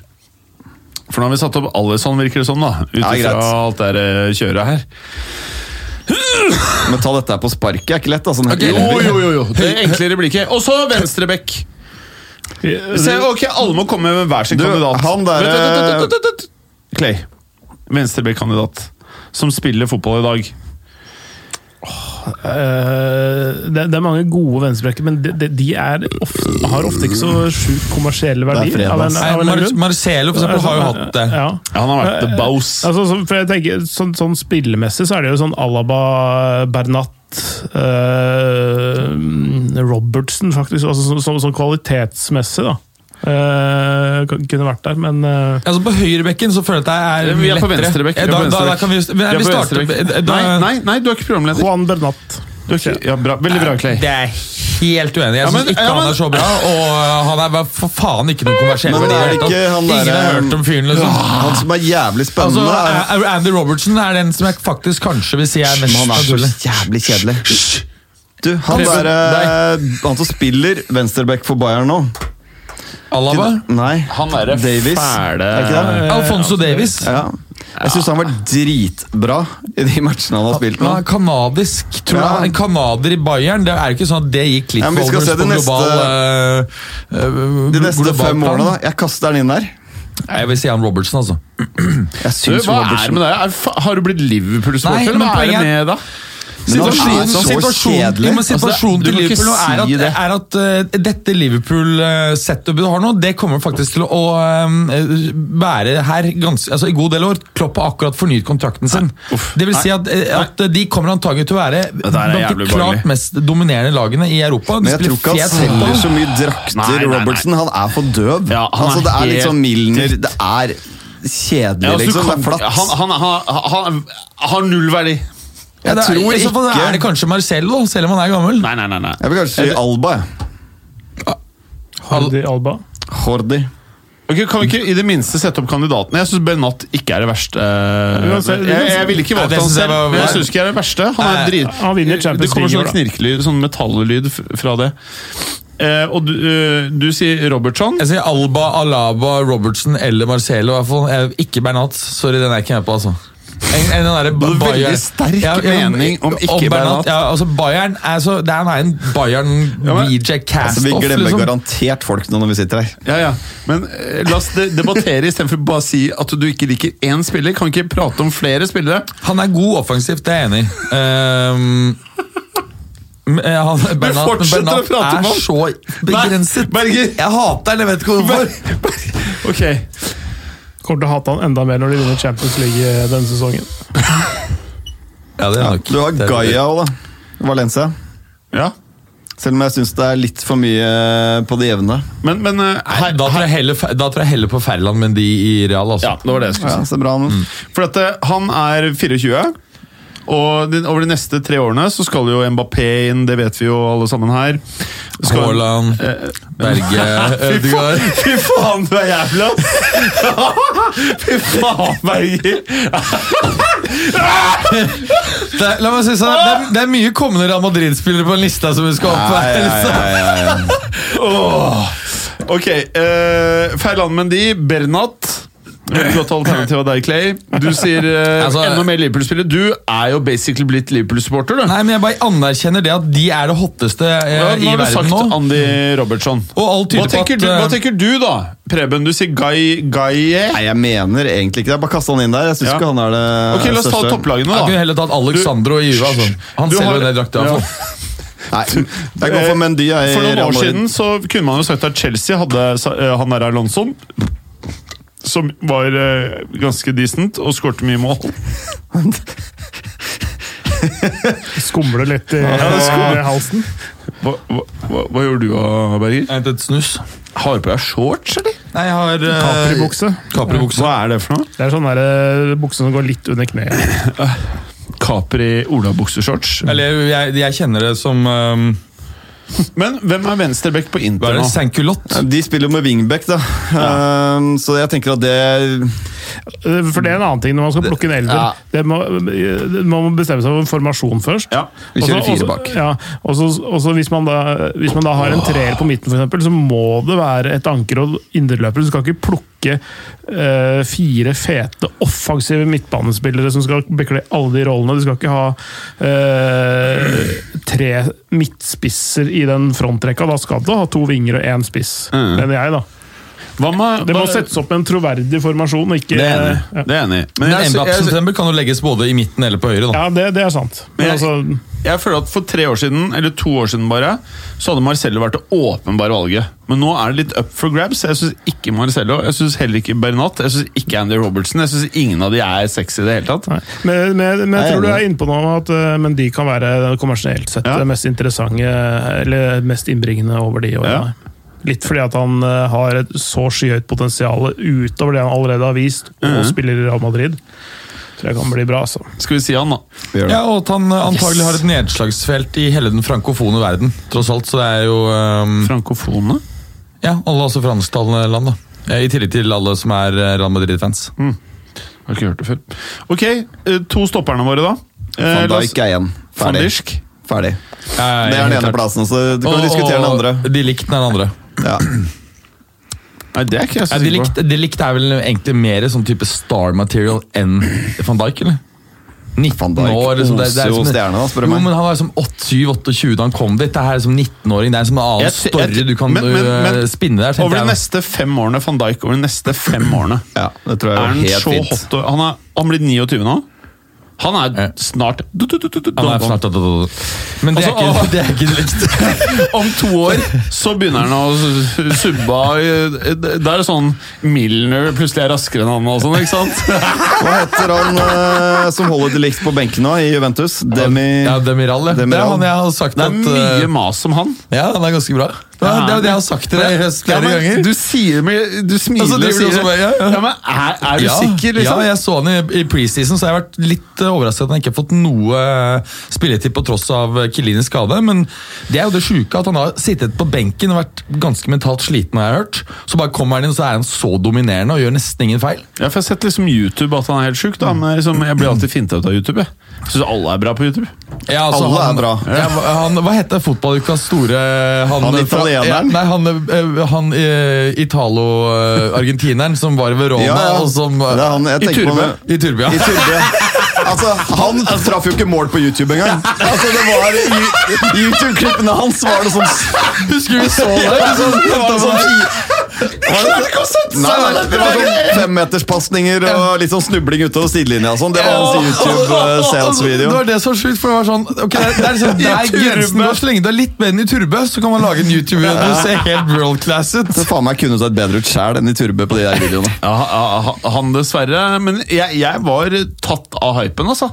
Speaker 2: For nå har vi satt opp Alison, virker det som, da. Ut
Speaker 1: Ja,
Speaker 2: ifra
Speaker 1: greit.
Speaker 2: alt det der, eh, kjøret her.
Speaker 1: Men ta dette her på sparket er ikke lett. Altså.
Speaker 3: Ok,
Speaker 2: Jo, jo, jo, jo. [laughs] Det er enklere blir ikke. Og så venstrebekk. Se, ok, Alle må komme med hver sin
Speaker 1: Du,
Speaker 2: kandidat.
Speaker 1: han der-
Speaker 2: Vent, vent, vent, vent, vent, vent. Clay. Venstrebekk-kandidat. Som spiller fotball i dag.
Speaker 4: Eh, det, det er mange gode venstrebekker, men de, de, de er ofte, har ofte ikke så sjukt kommersielle verdier.
Speaker 1: fredag,
Speaker 4: av en-
Speaker 1: ass.
Speaker 4: av en eller
Speaker 3: Mar
Speaker 4: annen grunn. Altså,
Speaker 3: Marcelo for eksempel, har jo
Speaker 2: sånn,
Speaker 3: hatt det.
Speaker 4: Ja.
Speaker 2: Han har vært the boss.
Speaker 4: Altså, så- for jeg tenker, sånn, sånn spillemessig så er det jo sånn Alaba, Bernat eh, Robertson, faktisk. Altså, sånn, sånn, sånn kvalitetsmessig, da. Eh, kunne vært der, men eh,
Speaker 3: Altså På høyrebekken så føler jeg at det er
Speaker 2: Vi er på
Speaker 3: lettere.
Speaker 2: venstrebekk.
Speaker 3: Eh, Da, da, da kan vi, vi,
Speaker 2: Vi er
Speaker 3: vi
Speaker 2: på
Speaker 3: starter eh,
Speaker 2: venstrebekk.
Speaker 3: da,
Speaker 2: Nei, nei, nei, du er ikke programleder.
Speaker 4: Juan Bernat.
Speaker 2: Du er ikke, ja, bra, veldig bra, Clay.
Speaker 3: Det er helt uenig. Jeg
Speaker 2: Ja, men-
Speaker 3: syns ikke
Speaker 2: ja, men-
Speaker 3: han er så bra. Og eh, han er bare for faen ikke noen kommersiell
Speaker 1: Men
Speaker 3: verdi. i
Speaker 1: er det
Speaker 3: det hele
Speaker 1: ikke
Speaker 3: tatt.
Speaker 1: han
Speaker 3: Ingen
Speaker 1: der,
Speaker 3: har hørt om fyren, liksom.
Speaker 1: Han som er jævlig
Speaker 3: Altså,
Speaker 1: spennende, er
Speaker 3: A- Andy Robertson er den som jeg faktisk kanskje vil si er mest
Speaker 1: Han er så
Speaker 3: naturlig.
Speaker 1: jævlig kjedelig. Du, han
Speaker 3: Preben,
Speaker 1: der eh, Han som spiller venstreback for Bayern nå
Speaker 3: Alaba?
Speaker 1: Nei,
Speaker 2: Han derre
Speaker 1: Davis.
Speaker 2: fæle
Speaker 1: Er ikke det?
Speaker 3: Alfonso Davis.
Speaker 1: Ja. Jeg syns han var dritbra i de matchene han har spilt nå.
Speaker 3: Han er kanadisk. Tror
Speaker 1: Ja.
Speaker 3: du en kanader i Bayern? Det er ikke sånn at det gikk litt
Speaker 1: Ja, men vi skal
Speaker 3: forward
Speaker 1: se de
Speaker 3: på
Speaker 1: neste-
Speaker 3: global eh, eh,
Speaker 1: De neste
Speaker 3: global
Speaker 1: fem
Speaker 3: plan.
Speaker 1: årene, da. Jeg kaster den inn der.
Speaker 3: Nei, Jeg vil si han Robertson, altså.
Speaker 1: Jeg
Speaker 2: Du,
Speaker 1: syns
Speaker 2: hva er det
Speaker 1: Robertsen
Speaker 2: med deg? Er fa- Har du blitt
Speaker 3: Nei,
Speaker 2: Liverpool-sporter, eller
Speaker 3: men
Speaker 2: hva er det
Speaker 3: poenget
Speaker 2: med deg?
Speaker 1: Men han er
Speaker 3: Situasjonen,
Speaker 1: så
Speaker 3: situasjonen,
Speaker 1: kjedelig.
Speaker 3: jo, men situasjonen
Speaker 2: Altså, det-
Speaker 3: til
Speaker 2: du må ikke
Speaker 3: Liverpool nå er at,
Speaker 2: si det.
Speaker 3: er at eh, dette Liverpool-setupet du har nå, det kommer faktisk til å eh, være her ganske, altså, i god del år. Klopp har akkurat fornyet kontrakten sin. Det vil si at, eh, at de kommer antagelig til å være
Speaker 2: er
Speaker 3: blant de
Speaker 2: jævlig
Speaker 3: klart
Speaker 2: barnlig.
Speaker 3: mest dominerende lagene i Europa. De
Speaker 1: Men jeg tror ikke han
Speaker 3: fet
Speaker 1: selger
Speaker 3: fotball.
Speaker 1: så mye drakter,
Speaker 2: Nei, nei, nei.
Speaker 1: Robertsen. Han er for døv.
Speaker 2: Ja, han
Speaker 1: altså,
Speaker 2: er
Speaker 1: det er litt
Speaker 2: helt
Speaker 1: sånn Milner.
Speaker 2: dritt.
Speaker 1: Det er kjedelig,
Speaker 2: Ja, altså, du
Speaker 1: liksom. Det
Speaker 2: kan-
Speaker 1: er flatt.
Speaker 2: Han, han, han, han, han har null verdi.
Speaker 3: Ja,
Speaker 1: Jeg
Speaker 3: det er-
Speaker 1: tror
Speaker 3: i så fall Er det
Speaker 1: ikke
Speaker 3: kanskje Marcello, selv om han er gammel?
Speaker 2: Nei, nei, nei. nei.
Speaker 1: Jeg vil kanskje si Alba. jeg.
Speaker 4: Hardy Alba.
Speaker 1: Hordi.
Speaker 2: Ok, kan vi ikke i det minste sette opp kandidatene? Jeg syns Benat ikke er det verste. eh,
Speaker 4: kan se-
Speaker 2: Jeg,
Speaker 4: du kan se-
Speaker 2: jeg ville ikke valgt
Speaker 3: Nei, det
Speaker 2: han
Speaker 3: synes jeg
Speaker 2: selv,
Speaker 3: var-
Speaker 2: men jeg syns ikke jeg er det verste. Han
Speaker 3: Nei,
Speaker 2: er drit...
Speaker 4: han vinner
Speaker 2: Det
Speaker 4: Champions
Speaker 2: kommer
Speaker 4: League i år,
Speaker 2: sånn
Speaker 4: da.
Speaker 2: knirkelyd, sånn metallyd f- fra det. Eh, og du, eh, du sier Robertson.
Speaker 3: Jeg sier Alba, Alaba, Robertson eller Marcelo. i hvert fall. Eh, Ikke Bernat. Sorry, den er ikke jeg på, altså. En, en, den der
Speaker 2: Du hadde
Speaker 3: Ba-
Speaker 2: veldig
Speaker 3: Bayern-
Speaker 2: sterk mening om ikke Bernat.
Speaker 3: Ja, altså Bayern er så, det er en
Speaker 2: Ja, men-
Speaker 3: Bayern-VJ
Speaker 1: Altså,
Speaker 3: cast-off,
Speaker 1: vi glemmer
Speaker 3: liksom.
Speaker 1: garantert folk nå når vi sitter her.
Speaker 2: Ja, ja. Men eh, la oss de- debattere istedenfor bare å si at du ikke liker én spiller. Kan ikke prate om flere spillere.
Speaker 3: Han er god offensivt, det er jeg enig i. Ehm, men, eh, han, Bernat,
Speaker 2: fortsetter å
Speaker 3: Bernat
Speaker 2: prate om
Speaker 3: er
Speaker 2: han.
Speaker 3: så begrenset.
Speaker 2: Berger.
Speaker 3: Jeg hater han, jeg vet ikke hvorfor.
Speaker 2: Ok
Speaker 4: Kommer til å hate han enda mer når de vinner Champions League eh, denne sesongen.
Speaker 3: Ja, det er nok.
Speaker 1: Du har
Speaker 3: Det er-
Speaker 1: Gaia òg, da. Valencia.
Speaker 2: Ja.
Speaker 1: Selv om jeg syns det er litt for mye eh, på det jevne.
Speaker 2: Men, men eh,
Speaker 3: Nei,
Speaker 2: her,
Speaker 3: Da tror jeg heller, da tror jeg heller på Ferdinand Mendy i Real. Altså.
Speaker 2: Ja, det var det jeg skulle
Speaker 1: Ja, ser bra ut.
Speaker 2: For at eh, han er 24, og de, over de neste tre årene så skal jo Mbappé inn, det vet vi jo alle sammen her. Skal-
Speaker 3: Haaland, [laughs] Berge,
Speaker 2: Fy faen,
Speaker 3: Ødegaard
Speaker 2: [laughs] fy faen, du er jævla! [laughs] Fy faen, Berger!
Speaker 3: det, er- La meg si sånn, det er, det er mye kommende Real Madrid-spillere på en lista som vi skal opp
Speaker 1: Ja,
Speaker 3: her.
Speaker 1: ja,
Speaker 3: liksom.
Speaker 1: ja, ja, ja.
Speaker 2: Åh. Ok, uh, Ferdinand Mendy, Bernat. Et Godt alternativ av deg, Clay. Du sier eh,
Speaker 3: Altså-
Speaker 2: enda mer Liverpool-spiller. Du er jo basically blitt Liverpool-supporter, du.
Speaker 3: Nei, men Jeg bare anerkjenner det at de er det hotteste eh,
Speaker 2: Ja, nå
Speaker 3: i
Speaker 2: har du
Speaker 3: verden
Speaker 2: sagt
Speaker 3: nå.
Speaker 2: Andy Robertson.
Speaker 3: Og alt tyder
Speaker 2: Hva
Speaker 3: på
Speaker 2: tenker,
Speaker 3: at
Speaker 2: du, hva
Speaker 3: eh,
Speaker 2: tenker du da, Preben? Du sier Guy Guy
Speaker 1: Nei, jeg mener egentlig ikke det. Jeg bare kasta han inn der. Jeg syns
Speaker 2: Ja.
Speaker 1: ikke han er det
Speaker 2: Ok, La oss ta
Speaker 1: største.
Speaker 2: topplagene,
Speaker 3: Jeg kunne
Speaker 2: da.
Speaker 3: heller tatt Alexandro i Juve. Altså. Han
Speaker 2: Du
Speaker 3: selger
Speaker 2: har-
Speaker 3: jo den drakta.
Speaker 2: Ja.
Speaker 3: Altså.
Speaker 1: Nei, jeg går for Mendy. Jeg,
Speaker 2: For noen
Speaker 1: Real
Speaker 2: år
Speaker 1: Madrid.
Speaker 2: siden så kunne man jo sagt at Chelsea hadde sa- eh, han der Alonso, som var eh, ganske decent og skårte mye mål.
Speaker 4: Skumler litt i
Speaker 2: det skumler.
Speaker 4: i halsen.
Speaker 2: Hva, hva, hva, hva gjorde du, ah,
Speaker 3: Jeg
Speaker 2: Berger?
Speaker 3: hentet et snus.
Speaker 2: Har du på deg shorts, eller?
Speaker 3: Nei, jeg har eh,
Speaker 4: Capribukse.
Speaker 3: Capri-bukse.
Speaker 2: Hva er det for noe?
Speaker 4: Det er sånn der, eh, bukse som går litt under kneet.
Speaker 2: Capri olabukseshorts.
Speaker 3: Eller jeg, jeg kjenner det som um,
Speaker 2: Men hvem er venstreback på
Speaker 3: Hva
Speaker 2: Inter
Speaker 3: er det?
Speaker 2: nå?
Speaker 3: Sankulott?
Speaker 1: De spiller jo med wingback, da. Ehm, så jeg tenker at det
Speaker 4: Eh, For det er en annen ting når man skal plukke en elver.
Speaker 1: Ja.
Speaker 4: Det må, eh, man må bestemme seg for en formasjon først.
Speaker 2: Ja,
Speaker 1: Vi kjører
Speaker 4: Også-
Speaker 1: fire
Speaker 4: også-
Speaker 1: bak.
Speaker 4: Ja, og så- og så hvis, man da- hvis man da har en treer på midten, for eksempel, så må det være et anker og indreløper. Du skal ikke plukke eh, fire fete, offensive midtbanespillere som skal bekle alle de rollene. Du skal ikke ha eh, tre midtspisser i den frontrekka. Da skal du ha to vinger og én spiss,
Speaker 2: Mm.
Speaker 4: mener jeg. da.
Speaker 2: Hva med,
Speaker 4: Det må
Speaker 2: hva-
Speaker 4: settes opp med en troverdig formasjon. og Ikke,
Speaker 2: Det er enig.
Speaker 4: Ja.
Speaker 2: Det er enig. Men
Speaker 3: Men
Speaker 2: jeg-
Speaker 3: en
Speaker 2: altså, jeg-
Speaker 3: September kan jo legges både i midten eller på høyre. da.
Speaker 4: Ja, det, det er sant. Men
Speaker 2: Men jeg-
Speaker 4: altså,
Speaker 2: Jeg føler at For tre år siden, eller to år siden bare, så hadde Marcello vært det åpenbare valget. Men nå er det litt up for grabs. Jeg syns ikke Marcello, jeg synes heller ikke Bernat, jeg synes ikke Andy Robertson. Jeg synes ingen av de er sexy i det hele tatt.
Speaker 4: Nei. Men, men, men
Speaker 1: Nei,
Speaker 4: jeg tror du
Speaker 1: enig.
Speaker 4: er inne på noe om at eh, men de kan være kommersielt sett
Speaker 2: Ja.
Speaker 4: det mest interessante eller mest innbringende over de
Speaker 2: Ja.
Speaker 4: årene. Litt fordi at han eh, har et så skyhøyt potensial utover det han allerede har vist, og spiller i Real Madrid. Tror jeg kan bli bra, altså.
Speaker 2: Skal vi si han, da?
Speaker 1: Gjør det.
Speaker 3: Ja, og at han eh, antagelig har et nedslagsfelt i hele den frankofone verden, tross alt. Så det er jo eh,
Speaker 2: Frankofone?
Speaker 3: Ja, alle også fransktalende land, da. Eh, I tillegg til alle som er eh, Real Madrid-fans.
Speaker 1: Mm.
Speaker 2: Har ikke hørt det før. Ok, eh, to stopperne våre, da. Eh,
Speaker 1: Van
Speaker 2: la oss-
Speaker 1: Dijk er igjen.
Speaker 2: Van
Speaker 1: Ferdig.
Speaker 2: Dijk.
Speaker 1: Ferdig. Det er den ene plassen, så du kan diskutere den andre.
Speaker 3: De likte den andre.
Speaker 1: Ja.
Speaker 2: Nei, det er ikke jeg så
Speaker 3: Ja, de,
Speaker 2: sikker på.
Speaker 3: likte, de likte er vel egentlig mer sånn type star material enn van Dijk, eller? 19
Speaker 1: Van Dijk
Speaker 3: år, liksom, det, det
Speaker 1: oser
Speaker 3: er
Speaker 1: jo
Speaker 3: som-
Speaker 1: stjerne, da, spør du
Speaker 3: jo,
Speaker 1: meg.
Speaker 3: men Han var liksom 27-28 da han kom dit. Det her er som 19-åring. Det er som en annen
Speaker 2: Jeg- jeg-
Speaker 3: story du kan
Speaker 2: men- men-
Speaker 3: øh,
Speaker 2: men-
Speaker 3: spinne der.
Speaker 2: Over
Speaker 3: tenkte
Speaker 2: de
Speaker 3: jeg.
Speaker 2: neste fem årene, van Dijk over de neste fem årene
Speaker 1: ja, det tror
Speaker 2: Er
Speaker 1: jeg
Speaker 2: han
Speaker 1: er helt
Speaker 2: så
Speaker 1: fint.
Speaker 2: hot? og- Han, er, han blir 29 nå. Han
Speaker 3: Ja.
Speaker 2: er snart du, du, du, du, du,
Speaker 3: Han er
Speaker 2: Donovan.
Speaker 3: snart Men det er
Speaker 2: Altså, [laughs]
Speaker 3: ikke det er ikke det viktigste. [laughs]
Speaker 2: Om to år så begynner han å s- subbe i- Da er det sånn Milner plutselig er raskere enn han og sånn, ikke sant?
Speaker 1: Hva heter han eh, som holder til likt på benken nå i Juventus? Demi
Speaker 3: Ja, Demiral, ja. Det er
Speaker 1: Demiral.
Speaker 3: han jeg har sagt
Speaker 2: Det er
Speaker 3: at
Speaker 2: mye
Speaker 3: øh,
Speaker 2: mas om han.
Speaker 3: Ja, han er ganske bra. Det er det er jo det jeg har sagt til deg
Speaker 2: Ja,
Speaker 3: flere
Speaker 2: men
Speaker 3: ganger.
Speaker 2: Du sier med Du smiler
Speaker 3: Og så driver du
Speaker 2: og sier
Speaker 3: også bare, ja, ja.
Speaker 2: men er, er du
Speaker 3: ja,
Speaker 2: sikker, liksom?
Speaker 3: Ja, jeg så han i, i preseason, så jeg har vært litt eh, overrasket at han ikke har fått noe eh, spilletid på tross av eh, Chiellinis skade. Men det er jo det sjuke at han har sittet på benken og vært ganske mentalt sliten, har jeg hørt. Så bare kommer han inn, og så er han så dominerende og gjør nesten ingen feil.
Speaker 2: Ja, for jeg har sett liksom YouTube at han er helt sjuk, da, men liksom, jeg blir alltid finta ut av YouTube. Jeg syns alle er bra på YouTube.
Speaker 3: Ja, altså,
Speaker 1: Alle er bra.
Speaker 3: Ja, hva- han, hva heter fotballukas store eh, Han,
Speaker 1: Han
Speaker 3: fra-
Speaker 1: italieneren?
Speaker 3: Ja, nei, han, eh, han eh, italo-argentineren som var i Verona,
Speaker 1: Ja, ja.
Speaker 3: og som eh,
Speaker 1: Det er han jeg
Speaker 2: I
Speaker 1: tenker på.
Speaker 2: Turbø.
Speaker 1: nå.
Speaker 3: I Turbia.
Speaker 1: I Turbø. Altså, han traff jo ikke mål på YouTube engang. Altså, det var i- i YouTube-klippene hans var det sånn
Speaker 3: Husker vi så det? Sånn,
Speaker 1: Det var sånn ti-
Speaker 3: Klarte ikke å sette
Speaker 1: Nei,
Speaker 3: seg!
Speaker 1: nei, det var sånn femmeterspasninger og litt sånn snubling utover sidelinja og sånn. eh, Det var hans
Speaker 3: [laughs] Det
Speaker 1: YouTube-sales-video.
Speaker 3: var det som var sjukt, for det var sånn Ok, det er, det er
Speaker 1: [laughs]
Speaker 3: liksom det er grensen går. Så lenge du er litt bedre enn i Turbø, så kan man lage en YouTube-video hvor du ser helt world class ut.
Speaker 1: Så faen meg kunne du sett bedre ut sjæl enn i Turbø på de der
Speaker 3: [laughs]
Speaker 1: videoene.
Speaker 2: Ja, ha- ha- han dessverre. Men jeg, jeg var tatt av hypen, altså.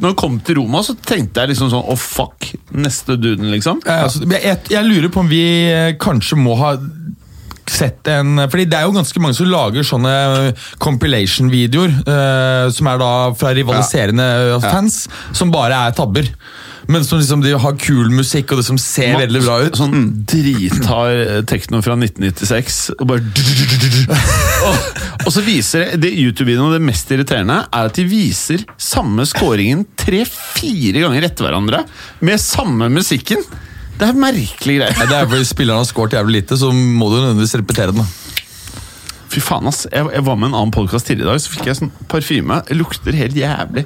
Speaker 2: Når jeg kom til Roma, så tenkte jeg liksom sånn Å, fuck. Neste duden, liksom.
Speaker 3: Ja, altså, men jeg, jeg lurer på om vi eh, kanskje må ha sett en Fordi det er jo ganske mange som lager sånne compilation-videoer, eh, som er da fra rivaliserende eh, fans, som bare er tabber. Men som liksom de har kul musikk, og det som ser veldig bra ut.
Speaker 2: Sånn
Speaker 1: Mm.
Speaker 2: drithard eh, tekno fra 1996. Og bare [laughs] og, og så viser det, det YouTube-videoen det mest irriterende er at de viser samme scoringen tre-fire ganger etter hverandre med samme musikken. Det er merkelige
Speaker 3: Ja,
Speaker 2: greier.
Speaker 3: det er fordi spilleren har scoret jævlig lite, så må du nødvendigvis repetere den. da.
Speaker 2: Fy faen, ass. Jeg, jeg var med en annen podkast tidligere i dag, så fikk jeg sånn parfyme. Det lukter helt jævlig.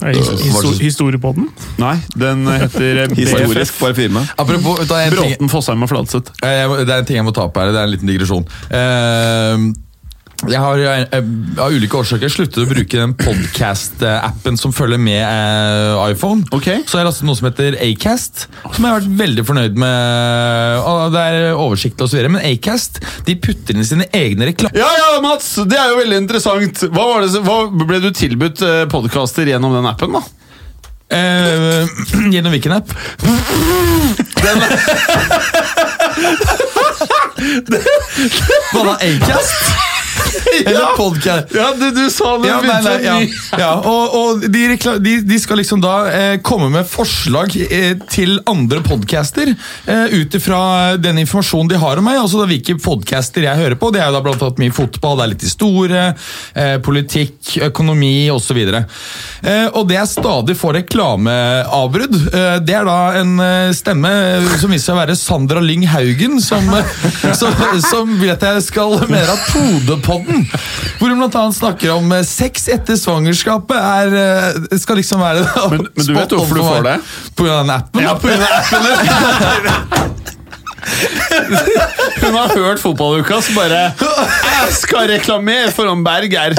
Speaker 4: Er det his- histo- Historie på den.
Speaker 2: Nei, den heter eh, BFF.
Speaker 1: Historisk parfyme.
Speaker 3: Apropos, vet du, hva, en ting,
Speaker 2: Bråten, Fosheim og Fladseth.
Speaker 3: Eh, jeg, må- det er en ting jeg må ta opp her. Det er en liten digresjon. Eh, jeg har jeg, jeg, av ulike årsaker sluttet å bruke den podcast-appen som følger med eh, iPhone.
Speaker 2: Ok.
Speaker 3: Så jeg lastet noe som heter Acast, som jeg har vært veldig fornøyd med. Og det er oversiktlig og så videre, men Acast de putter inn sine egne reklamer.
Speaker 2: Ja, ja, Mats! Det er jo veldig interessant. Hva, var det, som- hva Ble du tilbudt eh, podkaster gjennom den appen, da?
Speaker 3: Eh, [clears throat] gjennom hvilken app? Hva da, Acast? Eller podcast?
Speaker 2: Ja, du, sa det!
Speaker 3: Ja, nei, nei, ja. ja, og, og de, rekla de, de skal liksom da eh, komme med forslag eh, til andre podcaster eh, ut ifra den informasjonen de har om meg. Altså da hvilke podcaster jeg hører på. Det er jo da blant annet mye fotball, det er litt historie, eh, politikk, økonomi osv. Eh, og det jeg stadig får reklameavbrudd, eh, det er da en eh, stemme som viser seg å være Sandra Lyng Haugen, som, eh, som, som vil at jeg skal mer av Podepodden. Hvor hun blant annet snakker om eh, sex etter svangerskapet er eh, skal liksom være
Speaker 2: Men- men du vet
Speaker 3: spot on
Speaker 2: hvorfor du
Speaker 3: for
Speaker 2: får
Speaker 3: meg.
Speaker 2: det?
Speaker 3: På grunn av den appen.
Speaker 2: Ja, på grunn av appen din. Hun har hørt fotballuka, så bare Jeg skal reklamere for om Berg
Speaker 3: [laughs]
Speaker 2: her.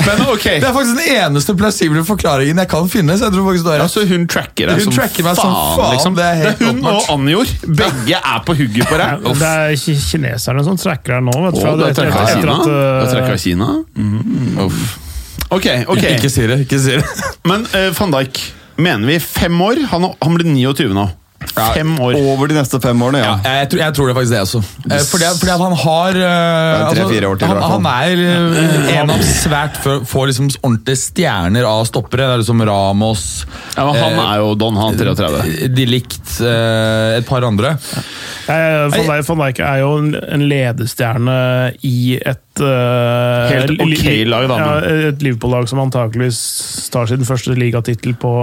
Speaker 2: Men ok.
Speaker 3: [laughs] Det er faktisk den eneste plausible forklaringen jeg kan finne. så jeg tror faktisk du har rett.
Speaker 2: Altså, hun tracker deg
Speaker 3: Hun
Speaker 2: som,
Speaker 3: tracker meg som faen,
Speaker 2: liksom.
Speaker 3: det
Speaker 2: Det
Speaker 3: er
Speaker 2: er,
Speaker 3: helt
Speaker 2: hun
Speaker 3: åpenbart.
Speaker 2: og Anjor. Begge er på hugget på deg.
Speaker 4: Det er ki- kineserne som tracker her nå. Vet du,
Speaker 2: Å,
Speaker 4: fra-
Speaker 2: da
Speaker 4: etter-
Speaker 2: trekker
Speaker 4: etter-
Speaker 2: jeg Kina. Da
Speaker 4: etter
Speaker 2: trekker
Speaker 4: at, eh,
Speaker 2: jeg Kina. Uff. Ok, ok.
Speaker 3: Mhm. Ikke si det. ikke si det.
Speaker 2: Men eh, van Dijk, mener vi fem år? Han, han blir 29 nå. Fem år.
Speaker 1: Over de neste fem årene, ja.
Speaker 3: Ja, Eh, jeg, tror, jeg tror det er faktisk det også. Eh, Fordi, at- fordi at han har eh,
Speaker 1: Det er tre-fire år til, i hvert fall.
Speaker 3: han, han er eh, en av svært få få liksom ordentlige stjerner av stoppere. Det er liksom Ramos
Speaker 2: Ja, men han
Speaker 3: eh,
Speaker 2: er jo Don, han er 33.
Speaker 3: De likt eh, et par andre.
Speaker 4: Eh, Van Dijk- Van Dijk er jo en en ledestjerne i et eh,
Speaker 2: Helt
Speaker 4: li- li-
Speaker 2: ok lag, da, men-
Speaker 4: Ja, et Liverpool-lag som antakeligvis tar sin første ligatittel på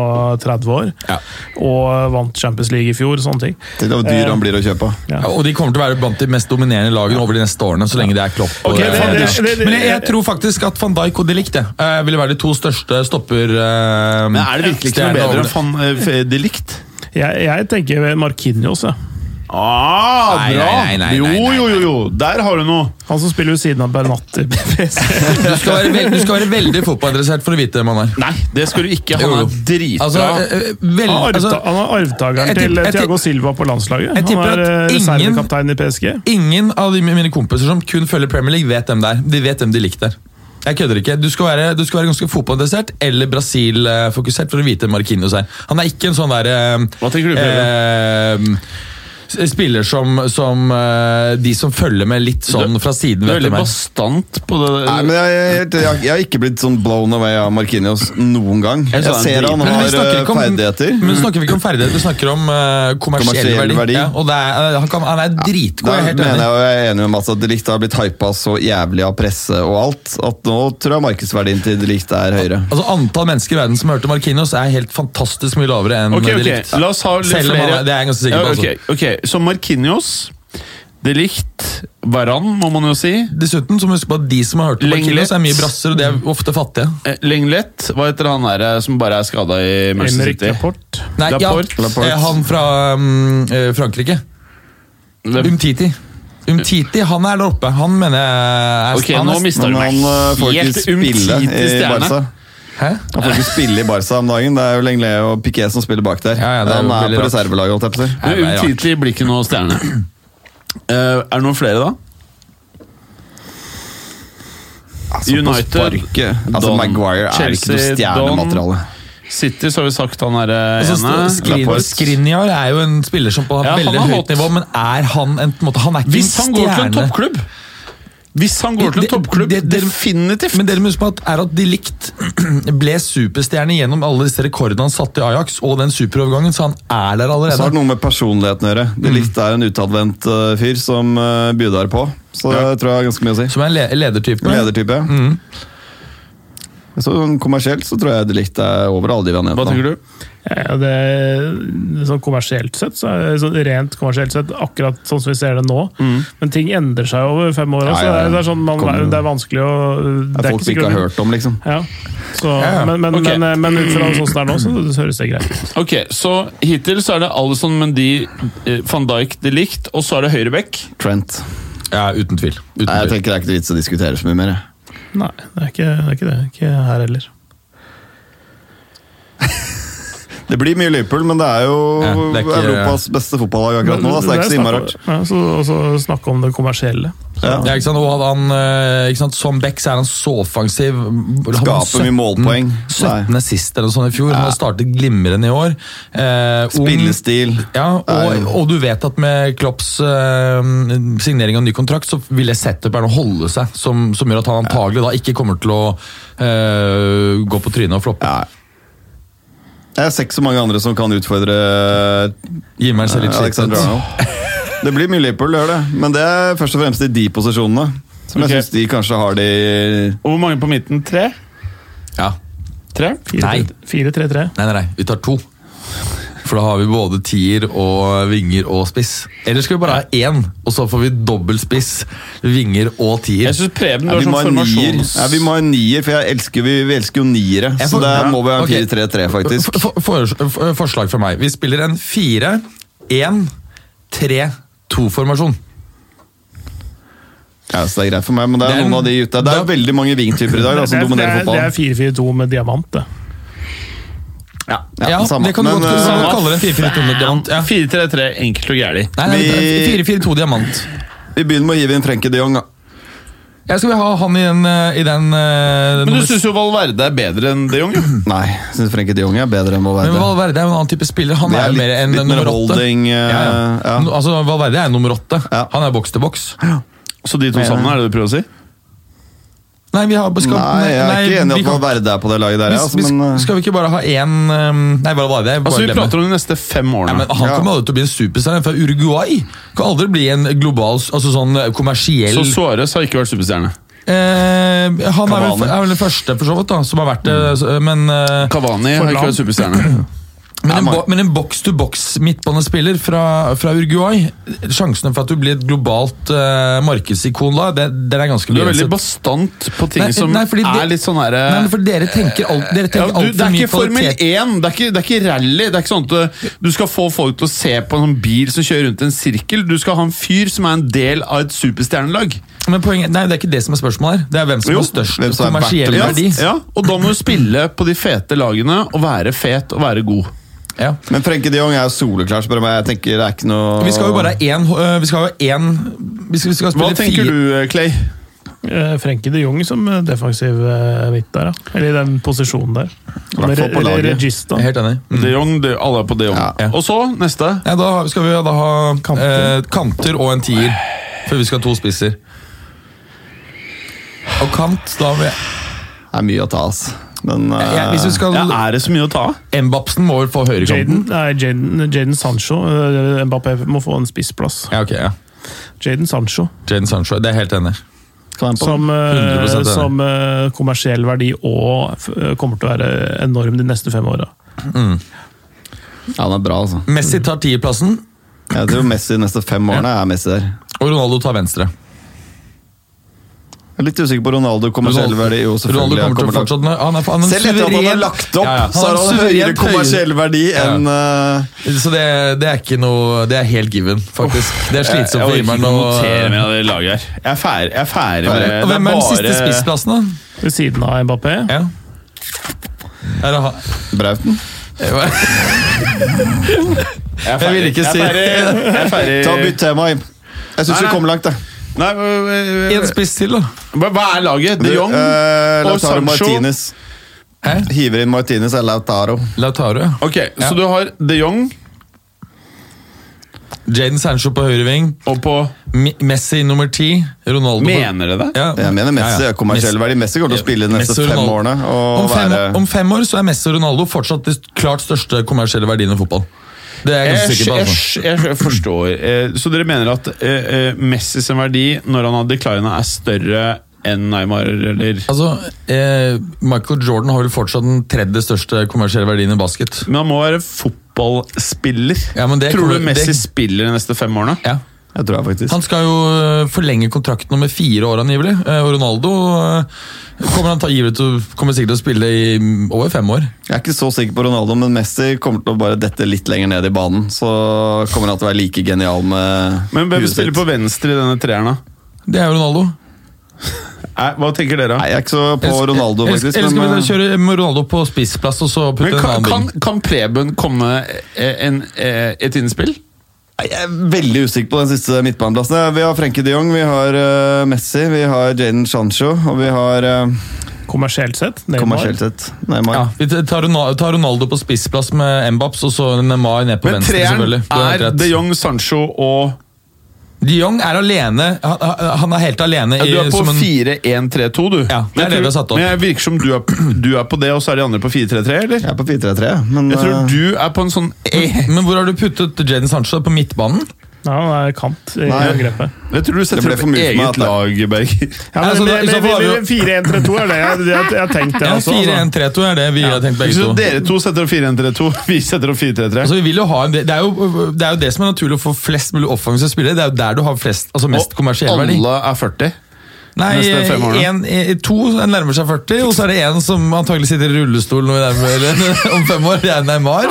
Speaker 4: 30 år.
Speaker 3: Ja.
Speaker 4: Og eh, vant Champions League i fjor, sånne ting.
Speaker 1: Tenk deg hvor dyr han blir å kjøpe.
Speaker 3: Ja, Og de kommer til å være blant de mest dominerende lagene over de neste årene. så lenge det er klopp. og
Speaker 4: Ok,
Speaker 3: det,
Speaker 4: det-
Speaker 3: er-
Speaker 4: det- det- det-
Speaker 3: Men jeg, jeg tror faktisk at van Dijk og de Ligt uh, ville være de to største stopper... eh,
Speaker 2: Men er det virkelig ikke noe
Speaker 3: stjernene
Speaker 2: bedre
Speaker 3: over
Speaker 2: enn
Speaker 3: det.
Speaker 2: fan, eh, de likt?
Speaker 4: Jeg, jeg tenker Markinios, jeg.
Speaker 2: Ah,
Speaker 3: Nei,
Speaker 2: bra!
Speaker 3: nei, nei, nei,
Speaker 2: jo,
Speaker 3: nei, nei,
Speaker 2: jo, jo, jo! Der har du noe!
Speaker 4: Han som spiller ved siden av
Speaker 3: [laughs]
Speaker 4: Bernatti.
Speaker 3: Du skal, være veld, du skal være veldig fotballinteressert for å vite hvem han er.
Speaker 2: Nei, det skal du ikke. Han
Speaker 3: Jo, jo.
Speaker 2: er dritbra.
Speaker 3: Altså, eh,
Speaker 1: Ah,
Speaker 3: vel,
Speaker 4: Han er
Speaker 3: altså,
Speaker 4: arvta- han er
Speaker 3: jeg
Speaker 4: arvtakeren til
Speaker 3: tipper- jeg
Speaker 4: Thiago
Speaker 3: tipper-
Speaker 4: Silva på landslaget.
Speaker 3: jeg tipper
Speaker 4: Han er
Speaker 3: at
Speaker 4: eh,
Speaker 3: ingen-
Speaker 4: reservekaptein i PSG.
Speaker 3: Ingen av de, mine kompiser som kun følger Premier League, vet hvem det er. De vet hvem de likte. Jeg kødder ikke. Du skal være, du skal være ganske fotballinteressert eller Brasil-fokusert for å vite hvem Marquinhos er. Han er ikke en sånn derre eh,
Speaker 2: Hva tenker du,
Speaker 3: Spiller som, som eh, de som følger med litt sånn
Speaker 2: Du-
Speaker 3: fra siden,
Speaker 2: Du
Speaker 3: vet
Speaker 2: er veldig
Speaker 3: hvem er.
Speaker 2: bastant på det.
Speaker 1: Nei, men jeg, jeg, jeg, jeg, jeg har ikke blitt sånn blown away av Markinios noen gang.
Speaker 2: Jeg
Speaker 1: Jeg
Speaker 2: sa han
Speaker 1: ser han
Speaker 3: Men vi
Speaker 1: har
Speaker 3: snakker
Speaker 1: eh,
Speaker 3: ikke om-
Speaker 1: ferdigheter.
Speaker 3: Men snakker vi ikke om ferdigheter, vi snakker om eh, kommersiell,
Speaker 1: Kommersiell
Speaker 3: verdi.
Speaker 1: verdi.
Speaker 3: Ja, og det er, eh, han, kan, han er dritgod,
Speaker 1: Da
Speaker 3: jeg er helt
Speaker 1: mener
Speaker 3: enig.
Speaker 1: jeg, og jeg er enig med Mats at De Ligt har blitt hypa så jævlig av presse og alt, at nå tror jeg markedsverdien til De Ligt er høyere.
Speaker 3: Altså Antall mennesker i verden som hørte Markinos, er helt fantastisk mye lavere enn
Speaker 2: Ok, ok,
Speaker 3: de likte.
Speaker 2: La oss ha litt
Speaker 3: Selv om
Speaker 2: flere.
Speaker 3: han- det er jeg ganske sikker på, altså.
Speaker 2: Ja, ok, ok. Så Markinios, de Ligt, Varan, må man jo si.
Speaker 3: Dessuten så må vi huske på at de som har hørt om
Speaker 2: Lenglet.
Speaker 3: Markinos, er mye brasser, og de er ofte fattige.
Speaker 2: Eh, Lenglet, hva heter han der som bare er skada i Manchester
Speaker 4: Henrik
Speaker 2: City?
Speaker 4: Laporte.
Speaker 3: Nei,
Speaker 2: Laporte.
Speaker 3: ja,
Speaker 1: Laporte.
Speaker 3: eh, han fra mm, eh, Frankrike.
Speaker 2: Det-
Speaker 3: Umtiti. Umtiti, han er der oppe. Han mener jeg er
Speaker 2: Ok,
Speaker 3: han er-
Speaker 2: nå mister du
Speaker 1: Men
Speaker 2: meg
Speaker 1: han eh, får
Speaker 2: helt
Speaker 1: ikke spille i
Speaker 2: umtidig stjerne.
Speaker 1: Barca.
Speaker 3: Hæ?
Speaker 1: Han får ikke spille i Barca om dagen. Det er jo Lenglet og Piquet som spiller bak der.
Speaker 3: Ja, ja, det er
Speaker 1: han
Speaker 3: jo
Speaker 1: er
Speaker 3: veldig
Speaker 1: på
Speaker 3: rart.
Speaker 1: reservelaget, holdt jeg på å si.
Speaker 2: Men
Speaker 3: Nei, det er rart.
Speaker 2: Umtiti blir ikke noe stjerne. Eh, er det noen flere, da?
Speaker 1: Altså,
Speaker 2: United,
Speaker 1: på sparket. Altså,
Speaker 2: Don,
Speaker 1: Maguire er ikke noe
Speaker 2: Chelsea,
Speaker 1: stjernemateriale.
Speaker 2: City, så har vi sagt han er eh,
Speaker 3: Altså,
Speaker 2: ene.
Speaker 3: Sk- Skrin-
Speaker 1: Laporte.
Speaker 3: Skriniar er jo en spiller som på
Speaker 2: Ja, han
Speaker 3: veldig
Speaker 2: er hot.
Speaker 3: høyt nivå, men er han en på en måte, Han er ikke
Speaker 2: Hvis han
Speaker 3: en
Speaker 2: går til en
Speaker 3: stjerne.
Speaker 2: toppklubb! Hvis han går til en
Speaker 3: Det-
Speaker 2: toppklubb,
Speaker 3: det- det-
Speaker 2: definitivt!
Speaker 3: Men dere må huske på at, er at de likt [clears throat] ble superstjerne gjennom alle disse rekordene han satte i Ajax, og den superovergangen, så han er der
Speaker 1: Så har
Speaker 3: allerede.
Speaker 1: det noe med personligheten å gjøre. De Ligt er en utadvendt eh, fyr som uh, bjuder på, så det tror jeg har ganske mye å si.
Speaker 3: Som er en le ledertype.
Speaker 1: Ledertype. Så sånn kommersielt så tror jeg De Ligt er over alle de vi har nevnt.
Speaker 2: Hva
Speaker 1: nå.
Speaker 2: tenker du?
Speaker 4: Ja, det, Eh, sånn kommersielt sett, så er det sånn rent kommersielt sett, akkurat sånn som vi ser det nå. Men ting endrer seg over fem år.
Speaker 1: Mm. Ja,
Speaker 4: Altså,
Speaker 1: ja, ja.
Speaker 4: Det, er, det, er sånn,
Speaker 1: Kommer-
Speaker 4: man, det er vanskelig å
Speaker 1: Det er folk vi ikke har hørt om, liksom.
Speaker 4: Ja. Så,
Speaker 3: ja.
Speaker 4: Men, men,
Speaker 2: Ok.
Speaker 4: men, men ut fra sånn som det er nå, så høres det greit ut.
Speaker 2: Ok, så Hittil så er det Alison Mendy, eh, van Dijk de Ligt, og så er det Høyrebekk.
Speaker 1: Trent.
Speaker 3: Ja, uten tvil. Uten
Speaker 1: Nei, jeg
Speaker 3: tvil.
Speaker 1: tenker det er ikke noe vits å diskutere så mye mer. jeg.
Speaker 4: Nei, det er ikke det. Er ikke, det. ikke her heller.
Speaker 1: Det blir mye Liverpool, men det er jo
Speaker 3: Ja, det er ikke-
Speaker 1: Europas beste fotballag akkurat nå. da, Så det er ikke så innmari rart.
Speaker 4: snakk om- Ja, så, og så snakke om det kommersielle.
Speaker 1: Ja.
Speaker 3: Ja, ikke sant? Og hadde han, eh, ikke sant? Som Beck så er han så offensiv.
Speaker 1: Skaper mye målpoeng. Nei.
Speaker 3: 17. sist eller noe sånt i fjor. Han har startet glimrende i år. Eh, ung-
Speaker 1: Spillestil.
Speaker 3: Ja, og,
Speaker 1: Nei.
Speaker 3: og du vet at med Klopps eh, signering av ny kontrakt, så vil jeg sette Bern å holde seg, som, som gjør at han antagelig da ikke kommer til å eh, gå på trynet og floppe.
Speaker 1: Ja. Jeg ser ikke så mange andre som kan utfordre eh,
Speaker 3: Gi meg selv litt
Speaker 1: Alexander
Speaker 3: slitt.
Speaker 1: Arnold. Det blir mye Liverpool, det gjør det. Men det er først og fremst i de posisjonene. Som
Speaker 2: Ok.
Speaker 1: jeg syns de kanskje har de
Speaker 2: Og hvor mange på midten? Tre?
Speaker 3: Ja.
Speaker 2: Tre?
Speaker 3: Nei.
Speaker 4: 4-3-3.
Speaker 3: Nei, nei, nei, vi tar to. For da har vi både tier og vinger og spiss. Eller skal vi bare ha én, og så får vi dobbel spiss, vinger og tier.
Speaker 2: Jeg syns Preben
Speaker 1: ja,
Speaker 2: du har
Speaker 1: vi, må
Speaker 2: sånn
Speaker 1: ha en nier.
Speaker 2: formasjons...
Speaker 1: ja, vi må ha en nier, for jeg elsker, vi, vi elsker jo niere.
Speaker 3: Jeg
Speaker 1: Så
Speaker 3: får-
Speaker 1: der må vi ha en
Speaker 3: Ok.
Speaker 1: 4-3-3, faktisk.
Speaker 3: For, for, for, forslag fra meg. Vi spiller en 4-1-3-2-formasjon.
Speaker 1: Ja, så det er greit for meg, men det er
Speaker 3: Det er
Speaker 1: noen
Speaker 3: en-
Speaker 1: av de ute. Det er
Speaker 3: da-
Speaker 1: veldig mange vingtyper i dag da,
Speaker 4: Det
Speaker 1: som
Speaker 4: er, det
Speaker 1: dominerer
Speaker 4: er, det er
Speaker 1: fotballen.
Speaker 4: 4-4-2 med diamant, det.
Speaker 3: Ja, det kan du godt
Speaker 1: eh,
Speaker 3: kalle- kaller en 4-4-2 med diamant. Ja.
Speaker 2: 4-3-3, enkelt og gærlig.
Speaker 3: Nei, nei,
Speaker 1: Vi-
Speaker 3: 4-4-2 diamant.
Speaker 1: vi begynner med å hive inn Frenkie de Jong, da.
Speaker 3: Jeg skal vel ha han i den, eh, i den eh,
Speaker 2: Men
Speaker 3: nummer-
Speaker 2: du syns jo Valverde er bedre enn de Jong? jo.
Speaker 1: Nei, jeg syns Frenkie de Jong er bedre enn
Speaker 3: Men
Speaker 1: Valverde.
Speaker 3: Valverde er jo en annen type spiller. Han
Speaker 1: Det
Speaker 3: er,
Speaker 1: er
Speaker 3: jo
Speaker 1: litt,
Speaker 3: mer enn
Speaker 1: litt mer
Speaker 3: nummer åtte.
Speaker 1: holding. eh,
Speaker 3: Ja, ja.
Speaker 1: ja.
Speaker 3: No- Altså, Valverde er nummer åtte.
Speaker 1: Ja.
Speaker 3: Han er boks til boks.
Speaker 2: Så de to
Speaker 1: Ja.
Speaker 2: sammen, er det du prøver å si?
Speaker 3: Nei, vi har skal,
Speaker 1: Nei, jeg er ikke enig i
Speaker 3: vi
Speaker 1: at
Speaker 3: kan-
Speaker 1: Valverde er på det laget der.
Speaker 3: vi-
Speaker 1: altså,
Speaker 3: vi-
Speaker 1: men, eh,
Speaker 3: Skal vi ikke bare ha én eh, Nei, Valverde er bare
Speaker 2: Altså, Vi
Speaker 3: glemmer.
Speaker 2: prater om de neste fem
Speaker 3: Nei,
Speaker 2: årene.
Speaker 3: men Han
Speaker 1: Ja.
Speaker 3: kommer aldri til å bli en superstjerne han er fra Uruguay. Kan aldri bli en global, altså sånn eh, kommersiell
Speaker 2: Så Suárez har ikke vært superstjerne.
Speaker 3: eh, Han er vel,
Speaker 1: Cavani.
Speaker 3: er vel den første for så vidt da som har vært det, så- men, eh,
Speaker 2: Kavani har Mm. ikke
Speaker 4: Forlan.
Speaker 2: vært superstjerne.
Speaker 3: men, en,
Speaker 1: man-
Speaker 3: bo- men en boks-to-boks midtbanespiller fra, fra Uruguay Sjansene for at du blir et globalt eh, markedsikon da, det, den er ganske
Speaker 2: Du er veldig
Speaker 3: begrenset.
Speaker 2: bastant på ting
Speaker 3: Nei,
Speaker 2: som
Speaker 3: nei, fordi det-
Speaker 2: er litt sånn herre
Speaker 3: Nei, men for Dere tenker alt- dere
Speaker 2: ja,
Speaker 3: tenker
Speaker 2: du,
Speaker 3: altfor
Speaker 2: det er
Speaker 3: mye
Speaker 2: ikke Formel
Speaker 3: kvalitet.
Speaker 2: 1, det er ikke, det er ikke rally. Det er ikke sånn at uh, Du skal få folk til å se på en sånn bil som kjører rundt i en sirkel. Du skal ha en fyr som er en del av et superstjernelag.
Speaker 3: Men poenget, nei, Det er ikke det som er spørsmålet her. Det er hvem som
Speaker 2: E. Jo,
Speaker 3: har størst
Speaker 1: hvem som er
Speaker 3: kommersiell
Speaker 1: verdt
Speaker 3: verdi.
Speaker 1: det
Speaker 2: Ja, og da må du spille på de fete lagene og være fet og være god.
Speaker 3: Ja.
Speaker 1: men Frenkie de Jong er soleklar, spør du meg. Jeg tenker det er ikke noe
Speaker 3: Vi skal jo bare ha én øh, Vi skal jo ha én vi skal, vi skal
Speaker 2: Hva
Speaker 3: spille
Speaker 2: tenker
Speaker 3: fire
Speaker 2: du, Clay?
Speaker 4: Eh, Frenkie de Jong som eh, defensiv eh, midt der, da. Eller i den posisjonen der.
Speaker 1: hvert fall på
Speaker 4: Re- re-
Speaker 1: laget.
Speaker 4: Regista.
Speaker 3: Jeg er Helt enig. Mm.
Speaker 2: De Jong, de, alle er på De Jong.
Speaker 1: Ja.
Speaker 2: Og så, neste.
Speaker 3: Ja, da har- skal vi da ha kanter,
Speaker 4: Kanter.
Speaker 3: eh, kanter og en tier. Før vi skal ha to spisser. Og kant, da vil jeg,
Speaker 1: Det er mye å ta, altså. Men eh,
Speaker 3: jeg, Hvis vi skal
Speaker 2: Ja, er det så mye å ta av?
Speaker 3: Embapsen må vel få høyrekanten.
Speaker 4: Jaden, nei, Jaden, Jaden Sancho. eh, Mbappé må få en spissplass.
Speaker 3: Ja, ok, ja.
Speaker 4: Jaden Sancho,
Speaker 3: Jaden Sancho. Det er jeg helt enig. i.
Speaker 1: kan jeg på den?
Speaker 4: som, eh,
Speaker 3: 100% enig.
Speaker 4: som eh, kommersiell verdi og f- eh, kommer til å være enorm de neste fem åra.
Speaker 1: Ja, han er bra, altså.
Speaker 3: Messi tar tierplassen,
Speaker 1: Jeg tror Messi de neste fem årene er Messi der.
Speaker 3: og Ronaldo tar venstre.
Speaker 1: Jeg er litt usikker på Ronaldo. Kommersiell
Speaker 3: Ronaldo,
Speaker 1: verdi jo
Speaker 3: Ronaldo
Speaker 1: selvfølgelig.
Speaker 3: kommer til å
Speaker 1: han kommer til å-
Speaker 3: fortsette han er, han er en
Speaker 1: Selv etter at han har
Speaker 3: suveren-
Speaker 1: lagt opp,
Speaker 3: Ja, ja.
Speaker 1: så
Speaker 3: er
Speaker 1: har
Speaker 3: en
Speaker 1: han høyere
Speaker 3: suverent høyere-
Speaker 1: kommersiell verdi
Speaker 3: Ja.
Speaker 1: enn eh,
Speaker 3: Så det, det er ikke noe Det er helt given, faktisk. Det er
Speaker 2: Jeg
Speaker 3: slitsomt for
Speaker 2: orker ikke
Speaker 3: himmelen.
Speaker 2: å
Speaker 3: å-
Speaker 2: notere mer av det laget her. Jeg er ferdig, jeg er ferdig med det.
Speaker 3: Og
Speaker 2: Det
Speaker 3: hvem er den siste
Speaker 2: bare-
Speaker 3: spissplassen, da?
Speaker 4: Ved siden av Mbappé.
Speaker 3: Ja. Er det han?
Speaker 1: Brauten.
Speaker 2: Jeg, er
Speaker 3: Jeg
Speaker 2: ferdig.
Speaker 3: vil ikke
Speaker 2: Jeg er
Speaker 3: si-
Speaker 2: ferdig. Jeg er ferdig.
Speaker 1: Ta Bytt tema, Jim. Jeg syns
Speaker 2: Nei,
Speaker 1: vi
Speaker 2: nei.
Speaker 1: kommer langt, jeg.
Speaker 2: Nei, øh, øh,
Speaker 3: En spiss til, da.
Speaker 2: hva hva er laget? De Jong?
Speaker 1: Eh,
Speaker 2: og
Speaker 1: Lautaro
Speaker 2: Sancho.
Speaker 1: Martinez.
Speaker 3: Hæ?
Speaker 1: Hiver inn Martinez eller Lautaro.
Speaker 3: Lautaro, ja.
Speaker 2: Ok, Så du har de Jong
Speaker 3: Jaden Sancho på høyre ving.
Speaker 2: og på
Speaker 3: Mi- Messi nummer ti. Ronaldo
Speaker 2: Mener dere det?
Speaker 3: på ja.
Speaker 1: Jeg mener Messi
Speaker 3: Ja, ja.
Speaker 1: er kommersiell verdi. Messi kommer til å spille de neste
Speaker 3: Messi og
Speaker 1: fem
Speaker 3: Ronaldo.
Speaker 1: årene. Og
Speaker 3: om, fem,
Speaker 1: være
Speaker 3: om fem år så er Messi og Ronaldo fortsatt de klart største kommersielle verdiene i fotball. Det er jeg ganske
Speaker 2: Jeg,
Speaker 3: sikker på.
Speaker 2: jeg,
Speaker 3: Altså.
Speaker 2: jeg forstår. Eh, Så dere mener at eh, eh, Messi sin verdi når han har declina, er større enn Neymar, eller
Speaker 3: Altså, eh, Michael Jordan har vel fortsatt den tredje største kommersielle verdien i basket.
Speaker 2: Men han må være fotballspiller.
Speaker 3: Ja, men det
Speaker 2: Tror
Speaker 3: kommer-
Speaker 2: du Messi
Speaker 3: det-
Speaker 2: spiller de neste fem årene?
Speaker 3: Ja.
Speaker 1: Jeg tror jeg faktisk
Speaker 3: Han skal jo øh, forlenge kontrakten om fire år, angivelig. Eh, Og Ronaldo øh, kommer, han angivelig til, å- kommer sikkert til å spille i mm, over fem år.
Speaker 1: Jeg er ikke så sikker på Ronaldo, men Messi kommer til å bare dette litt lenger ned i banen. Så kommer han til å være like genial med
Speaker 2: Men hvem
Speaker 1: huet
Speaker 2: spiller
Speaker 1: sitt.
Speaker 2: på venstre i denne treeren, da?
Speaker 3: Det er jo Ronaldo.
Speaker 2: Eh, Hva tenker dere?
Speaker 1: Nei, jeg er ikke så på
Speaker 3: Eller-
Speaker 1: Ronaldo,
Speaker 3: eller-
Speaker 1: faktisk.
Speaker 3: Eller skal
Speaker 1: men, eh,
Speaker 3: vi kjøre med Ronaldo på spissplass og så putte
Speaker 2: eh, Men
Speaker 3: en
Speaker 2: kan,
Speaker 3: annen
Speaker 2: kan,
Speaker 3: bing?
Speaker 2: kan Preben komme eh, en, eh, et innspill?
Speaker 1: Nei, Jeg er veldig usikker på den siste midtbaneplassen. Vi har Frenkie de Jong, vi har eh, Messi, vi har Jaden Sancho, og vi har uh,
Speaker 4: Kommersielt sett. Neymar.
Speaker 1: kommersielt sett Neymar.
Speaker 3: Ja, vi tar Rona- tar Ronaldo på spissplass med Mbaps og så Neymar ned på
Speaker 2: Men
Speaker 3: venstre.
Speaker 2: treeren
Speaker 3: selvfølgelig. Du har helt
Speaker 2: er
Speaker 3: rett.
Speaker 2: de Jong, Sancho og
Speaker 3: De Jong er alene. Han, han- han er helt alene
Speaker 2: Ja,
Speaker 3: i
Speaker 2: Du er på
Speaker 3: Eh, som en-
Speaker 2: 4-1-3-2, du.
Speaker 3: Ja, det er det vi
Speaker 2: Jeg
Speaker 3: har
Speaker 2: tror-
Speaker 3: satt opp.
Speaker 2: Men jeg virker som du er, du er på det, og så er de andre på 4-3-3, eller?
Speaker 1: Jeg er på 4-3-3, men
Speaker 2: Jeg tror
Speaker 1: eh,
Speaker 2: du er på en sånn eh.
Speaker 3: Men hvor har du puttet Jaden Sancho? På midtbanen?
Speaker 4: Ja, han er kant i
Speaker 1: Nei.
Speaker 4: angrepet.
Speaker 2: Jeg tror du setter
Speaker 1: ble
Speaker 2: opp
Speaker 1: for mye for
Speaker 2: eget
Speaker 1: meg at det-
Speaker 2: lag, Berger.
Speaker 4: Ja,
Speaker 3: Ja,
Speaker 4: men,
Speaker 3: altså, da-
Speaker 4: men,
Speaker 3: i så fall har vi jo-
Speaker 4: men 4-1-3-2 er det jeg, jeg, jeg har tenkt, det
Speaker 3: Ja,
Speaker 4: også. Altså.
Speaker 3: 4-1-3-2 er det vi har tenkt begge
Speaker 2: Så
Speaker 3: to.
Speaker 2: dere to [laughs] setter opp 4-1-3-2, vi setter opp 4-3-3.
Speaker 3: Altså, vi vil jo ha en, det, er jo, det er jo det som er naturlig å få flest mulig offensive spillere. Det er jo der du har flest, altså mest kommersiell verdi.
Speaker 2: alle er 40.
Speaker 3: Nei,
Speaker 2: neste fem årene.
Speaker 3: en, en, to nærmer seg 40, og så er det en som antagelig sitter i rullestol nå i nærmere, [laughs] om fem år. Det er Neymar.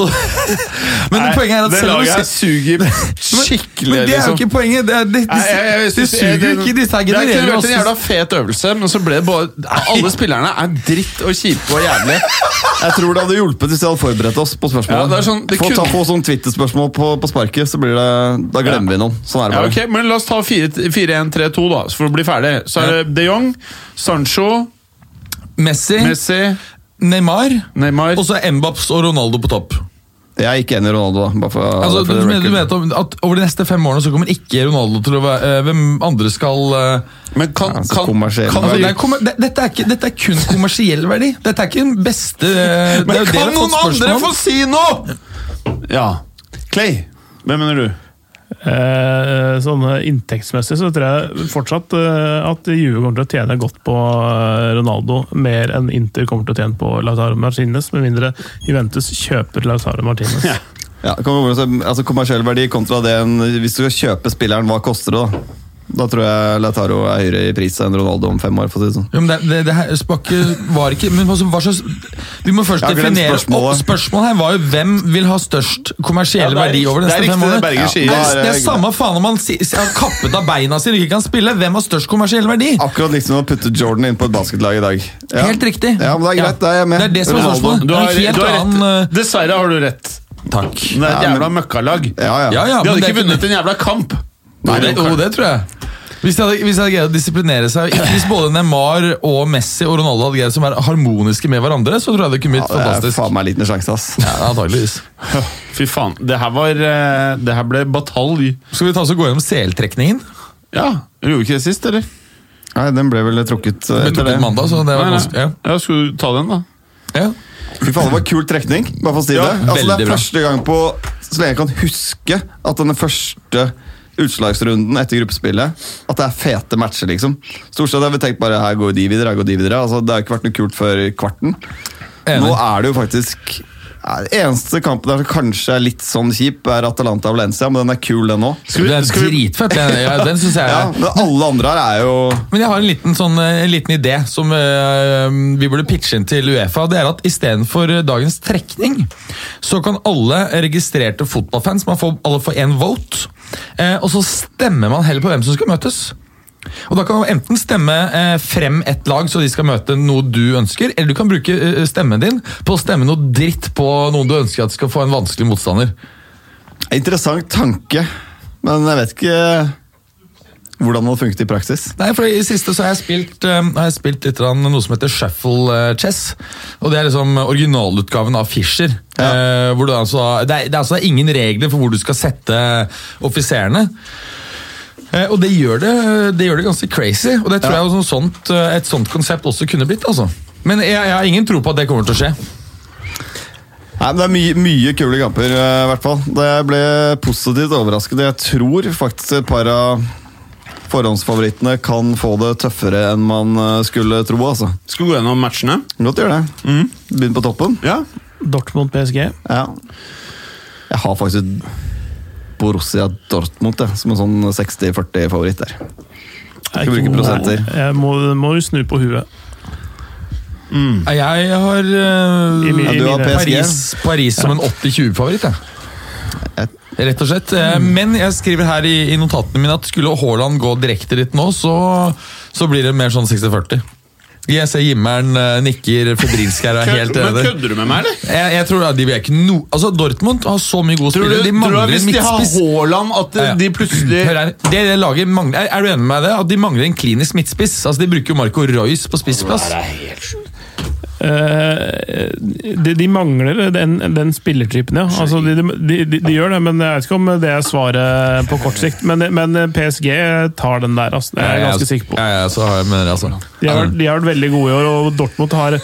Speaker 3: Og- [laughs] Men poenget er at
Speaker 2: det
Speaker 3: selv om du
Speaker 2: laget
Speaker 3: ser-
Speaker 2: her suger
Speaker 3: [laughs] men
Speaker 2: skikkelig,
Speaker 3: det er jo
Speaker 2: liksom.
Speaker 3: ikke poenget. Det, er, det,
Speaker 2: Nei, jeg- jeg- jeg
Speaker 3: de, de
Speaker 2: synes- jeg-
Speaker 3: suger jo ikke. Disse her
Speaker 2: Det har
Speaker 3: genererer
Speaker 2: vært en jævla
Speaker 3: oss.
Speaker 2: fet øvelse, men så ble det bare Alle spillerne er dritt og kjipe og jævlig.
Speaker 1: jeg tror det hadde hjulpet hvis vi hadde forberedt oss på spørsmålet.
Speaker 2: Ja, det er sånn- det
Speaker 1: Få
Speaker 2: kunne-
Speaker 1: ta på sånn Twitter-spørsmål på, på sparket, så blir det Da glemmer vi noen. Sånn er det
Speaker 2: Ja,
Speaker 1: bare.
Speaker 2: ok, men La oss ta 4-1-3-2, da. Så får for å bli ferdig. Så er det de Jong, Sancho,
Speaker 3: Messi,
Speaker 2: Messi,
Speaker 3: Neymar,
Speaker 2: Neymar
Speaker 3: og så Mbaps og Ronaldo på topp.
Speaker 1: Jeg er ikke enig i Ronaldo, da. Bare for,
Speaker 3: Altså,
Speaker 1: for
Speaker 3: du,
Speaker 1: the
Speaker 3: mener- du
Speaker 1: record.
Speaker 3: vet om- at Over de neste fem årene så kommer ikke Ronaldo til å være eh, Hvem andre skal eh,
Speaker 2: Men kan,
Speaker 1: Ja, så
Speaker 2: kan,
Speaker 1: kommersiell
Speaker 2: kan,
Speaker 3: altså, det er kommer- det, dette, er ikke, dette er kun kommersiell verdi. Dette er ikke den beste eh, det er jo
Speaker 2: [laughs] Men
Speaker 3: det vi har
Speaker 2: kan
Speaker 3: fått
Speaker 2: noen
Speaker 3: spørsmål
Speaker 2: andre
Speaker 3: om.
Speaker 2: få si noe?! Ja. Clay, hvem mener du?
Speaker 4: Eh, sånn eh, inntektsmessig så tror jeg fortsatt eh, at Juve kommer til å tjene godt på eh, Ronaldo, mer enn Inter kommer til å tjene på Lautaro Martinez, med mindre Juventus kjøper Lautaro Martinez.
Speaker 1: [laughs] Ja, det kommer an på hvordan- altså Kommersiell verdi kontra det en Hvis du skal kjøpe spilleren, hva koster det da? Da tror jeg Lautaro er høyere i pris enn Ronaldo om fem år. for å si det sånn.
Speaker 3: Jo, men det, det, det her Spakke var ikke men altså, hva slags, Vi må først
Speaker 1: Jeg har glemt
Speaker 3: definere
Speaker 1: spørsmålet.
Speaker 3: Og spørsmålet her var jo hvem vil ha størst kommersiell
Speaker 2: Ja, det er
Speaker 3: verdi over de
Speaker 2: riktig- det er
Speaker 3: neste fem
Speaker 2: riktig det
Speaker 3: årene.
Speaker 2: Berger sier.
Speaker 1: Da
Speaker 3: Det er,
Speaker 1: er
Speaker 3: det er
Speaker 1: jeg-
Speaker 3: samme faen om han si, si- har kappet av beina sine og ikke kan spille. Hvem har størst kommersiell verdi?
Speaker 1: Akkurat liksom å putte Jordan inn på et basketlag i dag. Ja.
Speaker 3: Helt riktig.
Speaker 1: Ja, men Det er greit,
Speaker 3: Ja.
Speaker 1: da er jeg med.
Speaker 3: Det er det som er
Speaker 1: Ronaldo.
Speaker 3: spørsmålet.
Speaker 2: Du
Speaker 3: Det er
Speaker 2: har,
Speaker 3: en helt
Speaker 2: du har
Speaker 3: annen
Speaker 2: rett. Dessverre har du rett.
Speaker 3: eh, Takk.
Speaker 2: Men Det er et
Speaker 1: Ja, men-
Speaker 2: jævla møkkalag.
Speaker 1: Ja, ja.
Speaker 3: Ja, ja,
Speaker 2: De
Speaker 3: men
Speaker 2: hadde
Speaker 3: det er
Speaker 2: ikke vunnet en jævla kamp.
Speaker 3: Nei, det, jo, det tror jeg. Hvis de hadde, hvis de hadde greid å disiplinere seg ikke Hvis både Neymar og Messi og Ronaldo hadde greid som er harmoniske med hverandre, så tror jeg det kunne blitt
Speaker 1: Ja, det er
Speaker 3: fantastisk.
Speaker 1: faen meg liten sjanse, ass.
Speaker 3: Ja, antageligvis.
Speaker 2: Fy faen. Det her var eh, Det her ble batalj.
Speaker 3: Skal vi ta oss og gå gjennom CL-trekningen?
Speaker 2: Ja. Du gjorde ikke det sist, eller?
Speaker 1: Nei, Den ble vel trukket eh,
Speaker 3: Vi
Speaker 1: etter
Speaker 3: tok
Speaker 1: det.
Speaker 3: ut mandag, så det var
Speaker 2: Nei, nei.
Speaker 3: ganske ja.
Speaker 2: Ja, Skulle du ta den, da?
Speaker 3: Ja.
Speaker 1: Fy faen, det var kul trekning. Bare for å si det.
Speaker 2: Ja,
Speaker 1: Altså, det
Speaker 3: veldig
Speaker 1: er
Speaker 3: bra.
Speaker 1: første gang på så lenge jeg kan huske at den første utslagsrunden etter gruppespillet At det er fete matcher, liksom. Stort sett har vi tenkt bare her går de videre, her går de videre. Altså, det har ikke vært noe kult før kvarten.
Speaker 3: Enig.
Speaker 1: Nå er det jo faktisk ja, det eneste kampen der som kanskje er litt sånn kjip, er Atalanta Valencia, men den er kul, den òg.
Speaker 2: Skal vi-
Speaker 3: det er
Speaker 2: skal vi-
Speaker 3: dritfett. Den, ja, den synes jeg
Speaker 1: Ja,
Speaker 3: er
Speaker 1: men alle andre her er jo
Speaker 3: Men jeg har en liten, sånn, eh, en liten idé som eh, vi burde pitche inn til Uefa. Det er at istedenfor dagens trekning, så kan alle registrerte fotballfans man får, alle får én vote. eh, Og så stemmer man heller på hvem som skal møtes. Og Da kan man enten stemme eh, frem et lag, så de skal møte noe du ønsker, eller du kan bruke eh, stemmen din på å stemme noe dritt på noen du ønsker at skal få en vanskelig motstander.
Speaker 1: Interessant tanke, men jeg vet ikke hvordan det hadde funket i praksis.
Speaker 3: Nei, for i siste så har jeg spilt, eh, har jeg spilt litt grann noe som heter shuffle eh, chess. Og det er liksom originalutgaven av Fischer. Eh, hvor det, er altså, det, er, det er altså ingen regler for hvor du skal sette offiserene. Eh, og det gjør det, det gjør det ganske crazy, og det tror jeg også sånt, eh, et sånt konsept også kunne blitt. altså. Men jeg, jeg har ingen tro på at det kommer til å skje.
Speaker 1: Nei, men Det er mye, mye kule kamper, eh, i hvert fall. Det jeg ble positivt overrasket. Jeg tror faktisk et par av forhåndsfavorittene kan få det tøffere enn man eh, skulle tro. altså.
Speaker 2: Skal vi gå gjennom matchene?
Speaker 1: Godt gjør det. Begynn på toppen.
Speaker 2: Ja.
Speaker 4: Dortmund PSG.
Speaker 1: Ja. Jeg har faktisk Borussia Dortmund jeg, som en sånn 60-40-favoritt der.
Speaker 4: Skal
Speaker 1: bruke prosenter.
Speaker 4: Jeg må, må jo snu på huet.
Speaker 3: Nei, Jeg har eh,
Speaker 4: I min-
Speaker 1: Ja, du har
Speaker 4: mine-
Speaker 1: PSG.
Speaker 3: Paris, Paris som en 80-20-favoritt, jeg. Rett og slett. Eh,
Speaker 2: Mm.
Speaker 3: Men jeg skriver her i, i notatene mine at skulle Haaland gå direkte dit nå, så, så blir det mer sånn 60-40. Jeg ser Jimmeren eh, nikker febrilsk
Speaker 2: [laughs]
Speaker 3: her og er helt
Speaker 2: Men
Speaker 3: enig.
Speaker 2: kødder du med meg, eller?
Speaker 3: Jeg, jeg tror da, de er ikke no, altså Dortmund har så mye gode
Speaker 2: Tror du,
Speaker 3: spillere. De
Speaker 2: tror du
Speaker 3: mangler
Speaker 2: at hvis
Speaker 3: en
Speaker 2: de har
Speaker 3: midtspiss.
Speaker 2: Haaland, at
Speaker 3: Ja, ja.
Speaker 2: de plutselig
Speaker 3: Hør her, det, det laget mangler, er, er du enig med meg i det? At de mangler en klinisk midtspiss? Altså, De bruker jo Marco Royce på spissplass.
Speaker 4: Eh, de, de mangler den, den spillertypen, ja. Altså, de, de, de, de gjør det, men jeg vet ikke om det er svaret på kort sikt. Men, men PSG tar den der, altså. Det er jeg ganske sikker på.
Speaker 3: Ja, ja, så har jeg, mener, jeg, altså.
Speaker 4: De har, vært- de har vært veldig gode i år, og Dortmund har,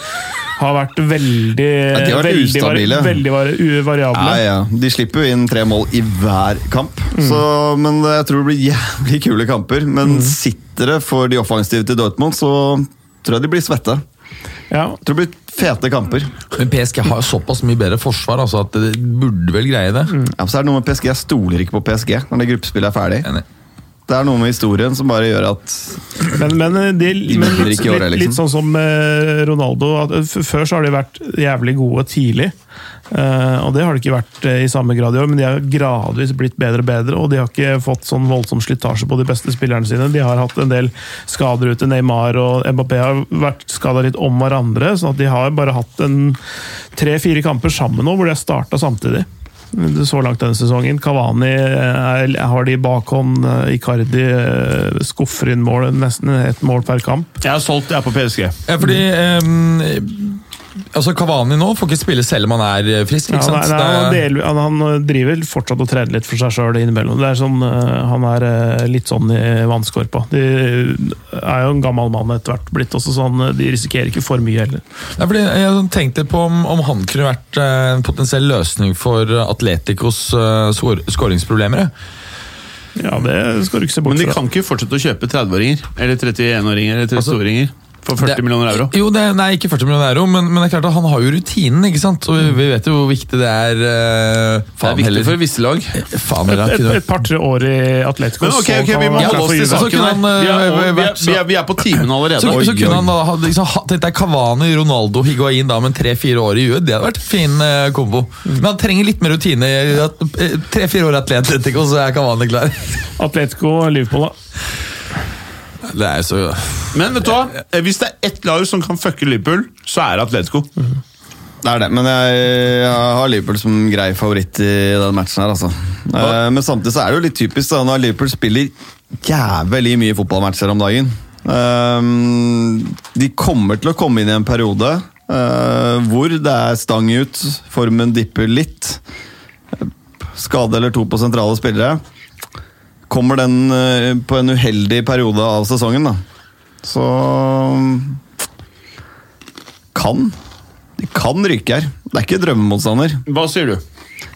Speaker 4: har vært veldig
Speaker 1: de har vært
Speaker 4: veldig, vari-
Speaker 1: ustabile.
Speaker 4: veldig vari- u- variable.
Speaker 1: Ja, ja. De slipper jo inn tre mål i hver kamp, så, men jeg tror det blir jævlig kule kamper. Men sitter det for de offensive til Dortmund, så tror jeg de blir svette.
Speaker 4: Ja.
Speaker 1: Jeg tror det blir fete kamper.
Speaker 3: Men PSG har jo såpass mye bedre forsvar altså, at det burde vel greie det.
Speaker 2: Mm.
Speaker 1: Ja, men så er det noe med PSG, Jeg stoler ikke på PSG når det gruppespillet er ferdig.
Speaker 3: Enig.
Speaker 1: Det er noe med historien som bare gjør at
Speaker 4: Men, men, eh, de, men
Speaker 1: vinner
Speaker 4: litt,
Speaker 1: ikke i år,
Speaker 4: litt,
Speaker 1: liksom.
Speaker 4: litt sånn som eh, Ronaldo. At f- før så har de vært jævlig gode tidlig. eh, og det har de ikke vært eh, i samme grad i år, men de har gradvis blitt bedre og bedre. Og de har ikke fått sånn voldsom slitasje på de beste spillerne sine. De har hatt en del skader ute. Neymar og Mbappé har vært skada litt om hverandre. sånn at de har bare hatt en tre-fire kamper sammen nå hvor de har starta samtidig. så langt denne sesongen. Kavani er, har de i bakhånd. eh, Icardi eh, skuffer inn mål, nesten ett mål per kamp.
Speaker 2: Jeg er solgt, jeg er på PSG.
Speaker 3: Ja, fordi ehm, altså Kavani nå får ikke spille selv om han er eh, frisk.
Speaker 4: Ja,
Speaker 3: ikke
Speaker 4: han,
Speaker 3: sant?
Speaker 4: er, nei, han,
Speaker 3: Det-
Speaker 4: del, han, han driver fortsatt og trener litt for seg sjøl innimellom. Det er sånn, eh, han er eh, litt sånn i vannskorpa. De er jo en gammel mann etter hvert blitt også, så han, eh, de risikerer ikke for mye heller.
Speaker 3: Ja, fordi jeg tenkte på om, om han kunne vært eh, en potensiell løsning for Atleticos eh, skår, skåringsproblemer. jeg.
Speaker 4: Ja, det skal du ikke se
Speaker 2: Men
Speaker 4: bort
Speaker 2: de
Speaker 4: fra.
Speaker 2: kan ikke fortsette å kjøpe 30-åringer eller 31-åringer eller 32-åringer for 40
Speaker 3: Det-
Speaker 2: millioner euro.
Speaker 3: Jo, det, nei, ikke 40 millioner euro, men, men det er klart at han har jo rutinen. ikke sant? Og vi vet jo hvor viktig det er. eh,
Speaker 2: Det er
Speaker 3: faen
Speaker 2: viktig
Speaker 3: heller.
Speaker 2: for visse lag.
Speaker 3: Faen heller, han
Speaker 4: Et,
Speaker 3: kunne-
Speaker 4: et par-tre år i Atletico.
Speaker 2: Men ok, ok, vi må
Speaker 3: Ja,
Speaker 2: holde oss til
Speaker 3: så
Speaker 2: saken
Speaker 3: kunne
Speaker 2: her.
Speaker 3: han,
Speaker 2: Vi er,
Speaker 3: eh,
Speaker 2: vi er,
Speaker 3: vært-
Speaker 2: vi er, vi er på timen allerede.
Speaker 3: Så,
Speaker 2: Oi,
Speaker 3: så kunne
Speaker 2: oi.
Speaker 3: han da ha liksom, hatt dette er Cavani, Ronaldo, Higuain da, men tre-fire år i huet. Det hadde vært en fin eh, kombo. Men han trenger litt mer rutine. Tre-fire år atlet, tenker jeg, og så er Cavani [laughs] klar.
Speaker 2: sånn.
Speaker 4: Atletico Liverpool, da.
Speaker 3: Det er så...
Speaker 2: Men vet du hva? Eh, Hvis det er ett lag som kan fucke Liverpool, så er det Atletico.
Speaker 1: Det er det, men jeg, jeg har Liverpool som grei favoritt i den matchen her, altså. Eh, Men samtidig så er det jo litt typisk da, når Liverpool spiller jævlig mye fotballmatcher om dagen. Eh, de kommer til å komme inn i en periode eh, hvor det er stang ut, formen dipper litt. Skade eller to på sentrale spillere. Kommer den eh, på en uheldig periode av sesongen, da. Så mm, kan de kan ryke her. Det er ikke drømmemotstander.
Speaker 2: Hva sier du?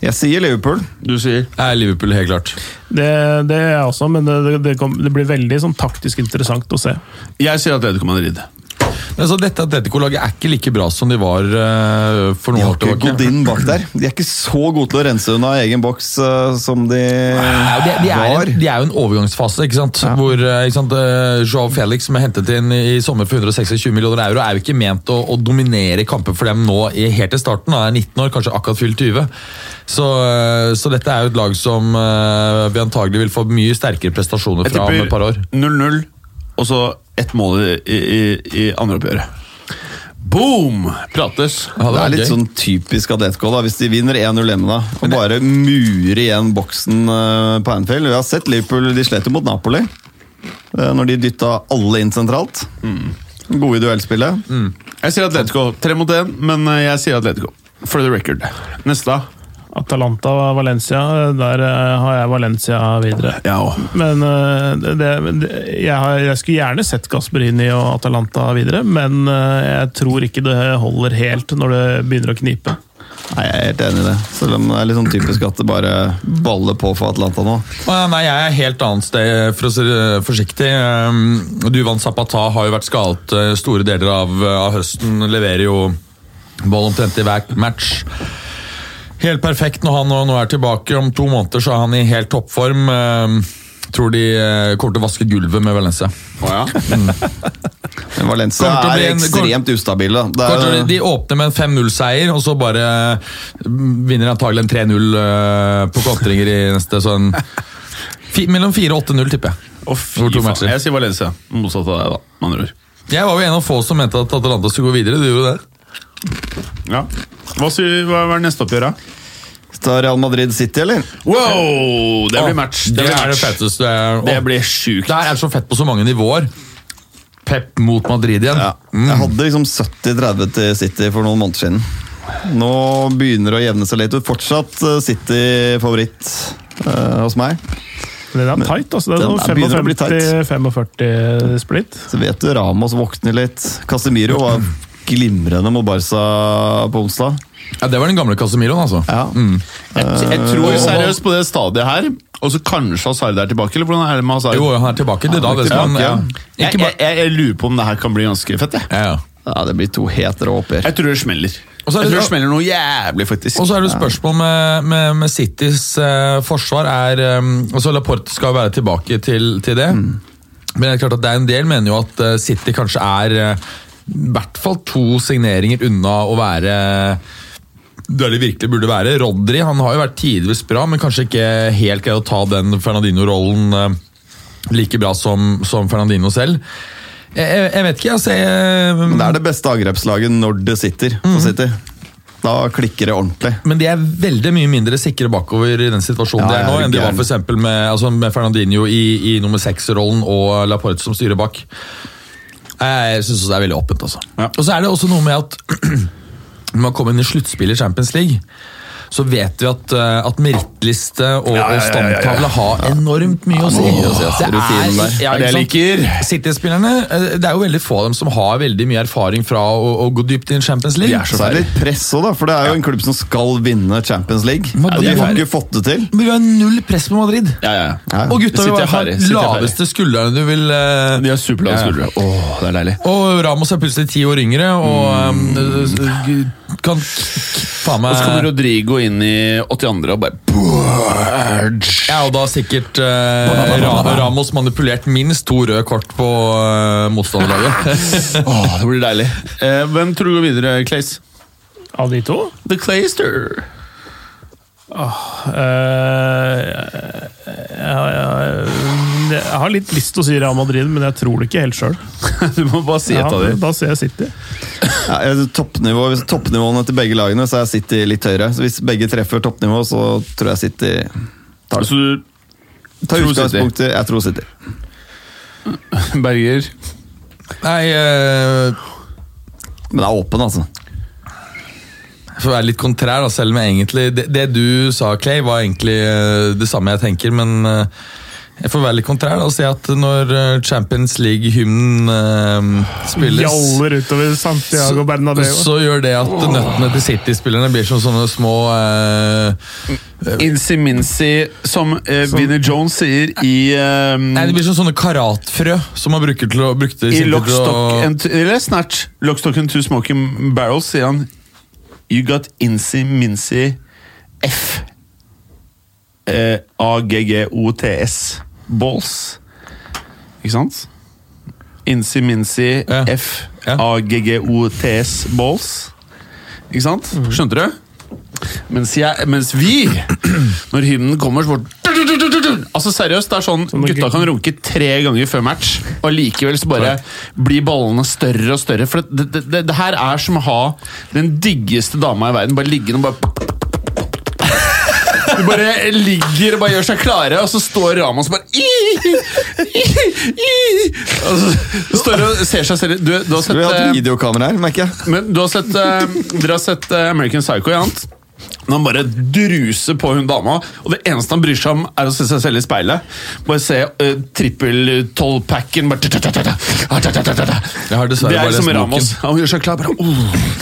Speaker 1: Jeg sier Liverpool.
Speaker 2: Du sier
Speaker 3: Er Liverpool helt klart.
Speaker 4: Det, det er jeg også, men det, det, det, kom, det blir veldig sånn, taktisk interessant å se.
Speaker 2: Jeg sier Atletico Madrid.
Speaker 3: Men så dette Atletico-laget er ikke like bra som de var eh, for
Speaker 1: De
Speaker 3: noen
Speaker 1: har
Speaker 3: år
Speaker 1: ikke
Speaker 3: tilbake.
Speaker 1: Godin bak der. De er ikke så gode til å rense unna egen boks eh, som de
Speaker 3: Ja, de, de, er en,
Speaker 1: var.
Speaker 3: de er jo en overgangsfase, ikke sant? hvor eh, ikke sant, eh, Joao Felix, som er hentet inn i sommer for 126 millioner euro, er jo ikke ment å, å dominere kamper for dem nå i, helt til starten. Han er 19 år, kanskje akkurat fylt 20. Så, eh, så dette er jo et lag som eh, vi antagelig vil få mye sterkere prestasjoner
Speaker 2: Jeg
Speaker 3: fra om et par år.
Speaker 2: tipper 0-0, og så ett mål i, i, i andre oppgjøret. Boom! Prates.
Speaker 1: Det
Speaker 3: Ja,
Speaker 1: er
Speaker 3: var
Speaker 1: litt
Speaker 3: gøy.
Speaker 1: sånn typisk Atletico da, hvis de vinner 1-0 hjemme da, og bare murer igjen boksen eh, på Anfield. Vi har sett Liverpool, de slet jo mot Napoli eh, når de dytta alle inn sentralt.
Speaker 3: Mm.
Speaker 1: Gode i duellspillet.
Speaker 2: Jeg sier Atletico. Tre mot én, men eh, jeg sier Atletico. For the record. Neste.
Speaker 4: Atalanta og Valencia, der eh, har jeg Valencia videre.
Speaker 2: Ja, og.
Speaker 4: Men eh, det, det, jeg, har, jeg skulle gjerne sett Gasperini og Atalanta videre, men eh, jeg tror ikke det holder helt når det begynner å knipe.
Speaker 1: Nei, Jeg er helt enig i det. Selv om det er litt sånn typisk at det bare baller på for Atlanta nå.
Speaker 3: Ah, Nei, jeg er helt annet sted, eh, for å si det forsiktig. Um, Duvan Zapata har jo vært skadet eh, store deler av, av høsten. Leverer jo ball omtrent i hver match. Helt perfekt når han nå- nå er tilbake. Om to måneder så er han i helt toppform. Um, Tror de eh, kommer til å vaske gulvet med Valencia.
Speaker 2: Å ja.
Speaker 1: Men Valencia
Speaker 3: Kommer til å
Speaker 1: er
Speaker 3: bli en-
Speaker 1: ekstremt ustabile. da. Det
Speaker 3: Kort
Speaker 1: er-
Speaker 3: og slett, De åpner med en 5-0-seier, og så bare eh, vinner antagelig en 3-0 eh, på kontringer i neste sånn fi, Mellom 4 og 8-0, tipper jeg.
Speaker 2: Å, fy
Speaker 3: Over to
Speaker 2: faen.
Speaker 3: matcher.
Speaker 2: Jeg sier Valencia. Motsatt av deg, da. Med andre ord.
Speaker 3: Jeg var jo en av få som mente at Atalanta skulle gå videre. Du gjorde det.
Speaker 2: Ja. Hva, sier, hva er neste oppgjør, da?
Speaker 1: Tar Real Madrid City, eller?
Speaker 2: Wow! Det blir match.
Speaker 3: Det,
Speaker 2: Det blir
Speaker 3: er det
Speaker 2: match.
Speaker 3: fetteste. Og
Speaker 2: Det blir sjukt.
Speaker 3: Der er det så fett på så mange nivåer. Pep mot Madrid igjen.
Speaker 1: Ja. Jeg hadde liksom 70-30 til City for noen måneder siden. Nå begynner det å jevne seg litt ut. Fortsatt eh, City-favoritt eh, hos meg.
Speaker 4: Men Den er tight, altså.
Speaker 1: Den er- begynner å bli
Speaker 4: Det
Speaker 1: tight.
Speaker 4: er 45-45-splitt.
Speaker 1: Så vet du Ramos våkner litt. Casemiro var glimrende mot Barca på onsdag. Mm.
Speaker 3: Ja, det var den gamle Casemiroen, altså.
Speaker 1: Ja.
Speaker 2: Jeg, jeg
Speaker 3: Eh,
Speaker 2: tror seriøst på det stadiet her, og så kanskje Hazard er tilbake? Eller hvordan er det med Hazard?
Speaker 3: Jo, han er tilbake til da. Det skal han,
Speaker 1: tilbake,
Speaker 3: ja. Ikke
Speaker 2: Jeg, jeg,
Speaker 3: bare...
Speaker 2: jeg, jeg lurer på om det her kan bli ganske fett. Jeg,
Speaker 3: Ja, ja.
Speaker 1: ja, det blir to helt rå oppgjør.
Speaker 2: jeg tror det smeller.
Speaker 3: Og så er det-
Speaker 2: jeg tror det smeller noe jævlig, faktisk.
Speaker 3: Og så er det jo spørsmål med, med, med Citys eh, forsvar. Er, eh, altså Laporte skal jo være tilbake til, til det. Men det er klart at det er en del mener jo at eh, City kanskje er eh, i hvert fall to signeringer unna å være eh, der de virkelig burde være. Rodri han har jo vært tidvis bra, men kanskje ikke helt greid å ta den Fernandino-rollen eh, like bra som, som Fernandino selv. Jeg, jeg, jeg vet ikke, jeg ser eh,
Speaker 1: Men det er det beste angrepslaget når det sitter for City. Da klikker det ordentlig.
Speaker 3: Men de er veldig mye mindre sikre bakover i den situasjonen
Speaker 1: Ja,
Speaker 3: de er
Speaker 1: ja,
Speaker 3: nå, enn de var
Speaker 1: gæren.
Speaker 3: for eksempel med, altså med Fernandinho i, i nummer seks-rollen og Laporte som styrer bak. Jeg syns det er veldig åpent. altså.
Speaker 2: Ja.
Speaker 3: Og så er det også noe med at [clears throat] når man kommer inn i sluttspill i Champions League, så vet vi at, eh, at merittliste og, og standtavle har enormt mye å si. Altså, Det
Speaker 1: Rutinen der.
Speaker 3: ja,
Speaker 2: Det er det jeg
Speaker 3: ikke sant? City-spillerne eh, Det er jo veldig få av dem som har veldig mye erfaring fra å, å gå dypt inn i Champions League.
Speaker 1: Så er det litt press òg, da. For det er jo en klubb som skal vinne Champions League.
Speaker 3: Men
Speaker 1: Og
Speaker 3: det
Speaker 1: de
Speaker 3: er-
Speaker 1: har ikke fått det til.
Speaker 3: Men vi har null press på Madrid.
Speaker 2: Ja, ja, ja.
Speaker 1: Ja.
Speaker 3: Og gutta vil
Speaker 2: City er
Speaker 3: ha
Speaker 2: ferdig,
Speaker 3: den
Speaker 2: City er
Speaker 3: laveste skuldrene du vil eh,
Speaker 2: De har
Speaker 3: Ja,
Speaker 2: superlave
Speaker 3: ja.
Speaker 2: skuldre. Åh, det er deilig.
Speaker 3: Og Ramos er plutselig ti år yngre og eh, kan faen
Speaker 2: Mm. Og så kommer
Speaker 3: meg
Speaker 2: Rodrigo inn i 82. og bare Burge.
Speaker 3: ja, og da har sikkert eh, Ra Ramos manipulert minst to røde kort på eh,
Speaker 2: [laughs]
Speaker 3: motstanderlaget.
Speaker 2: Åh, det blir deilig. Eh, hvem tror du går videre, Clays?
Speaker 4: Av de to?
Speaker 2: The Clayster.
Speaker 4: Eh, ja, ja, jeg har litt lyst til å si Real Madrid, men jeg tror det ikke helt sjøl.
Speaker 2: [laughs] Du må bare si et
Speaker 4: Ja,
Speaker 2: av dem.
Speaker 4: da ser jeg City.
Speaker 1: Ja, jeg- toppnivå, hvis toppnivåene til begge lagene, så er City litt høyere. Så hvis begge treffer toppnivå, så tror jeg City tar det.
Speaker 2: Så du,
Speaker 1: Ta
Speaker 2: tror City.
Speaker 1: utgangspunkt i Jeg tror City.
Speaker 2: Berger
Speaker 3: Nei, eh,
Speaker 1: Men det er åpen, altså.
Speaker 3: for å være litt kontrær, da, selv om jeg egentlig det, det du sa, Clay, var egentlig eh, det samme jeg tenker, men eh, jeg får være litt kontrær da, og si at når eh, Champions League-hymnen eh, spilles
Speaker 4: Gjaller utover Santiago Bernabeu. altså.
Speaker 3: Så gjør det at nøttene til City-spillerne blir som sånne små eh,
Speaker 2: Insiminsi, som eh, Vinnie Jones sier i eh,
Speaker 3: Nei, det blir som sånne karatfrø som man bruker til å brukte
Speaker 2: I
Speaker 3: City til
Speaker 2: Lockstock
Speaker 3: å-
Speaker 2: and, Eller Snatch. Lockstock and Two Smoking Barrels sier han You got Insiminsi F. Eh, A-G-G-O-T-S. Balls. Ikke sant? Insiminsi
Speaker 3: Ja.
Speaker 2: F.
Speaker 3: Ja.
Speaker 2: A-G-G-O-T-S. Balls. Ikke sant?
Speaker 3: Mhm.
Speaker 2: Skjønte du? Mens, jeg, mens vi, når hymnen kommer, så bare Altså seriøst, det er sånn
Speaker 4: det
Speaker 2: Gutta
Speaker 4: ikke-
Speaker 2: kan runke tre ganger før match, og likevel så bare blir ballene større og større. For det, det, det, det her er som å ha den diggeste dama i verden bare liggende og bare du bare ligger og bare gjør seg klare, og så står Ramas bare i, i, i, Og så står og ser seg selv Du, du har sett
Speaker 1: Vi har
Speaker 2: eh,
Speaker 1: hatt videokamera her, merker jeg.
Speaker 2: men du har sett, eh, dere har sett eh, American Psycho, ikke sant? Når han bare druser på hun dama, og det eneste han bryr seg om, er å se seg selv i speilet. Bare se uh, trippel-tolvpacken bare ta-ta-ta-ta, ta-ta-ta-ta-ta.
Speaker 3: Jeg har dessverre
Speaker 2: Det
Speaker 3: bare
Speaker 2: er som
Speaker 3: lest
Speaker 2: Ramos.
Speaker 3: boken.
Speaker 2: Han gjør seg klar. bare oh.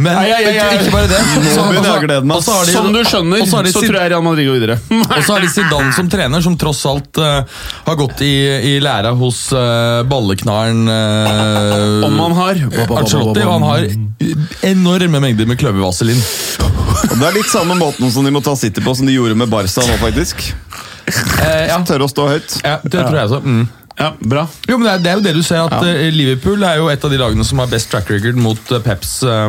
Speaker 3: Men
Speaker 2: Ai, ai, ai, ai.
Speaker 3: ikke bare det. Så-
Speaker 1: begynner
Speaker 3: og så-
Speaker 1: gleden, ass.
Speaker 3: og så har de-
Speaker 2: Som du skjønner,
Speaker 3: og så
Speaker 2: så
Speaker 3: har de Zid-
Speaker 2: tror jeg Real Madrid går
Speaker 3: [laughs]
Speaker 2: videre.
Speaker 3: Og så har de Zidane som trener, som tross alt eh, har gått i, i læra hos eh, balleknaren eh,
Speaker 2: Om han har
Speaker 3: Ancelotti. Og han har enorme mengder med kløvervaselin.
Speaker 1: Og Det er litt samme måten som de må ta City på, som de gjorde med Barca nå, faktisk.
Speaker 3: Eh, ja.
Speaker 1: Tørre å stå høyt.
Speaker 3: ja, det tror jeg også. Mm.
Speaker 2: Ja, bra.
Speaker 3: Jo, men det er, det er jo det du ser, at eh, Liverpool er jo et av de lagene som har best track record mot eh, Peps eh,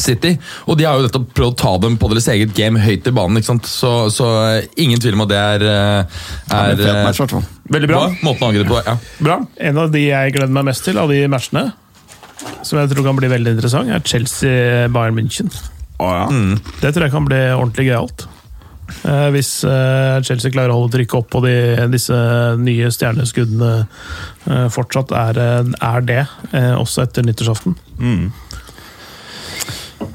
Speaker 3: City. Og de har jo nettopp prøvd å ta dem på deres eget game høyt i banen, ikke sant? Så, så eh, ingen tvil om at det er, eh,
Speaker 1: Det
Speaker 3: er
Speaker 1: er
Speaker 3: eh,
Speaker 1: et match, i hvert fall.
Speaker 2: Veldig bra.
Speaker 3: hva? Måten å angripe på, ja.
Speaker 2: bra.
Speaker 4: En av de jeg gleder meg mest til av de matchene, som jeg tror kan bli veldig interessant, er Chelsea-Bayern München. Det tror jeg kan bli ordentlig gøyalt. Eh, hvis eh, Chelsea klarer å holde trykket opp og de, disse nye stjerneskuddene eh, fortsatt er, eh, er det, eh, også etter nyttårsaften.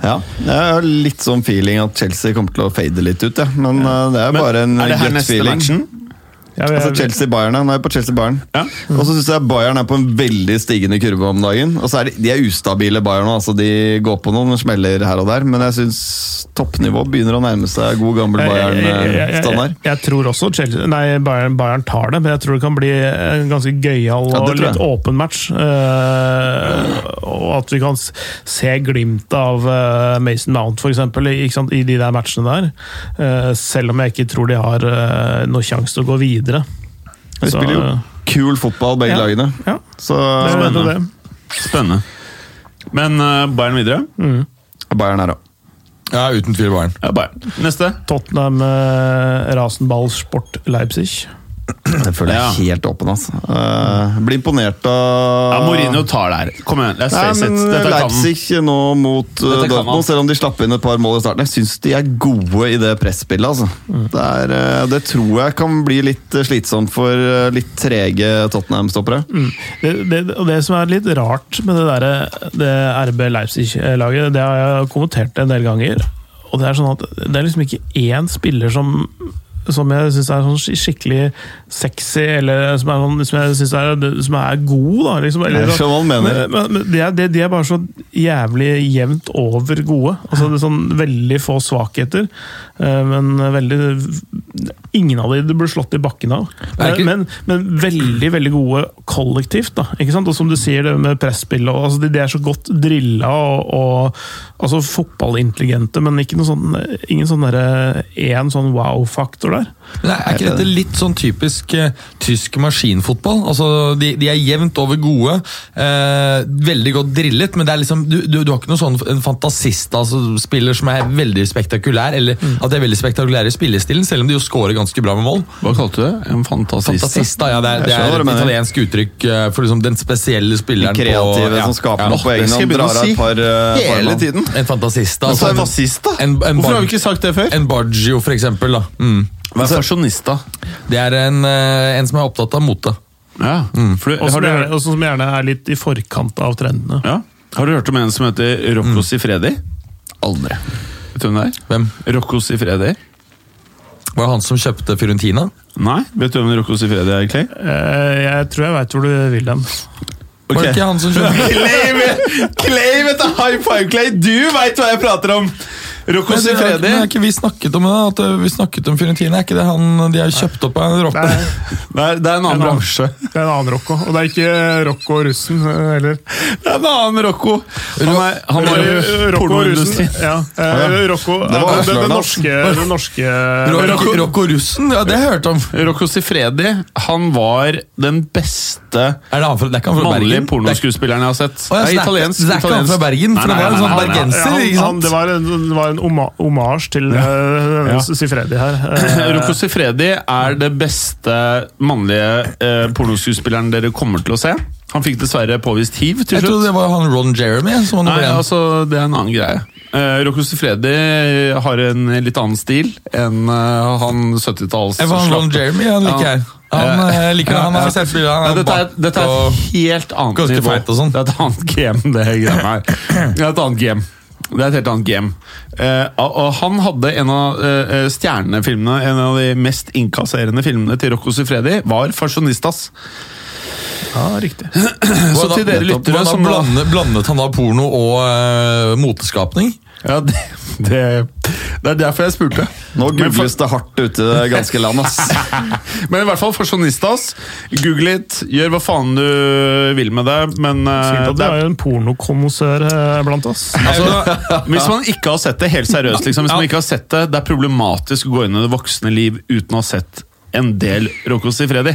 Speaker 1: Ja, jeg har litt sånn feeling at Chelsea kommer til å fade litt ut, ja. men eh, det er bare en
Speaker 2: er det her
Speaker 1: gut
Speaker 2: neste
Speaker 1: feeling.
Speaker 2: matchen?
Speaker 4: Ja, vi-
Speaker 1: Altså Chelsea-Bayern, ja. Nå er jeg på Chelsea-Bayern.
Speaker 2: Ja.
Speaker 1: Og så syns jeg Bayern er på en veldig stigende kurve om dagen. Og så er de, de er ustabile, Bayern nå. Altså, de går på noen smeller her og der, men jeg syns toppnivå begynner å nærme seg god gammel
Speaker 4: Jeg- jeg- jeg-
Speaker 1: Bayern-standard.
Speaker 4: Jeg, jeg tror også Chelsea, nei, Bayern, Bayern tar det, men jeg tror det kan bli en ganske
Speaker 1: Ja,
Speaker 4: gøyal
Speaker 1: det
Speaker 4: og
Speaker 1: tror jeg.
Speaker 4: litt åpen match. Eh, og at vi kan s- se glimt av eh, Mason Mount, f.eks., i de der matchene der. Eh, selv om jeg ikke tror de har uh, noe sjanse til å gå videre.
Speaker 1: De
Speaker 4: Så,
Speaker 1: spiller jo
Speaker 4: eh,
Speaker 1: kul fotball, begge
Speaker 4: ja.
Speaker 1: lagene.
Speaker 4: Ja,
Speaker 1: Så
Speaker 4: det er jo det.
Speaker 2: Spennende. Men eh, Bayern videre?
Speaker 1: Bayern er òg.
Speaker 3: ja uten tvil Bayern.
Speaker 2: Ja, Bayern. Neste.
Speaker 4: Tottenham, eh, Rasenball Sport Leipzig.
Speaker 1: Det føler jeg er helt åpen, altså. Eh, blir imponert av
Speaker 2: Ja, Mourinho tar det her. Kom igjen, let's
Speaker 1: Nei,
Speaker 2: face
Speaker 1: men
Speaker 2: it. Dette kan den.
Speaker 1: Leipzig nå mot uh,
Speaker 2: Dette kan han.
Speaker 1: Dortmund, selv om de slapp inn et par mål i starten. Jeg syns de er gode i det presspillet. Altså.
Speaker 2: Mm.
Speaker 1: Det, er, uh, det tror jeg kan bli litt uh, slitsomt for uh, litt trege Tottenham-stoppere.
Speaker 2: Mm.
Speaker 4: Det, det, og det som er litt rart med det, der, det RB Leipzig-laget, det har jeg kommentert en del ganger. Og det er sånn at det er liksom ikke én spiller som som jeg syns er sånn skik- skikkelig sexy, eller som, er sånn, som jeg synes er, som er god, da. Liksom. Eller,
Speaker 1: Jeg skjønner hva han mener.
Speaker 4: Men, men de, er, de, de er bare så jævlig jevnt over gode. Altså, det er sånn Veldig få svakheter, eh, men veldig Ingen av de det blir slått i bakken av.
Speaker 3: er ikke-
Speaker 4: Men, men veldig veldig gode kollektivt. da, ikke sant? Og som du sier, det med presspill og, altså, de, de er så godt drilla og, og altså, fotballintelligente, men ikke noe sånn, ingen sånn derre én sånn wow-faktor der.
Speaker 3: Men er er ikke dette litt sånn typisk eh, tysk maskinfotball? Altså, de, de er jevnt over gode, eh, veldig godt drillet, men det er liksom, du, du, du har ikke noen sånn en fantasist altså, spiller som er veldig spektakulær, eller
Speaker 1: Mm.
Speaker 3: at de er veldig spektakulære i spillestilen, selv om de jo scorer ganske bra med mål.
Speaker 2: Hva kalte du det? En fantasist?
Speaker 3: Fantasist, da, ja, det er, det
Speaker 1: Jeg skjønner
Speaker 3: er
Speaker 1: hva du
Speaker 3: et
Speaker 1: mener.
Speaker 3: italiensk uttrykk eh, for liksom den spesielle spilleren på-
Speaker 1: Kreative som skaper noe på
Speaker 2: det
Speaker 1: egen
Speaker 2: skal jeg
Speaker 1: hånd.
Speaker 2: begynne å
Speaker 1: Drar av
Speaker 2: si.
Speaker 1: et par uh,
Speaker 2: Hele
Speaker 1: par mann.
Speaker 2: tiden.
Speaker 3: En fantasist, da.
Speaker 2: Men så er
Speaker 3: altså,
Speaker 2: det fascist, da?
Speaker 3: En- en
Speaker 2: Hvorfor
Speaker 3: barn-
Speaker 2: har vi ikke sagt det før?
Speaker 3: en Baggio, for eksempel. Da. Mm.
Speaker 2: Hva er fasjonist, da?
Speaker 3: Det er en, eh, en som er opptatt av mote.
Speaker 2: Ja. For, du-
Speaker 4: Og
Speaker 2: har,
Speaker 4: som
Speaker 2: du
Speaker 4: gjerne,
Speaker 2: hørt,
Speaker 4: og som gjerne er litt i forkant av trendene.
Speaker 2: ja? har du hørt om en som heter Rocco Sifredi? Aldri. Vet du hvem det er?
Speaker 3: Hvem?
Speaker 2: Rocco Sifredi?
Speaker 3: Var det han som kjøpte Fiorentina?
Speaker 2: Nei, vet du hvem Rocco Sifredi er, Clay?
Speaker 4: Eh, Jeg tror jeg veit hvor du vil den.
Speaker 3: Var det
Speaker 2: Ok.
Speaker 3: ikke han som
Speaker 2: [laughs]
Speaker 3: kjøpte
Speaker 2: Clay, vet- Clay, vet du, high five, Clay! Du veit hva jeg prater om! Rocco
Speaker 3: Men det er- men
Speaker 2: Sifredi.
Speaker 3: er ikke vi snakket om det? da? At eh, vi snakket om Fiorentina? Er ikke det han de har kjøpt opp av en rotte?
Speaker 4: Nei.
Speaker 2: Det er, det er en annen
Speaker 4: annen.
Speaker 2: bransje.
Speaker 4: Det er en annen Rocco, og det er ikke Rocco og russen eh, heller.
Speaker 2: Det er en annen Rocco. Han er, han var i
Speaker 4: Rocco og russen.
Speaker 2: pornoindustrien.
Speaker 4: Ja. eh, Rocco,
Speaker 1: Det var
Speaker 4: det, det,
Speaker 1: avslørende, ass.
Speaker 4: norske, det norske
Speaker 3: Rocco Rocco Russen? Ja, det har jeg hørt om.
Speaker 2: Rocco Sifredi han var den beste
Speaker 3: Er det, han fra, det er ikke han fra
Speaker 2: mannlige
Speaker 3: Bergen?
Speaker 2: pornoskuespilleren jeg har sett.
Speaker 3: Å, ja,
Speaker 2: Det er
Speaker 3: så det er ikke-
Speaker 2: italiensk.
Speaker 3: det er ikke han fra
Speaker 2: italiensk.
Speaker 3: Bergen, for
Speaker 2: Nei,
Speaker 3: det var
Speaker 2: nei,
Speaker 3: en
Speaker 2: nei,
Speaker 3: sånn
Speaker 2: nei, nei.
Speaker 3: bergenser,
Speaker 4: han,
Speaker 3: ikke
Speaker 4: han,
Speaker 3: sant?
Speaker 4: det, var en, det var en oma- omasj til eh,
Speaker 2: Ja.
Speaker 4: Sifredi her. Eh,
Speaker 2: Rocco Sifredi er det beste mannlige eh, pornoskuespilleren dere kommer til å se. Han fikk dessverre påvist hiv til
Speaker 3: Jeg trodde
Speaker 2: slutt.
Speaker 3: det var han Ron Jeremy som var
Speaker 2: Nei,
Speaker 3: nummer én.
Speaker 2: altså, det er en annen greie. Eh, Rocco Sifredi har en litt annen stil enn eh, han 70-talls...
Speaker 3: Jeg var han Ron Jeremy, han liker
Speaker 2: Ja.
Speaker 3: jeg. Han eh, liker det, han er selvspiller.
Speaker 2: Nei,
Speaker 3: Han er
Speaker 2: dette, er,
Speaker 3: bart
Speaker 2: dette er
Speaker 3: og-
Speaker 2: et helt annet
Speaker 3: ganske
Speaker 2: nivå.
Speaker 3: feit og sånn.
Speaker 2: Det er et annet game, det greiene her. Det er et annet game. Det er et helt annet game. Eh, og og han hadde en av eh, stjernefilmene, en av de mest innkasserende filmene til Rocco Sifredi, var Fasjonistas.
Speaker 4: ja, riktig.
Speaker 2: Så
Speaker 3: Hva da-
Speaker 2: til dere
Speaker 3: nettopp,
Speaker 2: lyttere
Speaker 3: hva da
Speaker 2: som da-
Speaker 3: blandet, blandet han da porno og eh, moteskapning?
Speaker 2: Ja, det, det, det er derfor jeg spurte.
Speaker 1: Nå
Speaker 2: Men for-
Speaker 1: googles det hardt ute i det ganske land,
Speaker 2: [laughs]
Speaker 1: ass.
Speaker 2: Men i hvert fall Fasjonistas. Google it, gjør hva faen du vil med det, men eh,
Speaker 4: Fint at
Speaker 2: det
Speaker 4: det
Speaker 2: er-
Speaker 4: er en pornokommissær eh, blant oss.
Speaker 3: [laughs]
Speaker 2: Altså, hvis man ikke har sett det, helt seriøst liksom, Hvis man ikke har sett det, det er problematisk å gå inn i det voksne liv uten å ha sett en del Rocco Sifredi.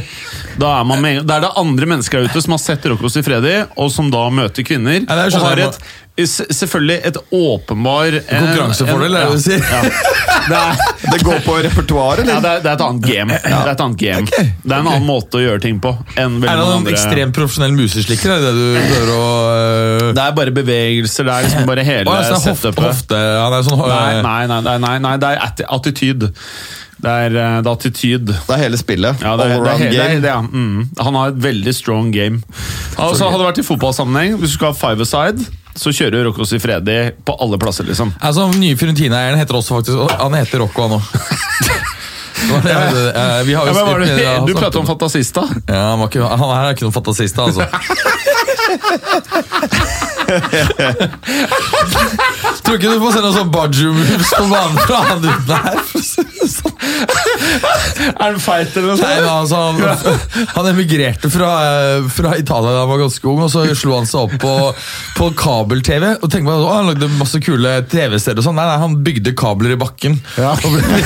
Speaker 2: Da er man med, det er det andre mennesker der ute som har sett Rocco Sifredi, og som da møter kvinner.
Speaker 3: Ja, det er
Speaker 2: og
Speaker 3: sånn
Speaker 2: har
Speaker 3: jeg
Speaker 2: et, s- selvfølgelig et åpenbar eh,
Speaker 3: Konkurransefordel,
Speaker 2: en-
Speaker 3: er det du sier?
Speaker 2: Ja, ja. Det er,
Speaker 1: Det går på repertoaret,
Speaker 2: ja,
Speaker 1: eller?
Speaker 2: det, er, det er et
Speaker 3: [laughs]
Speaker 2: annet game. Det er, et annet game. det er en annen måte å gjøre ting på. Enn
Speaker 3: Er
Speaker 2: veldig
Speaker 3: han
Speaker 2: mange
Speaker 3: en
Speaker 2: andre
Speaker 3: ekstremt profesjonell museslikker? Er det det du prøver å eh,
Speaker 2: Det er bare bevegelser, det er liksom bare hele
Speaker 3: Å, ja, så det er hofte,
Speaker 2: setupet.
Speaker 3: hofte. Han er sånn eh,
Speaker 2: Nei, nei, nei, nei, nei, nei det er atti- attityd. Det er, eh, det er attityd.
Speaker 1: Det er hele spillet.
Speaker 2: Ja, det, er, det, er,
Speaker 1: Allround
Speaker 2: he- det, er,
Speaker 1: game.
Speaker 2: det er, mm. Han har et veldig strong game. Altså, hadde det vært i fotballsammenheng, hvis du skal ha five-a-side, så kjører Rocco Sifredi på alle plasser, liksom.
Speaker 3: Altså, den nye Fiorentina-eieren heter også faktisk Han heter Rocco, han òg.
Speaker 2: [laughs]
Speaker 3: Eh, Vi har
Speaker 2: Ja,
Speaker 3: jo
Speaker 2: men var det,
Speaker 3: spilt- ja,
Speaker 2: du
Speaker 3: snakket
Speaker 2: prater om Fantasista.
Speaker 3: ja, han, var ikke, han her er ikke noen fantasist, da, altså. Tror ikke du får se noen sånn Baju-moves på banen fra han uten her. for å si det sånn.
Speaker 2: [laughs] Er den feit, eller
Speaker 3: Nei, men altså, han, [laughs] han emigrerte fra, eh, fra Italia da han var ganske ung, og så slo han seg opp på, på kabel-TV. Og tenkte man, å, Han lagde masse kule TV-serier og sånn. Nei, nei, han bygde kabler i bakken. [laughs] Og ble-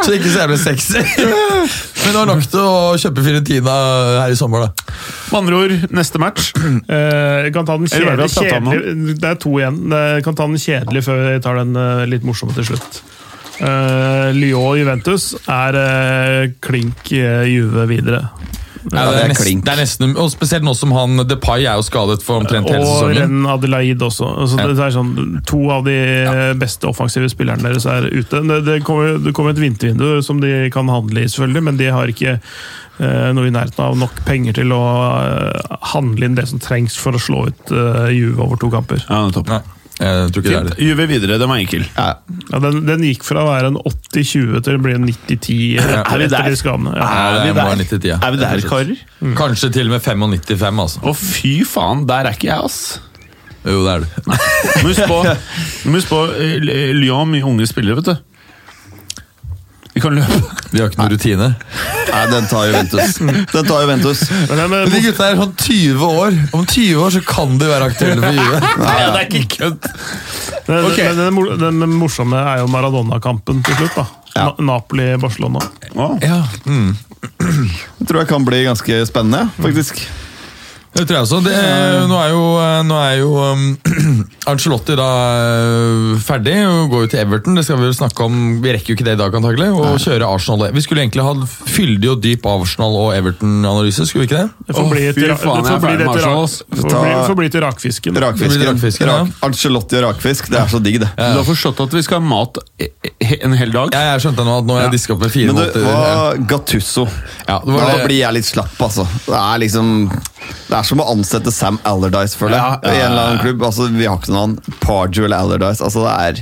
Speaker 3: så ikke så jævlig sexy. Men det var nok til å kjøpe Fiorentina her i sommer, da.
Speaker 2: Med andre ord, neste match.
Speaker 4: Eh, Jeg kan ta den
Speaker 2: Eller hva er det
Speaker 4: kjedelige,
Speaker 2: vi har pratet om nå?
Speaker 4: kjedelige Det er to igjen. Eh, Jeg kan ta den kjedelige før jeg tar den eh, litt morsomme til slutt. Eh, Lyon og Juventus er eh, klink eh, Juve videre. Eh,
Speaker 3: Ja,
Speaker 1: det
Speaker 3: det, er
Speaker 1: er
Speaker 3: nesten,
Speaker 1: klink.
Speaker 3: det er nesten, og Spesielt nå som han Depay er jo skadet for omtrent hele
Speaker 4: Og
Speaker 3: sesongen.
Speaker 4: Ren Adelaide også. Altså, det er sånn, to av de eh, beste offensive spillerne deres er ute. Det, det kommer jo- det kommer et vintervindu som de kan handle i, selvfølgelig, men de har ikke eh, noe i nærheten av nok penger til å eh, handle inn det som trengs for å slå ut eh, Juve over to kamper.
Speaker 2: [clears throat] Ja, nettopp.
Speaker 3: Nei, jeg tror ikke det er
Speaker 2: Fint.
Speaker 3: det.
Speaker 2: Juve videre, den var enkel.
Speaker 4: Ja, den, den gikk fra å være en 80-20 til å bli en 90-10
Speaker 2: Er vi
Speaker 4: etter
Speaker 2: der? Ah.
Speaker 4: de skadene. Ja.
Speaker 3: Ja, det
Speaker 2: Er vi
Speaker 3: må være
Speaker 2: der?
Speaker 3: 90, ja.
Speaker 2: Er vi
Speaker 3: Rett
Speaker 2: der,
Speaker 3: og slett.
Speaker 2: karer?
Speaker 3: Kanskje til og med 95, altså.
Speaker 2: Å, fy faen, der er ikke jeg, ass.
Speaker 3: Jo, det er du.
Speaker 2: Men husk på, [laughs] men husk på eh, Lyon har mye unge spillere, vet du. De kan løpe.
Speaker 3: Vi har ikke noe rutine.
Speaker 1: Nei, den tar Juventus.
Speaker 2: Mm.
Speaker 1: Den tar Juventus.
Speaker 4: Men den, eh,
Speaker 3: Men de gutta er sånn 20 år. Om 20 år så kan de være aktuelle for Juve.
Speaker 2: Nei, [laughs] det er ikke kødd!
Speaker 4: Men,
Speaker 2: Ok.
Speaker 4: men den, mor- den morsomme er jo Maradona-kampen til slutt. da. Na Napoli-Barcelona.
Speaker 2: Å,
Speaker 3: Ja, mm.
Speaker 1: Det tror jeg kan bli ganske spennende,
Speaker 2: Mm.
Speaker 1: faktisk.
Speaker 3: Det tror jeg også. Det, eh, nå er jo, nå er jo um, [clears throat] Ancelotti da eh, ferdig og går jo til Everton. Det skal Vi vel snakke om, vi rekker jo ikke det i dag, antagelig. Og kjøre Arsenal. Vi skulle egentlig ha fyldig og dyp Arsenal- og Everton-analyse. skulle vi ikke det?
Speaker 4: Det får
Speaker 2: Å,
Speaker 4: bli et
Speaker 2: fy
Speaker 4: ra- det
Speaker 2: faen, jeg
Speaker 4: får
Speaker 2: er
Speaker 4: bli
Speaker 2: ferdig
Speaker 4: det
Speaker 2: med
Speaker 4: til
Speaker 2: Arsenal,
Speaker 4: rak-
Speaker 2: ass.
Speaker 4: det får bli- får bli til rakfisken.
Speaker 3: Det blir
Speaker 1: Rakfisken.
Speaker 3: rakfisken, ja.
Speaker 1: Rak- Ancelotti og rakfisk, det er så digg, det.
Speaker 2: Du har forstått at vi skal ha mat eh, eh, en hel dag?
Speaker 3: Ja, jeg skjønte nå at nå har jeg diska opp med fire
Speaker 1: Men du,
Speaker 3: måneder.
Speaker 1: hva Gattusso?
Speaker 3: Ja, det var
Speaker 1: Da
Speaker 3: det-
Speaker 1: blir jeg litt slapp, altså. Det er liksom Det er som å ansette Sam Allardyce, føler jeg.
Speaker 2: Ja, ja,
Speaker 1: I en eller
Speaker 2: ja.
Speaker 1: annen klubb. Altså, Vi har ikke noen annen. Pardew eller Allardyce. Altså, det er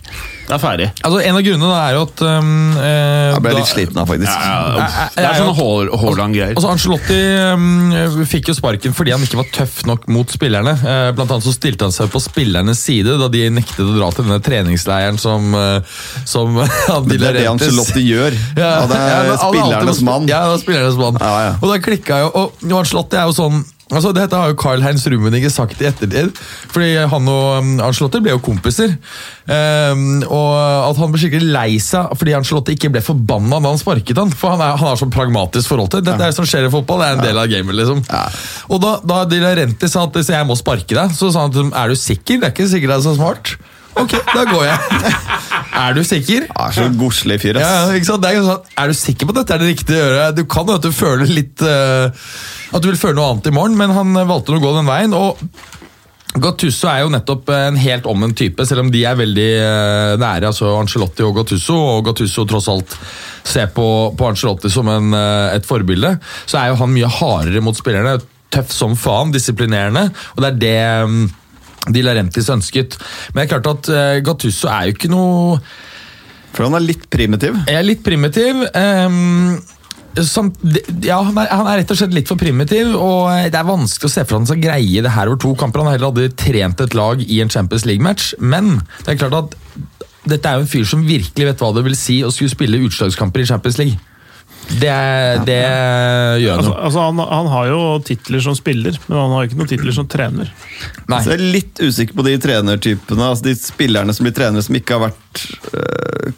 Speaker 2: Det er ferdig.
Speaker 3: Altså, En av grunnene da er jo at um, eh,
Speaker 1: Jeg ble
Speaker 3: da-
Speaker 1: litt sliten av, faktisk.
Speaker 2: Ja,
Speaker 3: Jeg- jeg-
Speaker 2: det er
Speaker 3: jeg-
Speaker 2: sånne Haal- Haaland-greier.
Speaker 3: Altså Ancelotti øhm, fikk jo sparken fordi han ikke var tøff nok mot spillerne. Eh, Blant annet så stilte han seg på spillernes side da de nektet å dra til denne treningsleiren som, eh, som [laughs] han
Speaker 1: Det er det Ancelotti gjør. Ja, det
Speaker 3: ja, men
Speaker 1: er
Speaker 3: alle alltid
Speaker 1: spillernes
Speaker 3: må-
Speaker 1: mann.
Speaker 3: Ja, det er spillernes mann.
Speaker 1: Ja, ja.
Speaker 3: Og da klikka jo Og og Ancelotti er jo sånn Altså, Dette har jo Carl-Heinz Rummenigge sagt i ettertid. Fordi han og um, Ancelotti ble jo kompiser. Ehm, og at han ble skikkelig lei seg fordi Ancelotti ikke ble forbanna da han sparket han. For han, er, han har sånn pragmatisk forhold til det. Dette er det som skjer i fotball, det er en del av gamet. liksom. Og da, da De Laurenti sa at «Så jeg må sparke deg, så sa han at er du sikker? Det er ikke sikkert det er så smart. Ok, da går jeg. [laughs] er du sikker?
Speaker 1: Han er så godslig fyr,
Speaker 3: Ja,
Speaker 1: ass.
Speaker 3: ja, ikke sant? Det er, jo sånn, er du sikker på at dette er det riktige å gjøre? Du kan jo at du føler litt eh, At du vil føle noe annet i morgen, men han eh, valgte å gå den veien. og Gattusso er jo nettopp eh, en helt omvendt type, selv om de er veldig eh, nære. altså Angelotti og Gattusso, og Gattusso tross alt ser på, på Angelotti som en, eh, et forbilde. Så er jo han mye hardere mot spillerne. Tøff som faen, disiplinerende. Og det er det mm, De Larentis ønsket. Men det er klart at eh, Gattusso er jo ikke noe
Speaker 1: For han er litt primitiv.
Speaker 3: jeg er litt primitiv. ehm, samt, ja, han er, han er rett og slett litt for primitiv, og eh, det er vanskelig å se for seg at han skal greie det her over to kamper. Han har heller aldri trent et lag i en Champions League-match, men det er klart at dette er jo en fyr som virkelig vet hva det vil si å skulle spille utslagskamper i Champions League. Det, er- det gjør han
Speaker 4: Altså,
Speaker 3: jo.
Speaker 4: altså han, han har jo titler som spiller, men han har ikke noen titler som trener.
Speaker 1: Så
Speaker 3: Nei.
Speaker 1: jeg er litt usikker på de trenertypene, altså de spillerne som blir trenere som ikke har vært øh,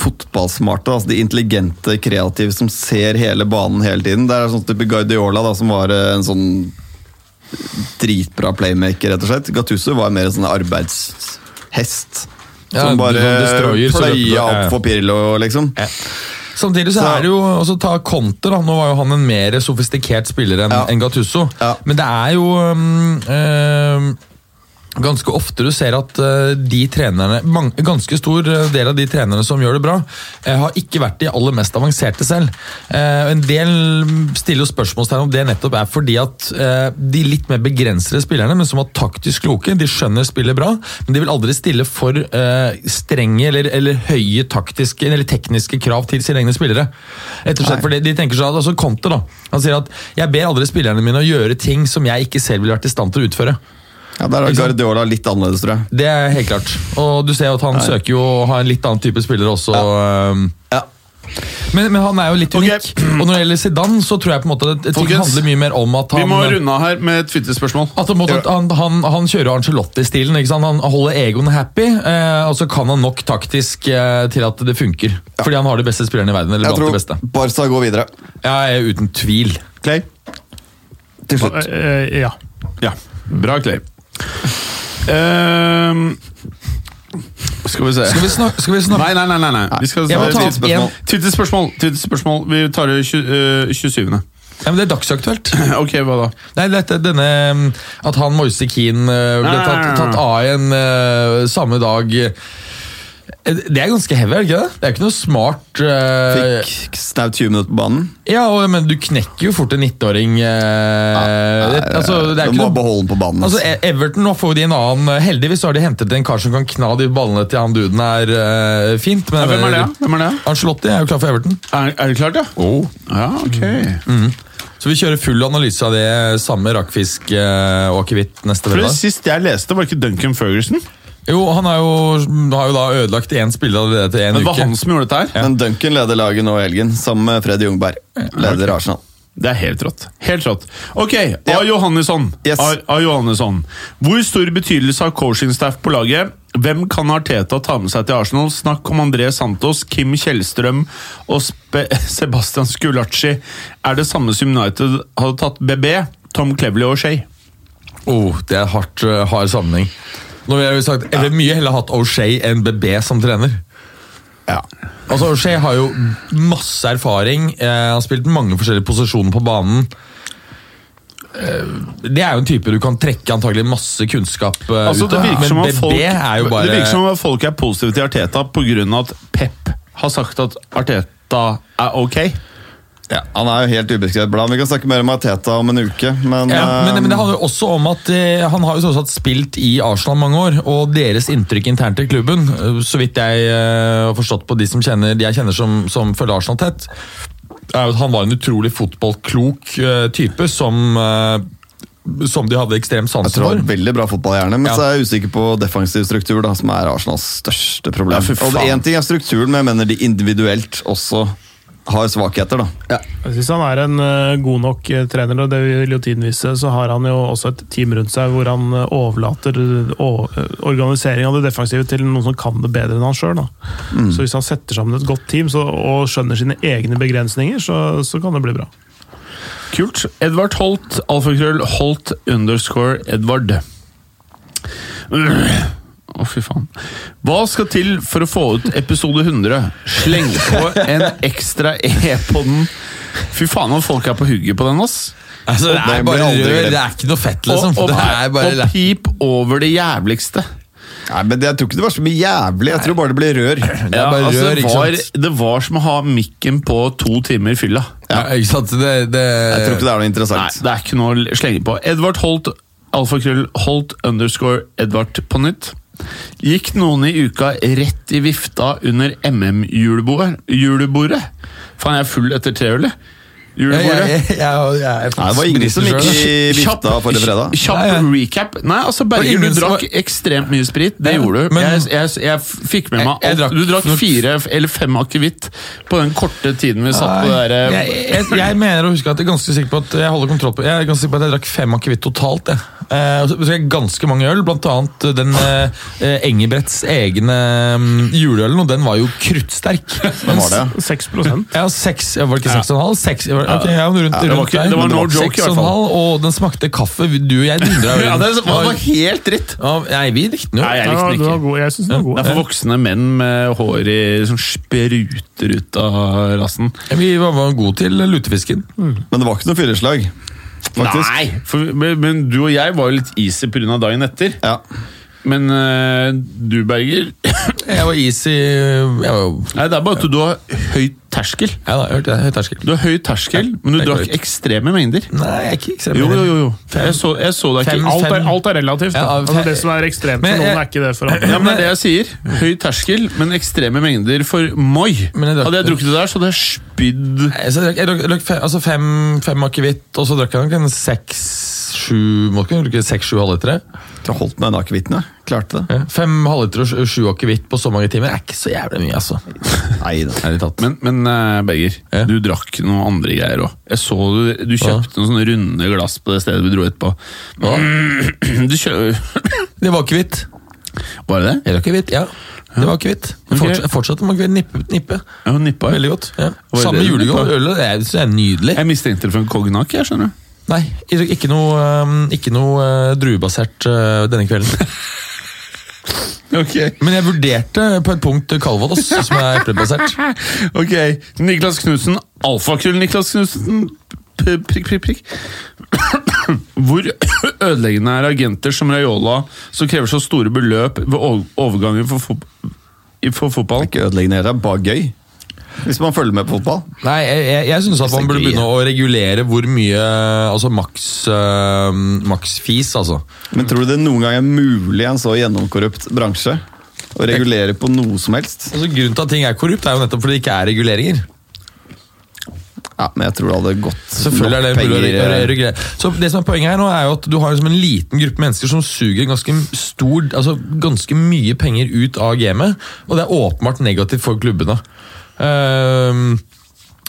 Speaker 1: fotballsmarte, altså de intelligente, kreative som ser hele banen hele tiden. Det er sånn type Guardiola da, som var øh, en sånn dritbra playmaker, rett og slett. Gattuso var mer en sånn arbeidshest.
Speaker 3: Ja,
Speaker 1: som bare
Speaker 3: sånn destroyer, så løper-
Speaker 1: pløya
Speaker 3: ja, ja.
Speaker 1: opp for Pirlo, liksom.
Speaker 3: Samtidig så
Speaker 1: Så-
Speaker 3: er det jo også ta Conte, da. Nå var jo han en mer sofistikert spiller enn
Speaker 1: Ja.
Speaker 3: enn Gattuso.
Speaker 1: Ja.
Speaker 3: Men det er jo ehm, øhm, øhm, Ganske ofte du ser at øh, de trenerne mang- ganske stor øh, del av de trenerne som gjør det bra, øh, har ikke vært de aller mest avanserte selv. Eh, og en del mm, stiller jo spørsmålstegn om det nettopp er fordi at eh, de litt mer begrensede spillerne, men som var taktisk kloke, de skjønner spillet bra, men de vil aldri stille for eh, strenge eller, eller høye taktiske eller tekniske krav til sine egne spillere. Rett og slett, for de, de tenker sånn at, altså Conte da, han sier at jeg ber aldri spillerne mine å gjøre ting som jeg ikke selv ville vært i stand til å utføre.
Speaker 1: Ja, der
Speaker 3: Ikke
Speaker 1: er
Speaker 3: sant?
Speaker 1: Guardiola litt annerledes, tror jeg.
Speaker 3: Det er helt klart. Og du ser jo at han søker jo å ha en litt annen type spillere også. øhm.
Speaker 1: Ja.
Speaker 3: Men, men han er jo litt unik. Og når det gjelder Zidane, så tror jeg på en måte at ting
Speaker 2: Folkens,
Speaker 3: handler mye mer om at
Speaker 2: Vi
Speaker 3: han
Speaker 2: må runde av her med et Twitter-spørsmål.
Speaker 3: at han, på en måte, at han, han, han kjører Angelotti-stilen. ikke sant? Han holder egoen happy, eh, og så kan han nok taktisk eh, til at det funker. Fordi han har de beste spillerne i verden. eller
Speaker 1: Jeg
Speaker 3: blant de
Speaker 1: tror
Speaker 3: beste.
Speaker 1: Barca går videre.
Speaker 3: Ja, eh, uten tvil.
Speaker 1: Clay? Til slutt.
Speaker 4: Eh, eh, ja.
Speaker 2: Ja, bra Clay. Ehm, Skal vi se.
Speaker 3: Skal vi snakke, skal vi snakke?
Speaker 2: Nei, nei, nei. nei, nei. Vi skal
Speaker 3: Jeg må ta opp
Speaker 2: tidsspørsmål.
Speaker 3: en-
Speaker 2: Tidsspørsmål. tidsspørsmål. Vi tar det tju- eh, 27.
Speaker 3: Nei, men Det er dagsaktuelt.
Speaker 2: Ok, hva da?
Speaker 3: Nei, dette, denne um, At han Moise Keane uh, ble
Speaker 2: Nei,
Speaker 3: tatt,
Speaker 2: nei, nei.
Speaker 3: tatt av igjen uh, samme dag Eh, Det er ganske heavy, er det ikke det? Det er ikke noe smart uh,
Speaker 1: Fikk snaut 20 minutter på banen.
Speaker 3: Ja, og, men du knekker jo fort en 19-åring. Uh, det, altså, det er
Speaker 1: Du
Speaker 3: ikke
Speaker 1: må
Speaker 3: noe
Speaker 1: beholde den på banen.
Speaker 3: Altså,
Speaker 1: ass.
Speaker 3: E- Everton, nå får de en annen eh, Heldigvis så har de hentet en kar som kan kna de ballene til han duden her eh, fint. Men,
Speaker 2: Hvem er det? da? Hvem er, det?
Speaker 3: Ancelotti er jo klar for Everton.
Speaker 2: da? Er, er det klart, ja? Oh. Ja, ok.
Speaker 1: Mm.
Speaker 3: Så vi kjører full analyse av det samme rakkfisk eh, og akevitt neste
Speaker 2: For det
Speaker 3: fredag.
Speaker 2: Sist jeg leste, var det ikke Duncan Ferguson?
Speaker 3: Jo, han er jo, har jo da ødelagt én spiller allerede til én
Speaker 2: Det var
Speaker 3: uke.
Speaker 2: han som gjorde dette her.
Speaker 1: Men Duncan leder laget nå i helgen, sammen med Freddy Jungberg. Leder Arsenal.
Speaker 2: Det er helt rått. Helt rått. Ok, A.
Speaker 1: Ja.
Speaker 2: Johannesson.
Speaker 1: Yes.
Speaker 2: A. A. Johannesson. Hvor stor betydelse har coaching-staff på laget? Hvem kan Arteta ta med seg til Arsenal? Snakk om André Santos, Kim Kjellstrøm og Spe [laughs] Sebastian Skulacci. Er det samme som United hadde tatt BB, Tom Cleverley og Shea?
Speaker 3: Oh, det er hardt, eh, hard sammenheng. Nå vil jeg jo sagt, Jeg vil mye heller hatt O'Shay enn BB som trener.
Speaker 1: Ja.
Speaker 3: Altså, O'Shay har jo masse erfaring. Eh, han har spilt mange forskjellige posisjoner på banen. Eh, det er jo en type du kan trekke antagelig masse kunnskap eh,
Speaker 2: Altså,
Speaker 3: ut
Speaker 2: det,
Speaker 3: av.
Speaker 2: virker som
Speaker 3: Men
Speaker 2: at folk,
Speaker 3: BB er jo
Speaker 2: det
Speaker 3: bare
Speaker 2: virker som at folk er positive til Arteta pga. at Pep har sagt at Arteta er ok.
Speaker 1: Ja, han er jo helt ubeskrevet blad. Vi kan snakke mer om Arteta om en uke, men,
Speaker 3: ja, men,
Speaker 1: eh,
Speaker 3: men det handler jo også om at eh, han har jo sånn sett spilt i Arsenal mange år, og deres inntrykk internt i klubben, eh, så vidt jeg eh, har forstått på de som kjenner, de jeg kjenner som, som følger Arsenal tett, er jo at han var en utrolig fotballklok eh, type som, eh, som de hadde ekstrem
Speaker 1: jeg
Speaker 3: sans
Speaker 1: tror han
Speaker 3: for.
Speaker 1: har veldig bra fotballhjerne, men
Speaker 3: Ja.
Speaker 1: så er jeg usikker på defensiv struktur, da, som er Arsenals største problem.
Speaker 2: Ja, fy
Speaker 1: og
Speaker 2: faen.
Speaker 1: Én ting er strukturen, men jeg mener de individuelt også har svakheter. da.
Speaker 4: Jeg synes han er en eh, god nok eh, trener, og det vil jo tiden vise. Så har han jo også et team rundt seg hvor han eh, overlater organiseringa av det defensive til noen som kan det bedre enn han sjøl. Så hvis han setter sammen et godt team så, og skjønner sine egne begrensninger, så, så kan det bli bra.
Speaker 2: Kult. Edvard Holt, alfakrøll, Holt underscore Edvard. Øh. Å, fy faen. Hva skal til for å få ut episode 100? Sleng på en ekstra E på den. Fy faen om folk er på hugget på den, ass.
Speaker 3: Altså, det
Speaker 1: Den
Speaker 3: er
Speaker 1: blir
Speaker 3: bare
Speaker 1: aldri
Speaker 3: rør,
Speaker 1: glemt.
Speaker 3: det er ikke noe fett,
Speaker 2: Og,
Speaker 3: liksom.
Speaker 2: og,
Speaker 3: det er bare
Speaker 2: og pip over det jævligste.
Speaker 1: Nei, men Jeg tror ikke det var så mye jævlig, jeg tror bare det ble rør.
Speaker 3: Det er
Speaker 2: Ja,
Speaker 3: bare
Speaker 2: altså,
Speaker 3: rør,
Speaker 2: det,
Speaker 3: ikke
Speaker 2: var,
Speaker 3: sant?
Speaker 2: det var som å ha mikken på to timer i fylla.
Speaker 3: Ja, ikke sant? Det, det,
Speaker 1: Jeg tror ikke det er noe
Speaker 2: Nei,
Speaker 1: interessant.
Speaker 2: det er ikke noe å slenge på. Edvard Holt, alfakrøll, Holt underscore Edvard på nytt. Gikk noen i uka rett i vifta under MM-julebordet? Faen, jeg er full etter treølet.
Speaker 3: jeg, jeg,
Speaker 2: Julebordet.
Speaker 3: jeg, jeg, jeg, er
Speaker 1: Nei, det var ingen som gikk i
Speaker 2: Kjapp-
Speaker 1: vifta forrige fredag.
Speaker 2: Kjapp
Speaker 3: Nei, ja.
Speaker 2: recap. Nei, altså Berger,
Speaker 3: ingen
Speaker 2: du
Speaker 3: som
Speaker 2: drakk
Speaker 3: var-
Speaker 2: ekstremt mye sprit. Det
Speaker 3: Ja,
Speaker 2: gjorde du.
Speaker 3: men-
Speaker 2: Jeg, jeg, jeg f- fikk med meg
Speaker 3: Jeg- jeg
Speaker 2: alt.
Speaker 3: drakk
Speaker 2: Du drakk
Speaker 3: nok-
Speaker 2: fire f- eller fem akevitt på den korte tiden vi satt på
Speaker 3: Nei,
Speaker 2: det eh, derre
Speaker 3: jeg, jeg, jeg mener å huske at jeg er ganske sikker på at jeg holder kontroll på Jeg er ganske sikker på at jeg drakk fem akevitt totalt. Jeg. Eh, og så drakk jeg ganske mange øl, blant annet den eh, eh, Engebretts egne mm, juleølen, og den var jo kruttsterk.
Speaker 1: Hvem var det?
Speaker 4: 6
Speaker 3: Ja, seks, ja, var det ikke seks og en halv? Seks, ja, ok, ja, rundt, rundt
Speaker 2: det var ikke-
Speaker 3: der.
Speaker 2: det var no joke i
Speaker 3: Seks og
Speaker 2: hvert
Speaker 3: en
Speaker 2: fall.
Speaker 3: halv, og den smakte kaffe. Du og jeg dundra
Speaker 2: [laughs] Ja, det
Speaker 3: ølen.
Speaker 2: var helt dritt!
Speaker 3: Ja, nei, vi likte den jo.
Speaker 2: Nei, [laughs] jeg
Speaker 4: Ja,
Speaker 2: likte den
Speaker 4: du
Speaker 2: ikke.
Speaker 4: var god. Jeg syns den var
Speaker 2: Det
Speaker 4: god.
Speaker 2: er for voksne menn med hår i, som spruter ut av rassen.
Speaker 3: Vi var, var gode til lutefisken.
Speaker 1: Men det var ikke noe fylleslag, faktisk.
Speaker 2: Nei! For, men, men du og jeg var jo litt easy pga. dagen etter.
Speaker 1: Ja.
Speaker 2: Men eh,
Speaker 1: [laughs]
Speaker 2: du, Berger
Speaker 3: Jeg var is i Jeg var jo
Speaker 2: Nei, det er bare at du har høy terskel.
Speaker 3: Ja da, hørte jeg. Høy terskel.
Speaker 2: Du har høy terskel, men du
Speaker 3: det er
Speaker 2: drakk
Speaker 3: korrekt.
Speaker 2: ekstreme mengder.
Speaker 3: Nei, jeg er ikke ekstremt
Speaker 2: Jo, jo, jo. jo. Jeg så, jeg så deg
Speaker 3: Fem-
Speaker 2: ikke.
Speaker 4: Alt er, alt er relativt.
Speaker 3: Ja,
Speaker 4: Da.
Speaker 3: av-
Speaker 4: Altså, det som er ekstremt
Speaker 3: Men jeg-
Speaker 4: for
Speaker 2: eh,
Speaker 4: noen, er ikke det for
Speaker 2: Ja,
Speaker 4: andre.
Speaker 2: men det er det jeg sier. Høy terskel, men ekstreme mengder for moi.
Speaker 3: Men jeg drakk
Speaker 2: Hadde jeg
Speaker 3: det.
Speaker 2: drukket det der, så hadde jeg spydd
Speaker 3: Jeg, Eh, så drakk, jeg drakk, drakk fem, altså fem, fem akevitt, og så drakk jeg nok en seks, sju Må ikke drikke seks, sju halvlitere.
Speaker 1: Jeg holdt meg unna akevitten, jeg. Klarte det.
Speaker 3: Ja. Fem halvlitere og sju- sju akevitt på så mange timer er ikke så jævlig mye, altså.
Speaker 1: Nei, da.
Speaker 3: Ærlig talt.
Speaker 2: Men, men eh, Berger,
Speaker 3: Ja.
Speaker 2: du drakk noen andre greier òg. Jeg så du, du kjøpte noen sånne runde glass på det stedet vi dro etterpå.
Speaker 3: Hva?
Speaker 2: [clears throat] Du kjø...
Speaker 3: Det var akevitt.
Speaker 2: Var det det?
Speaker 3: Er det akevitt? Ja. Det var akevitt. Jeg forts- jeg fortsatte med akevitt. Nippe. nippe.
Speaker 2: Ja, hun nippa.
Speaker 3: Veldig godt. Ja.
Speaker 2: Var det
Speaker 3: Samme
Speaker 2: det du
Speaker 3: julegård.
Speaker 2: nippet?
Speaker 3: Ølet er, det er nydelig.
Speaker 2: Jeg mistenkte det for en cognac, jeg, skjønner du.
Speaker 3: Nei, um, eh,
Speaker 2: [laughs]
Speaker 3: ikke noe, øhm, ikke noe øh, druebasert øh, denne kvelden.
Speaker 2: Ok.
Speaker 3: eh, Men jeg vurderte på et punkt Calvados, som er eplebasert.
Speaker 2: [laughs] Ok, Niklas Knudsen, alfakrøll Niklas Knudsen, p- prikk, prikk, prikk. Hvor ødeleggende er agenter som Raiola, som krever så store beløp ved o- overgangen for, fot i- for fotball?
Speaker 1: Ikke ødeleggende, det er bare gøy. Hvis man følger med på fotball.
Speaker 3: Nei, jeg, jeg, jeg synes at man burde begynne å regulere hvor mye Altså maks øh, maks fis, altså.
Speaker 1: Men tror du det noen gang er mulig i en så gjennomkorrupt bransje å regulere på noe som helst?
Speaker 3: altså. Grunnen til at ting er korrupt, er jo nettopp fordi det ikke er reguleringer.
Speaker 1: Ja, men jeg tror det hadde gått
Speaker 3: Selvfølgelig er det
Speaker 1: nok
Speaker 3: mulig å
Speaker 1: penger,
Speaker 3: re- regulere. Så det som er Poenget her nå er jo at du har liksom en liten gruppe mennesker som suger ganske, stor, altså ganske mye penger ut av gamet, og det er åpenbart negativt for klubbene. Ehm,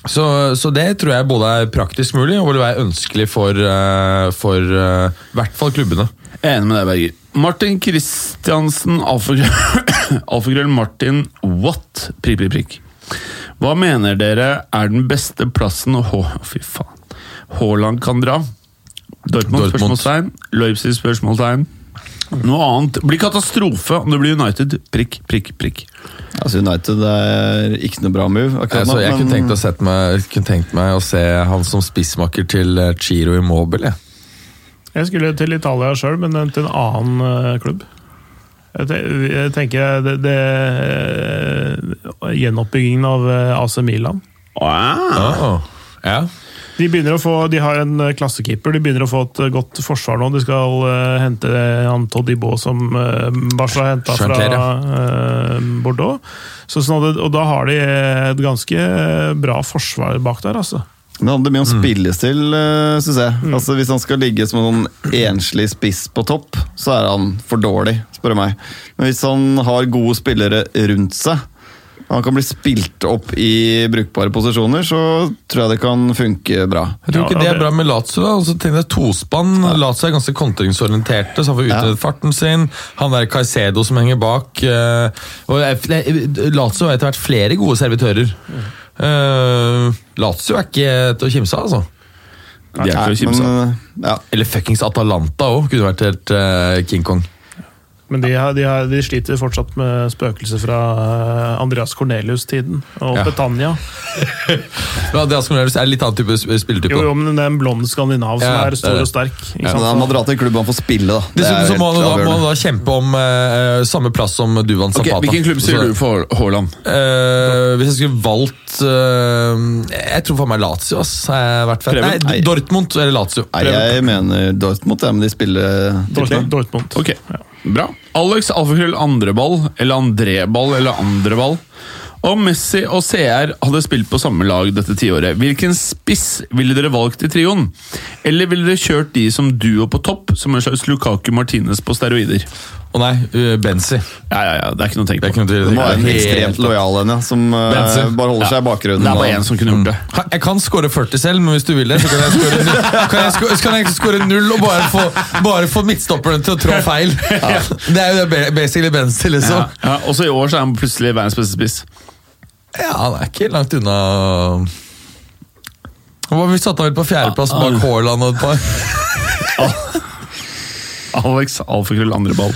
Speaker 3: så, så det tror jeg både er praktisk mulig og vil være ønskelig for, eh, for eh, i hvert fall klubbene.
Speaker 2: Jeg er enig med deg, Berger. Martin Kristiansen, [coughs] alfakrøll alfakrøll Martin What? Prikk, prikk, prikk. Hva mener dere er den beste plassen å Å, fy faen. Haaland kan dra?
Speaker 3: Dortmund.
Speaker 2: Dortmund, spørsmålstegn. Leipzig, spørsmålstegn. Noe annet blir katastrofe om det blir United. Prikk, prikk, prikk.
Speaker 1: eh, Altså United er ikke noe bra move akkurat
Speaker 3: Altså,
Speaker 1: nå.
Speaker 3: jeg kunne
Speaker 1: men-
Speaker 3: tenkt, å sette meg, kunne tenkt meg å se han som spissmaker til eh, Ciro Immobile. jeg.
Speaker 4: Jeg skulle til Italia sjøl, men til en annen eh, klubb. Jeg te- jeg tenker det, det eh, Gjenoppbyggingen av eh, AC Milan.
Speaker 3: Ah. Ja.
Speaker 4: De, begynner å få, de har en eh, klassekeeper, de begynner å få et eh, godt forsvar nå. De skal eh, hente han Todibo som uh, Barca henta fra
Speaker 3: Chanter,
Speaker 4: eh, Bordeaux. Så sånn at, det- og da har de et ganske eh, bra forsvar bak der, altså.
Speaker 1: Men det handler mye om spillestil, eh, synes jeg. Altså Hvis han skal ligge som en sånn enslig spiss på topp, så er han for dårlig, spør du meg. Men hvis han har gode spillere rundt seg, og han kan bli spilt opp i brukbare posisjoner, så tror jeg det kan funke bra.
Speaker 3: Jeg tror ikke
Speaker 4: Ja,
Speaker 3: det er
Speaker 4: det-
Speaker 3: bra med Lazio. da, og så tenker jeg tospann. Lazio er ganske kontringsorienterte, så han får utnyttet farten sin. Han der Caicedo som henger bak. eh, og jeg- jeg- Lazio har etter hvert flere gode servitører. Eh, Lazio er ikke til å kimse av, altså.
Speaker 2: De er ikke å kimse av.
Speaker 1: men, eh, ja.
Speaker 3: Eller fuckings Atalanta òg, kunne vært helt eh, King Kong.
Speaker 4: Men de, har, de, har, de sliter fortsatt med spøkelser fra eh, Andreas Cornelius-tiden og
Speaker 3: Ja.
Speaker 4: Betania.
Speaker 3: Ja, det er Aston Villa, så er det litt annen type sp- spilletype.
Speaker 4: Jo,
Speaker 3: da.
Speaker 4: jo, men det er en blond skandinav som
Speaker 3: Ja,
Speaker 4: er
Speaker 3: det er
Speaker 4: stor
Speaker 3: det.
Speaker 4: og sterk. Ikke
Speaker 1: Men han må
Speaker 4: sant?
Speaker 1: dra til en klubb han får spille, da. Det er
Speaker 3: Dessuten
Speaker 1: jo
Speaker 3: så må han,
Speaker 1: helt
Speaker 3: jo da, må han
Speaker 1: avgjørende.
Speaker 3: da kjempe om eh, samme plass som Duvan
Speaker 2: Ok,
Speaker 3: Zapata.
Speaker 2: hvilken klubb sier
Speaker 3: Så-
Speaker 2: du for Haaland?
Speaker 3: Eh, hvis jeg skulle valgt eh, Jeg tror for meg Lazio. Ass. Jeg har vært fan.
Speaker 2: Preben?
Speaker 3: Nei,
Speaker 1: Nei.
Speaker 3: Dortmund eller Lazio.
Speaker 1: Nei, jeg mener Dortmund, jeg, men de spiller
Speaker 4: Dort- Dortmund.
Speaker 2: Ok, bra. Alex Alfakrøll andreball, eller andreball, eller andreball. Om Messi og CR hadde spilt på samme lag dette tiåret, hvilken spiss ville dere valgt i trioen? Eller ville dere kjørt de som duo på topp, som en slags Lukaku Martinez på steroider?
Speaker 3: Å nei, eh, Benzi.
Speaker 2: Ja, ja, ja, det er ikke noe å
Speaker 3: Det er ikke
Speaker 2: tenke på.
Speaker 3: noe til-
Speaker 1: Det må være en
Speaker 3: Helt-
Speaker 1: ekstremt lojal en, ja, som eh,
Speaker 3: Benson.
Speaker 1: bare holder seg i bakgrunnen.
Speaker 2: Det er bare
Speaker 1: og-
Speaker 2: én som kunne gjort det.
Speaker 1: Mm.
Speaker 3: Ha, Jeg kan score 40 selv, men hvis du vil det, så kan jeg score null, kan jeg score, så kan jeg score null og bare få, bare få midtstopperne til å trå feil. Det er jo det be- basically Benzi,
Speaker 2: Ja,
Speaker 3: liksom.
Speaker 2: ja, også i år så er han plutselig verdens beste spiss.
Speaker 3: Ja, han er ikke langt unna Hva om vi satte han vel
Speaker 1: Ah,
Speaker 3: på fjerdeplass bak Haaland og et par?
Speaker 2: Alex Alfakrøll andreball.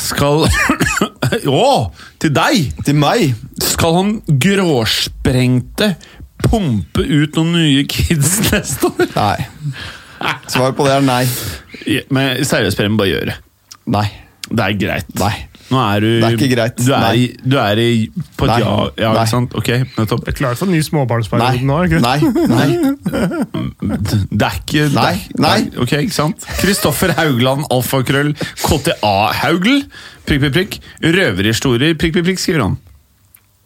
Speaker 2: Skal [coughs] Å! Til deg!
Speaker 1: Til meg!
Speaker 2: Skal han gråsprengte pumpe ut noen nye kids [laughs] neste år?
Speaker 1: Nei. Svaret på det er nei.
Speaker 2: Ja, Men seriøst, Preben, bare gjør det.
Speaker 1: Nei.
Speaker 2: Det er greit.
Speaker 1: Nei.
Speaker 2: Nå er du,
Speaker 1: Det er ikke greit.
Speaker 2: Du er,
Speaker 1: Nei.
Speaker 2: i, du er i, på et
Speaker 1: Nei.
Speaker 2: ja, ja
Speaker 1: Nei.
Speaker 2: ikke sant? Ok, nettopp.
Speaker 4: Det er klart for den nye
Speaker 1: Nei.
Speaker 4: småbarnsperioden nå. er det
Speaker 1: Nei.
Speaker 4: ikke det?
Speaker 1: Nei.
Speaker 2: Det er ikke det-
Speaker 1: Nei. Nei.
Speaker 2: Ok, ikke sant? Kristoffer Haugland, alfakrøll, KTA Haugl, prikk, prikk, prikk. Røverhistorier, prikk, prikk, prikk, skriver han.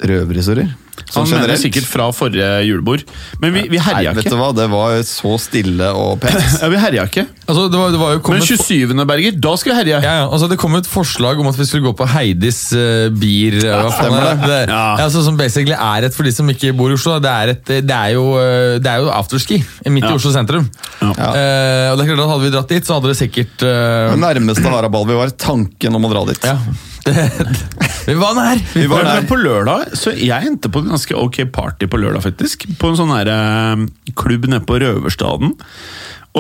Speaker 1: Røverhistorier.
Speaker 2: Han
Speaker 1: Sånn
Speaker 2: mener det
Speaker 1: generelt.
Speaker 2: sikkert fra forrige julebord. Men vi, vi
Speaker 1: Nei,
Speaker 2: herja
Speaker 1: vet du
Speaker 2: ikke.
Speaker 1: hva, det var så stille og pent.
Speaker 2: [laughs] Ja, vi herja ikke.
Speaker 3: Altså, det var, det var jo
Speaker 2: Men
Speaker 3: kommet
Speaker 2: 27. Berger, da skal vi herje.
Speaker 3: Ja, ja, altså Det kom et forslag om at vi skulle gå på Heidis eh, bier. eh, Hva faen er det? det ja.
Speaker 2: Ja.
Speaker 3: altså, som basically er et for de som ikke bor i Oslo. Det er, et, eh, det er jo, eh, det er jo afterski eh, midt i Oslo sentrum.
Speaker 2: Ja.
Speaker 3: Eh, og det er klart at Hadde vi dratt dit, så hadde det sikkert eh,
Speaker 1: Det nærmeste haraball vi var, tanken om å dra dit.
Speaker 3: ja. [laughs] Vi var nær!
Speaker 1: Vi var
Speaker 2: Men-
Speaker 3: [laughs]
Speaker 2: men
Speaker 1: der.
Speaker 2: På lørdag, så jeg endte på en ganske ok party på lørdag, faktisk. På en sånn her, eh, klubb nede på Røverstaden.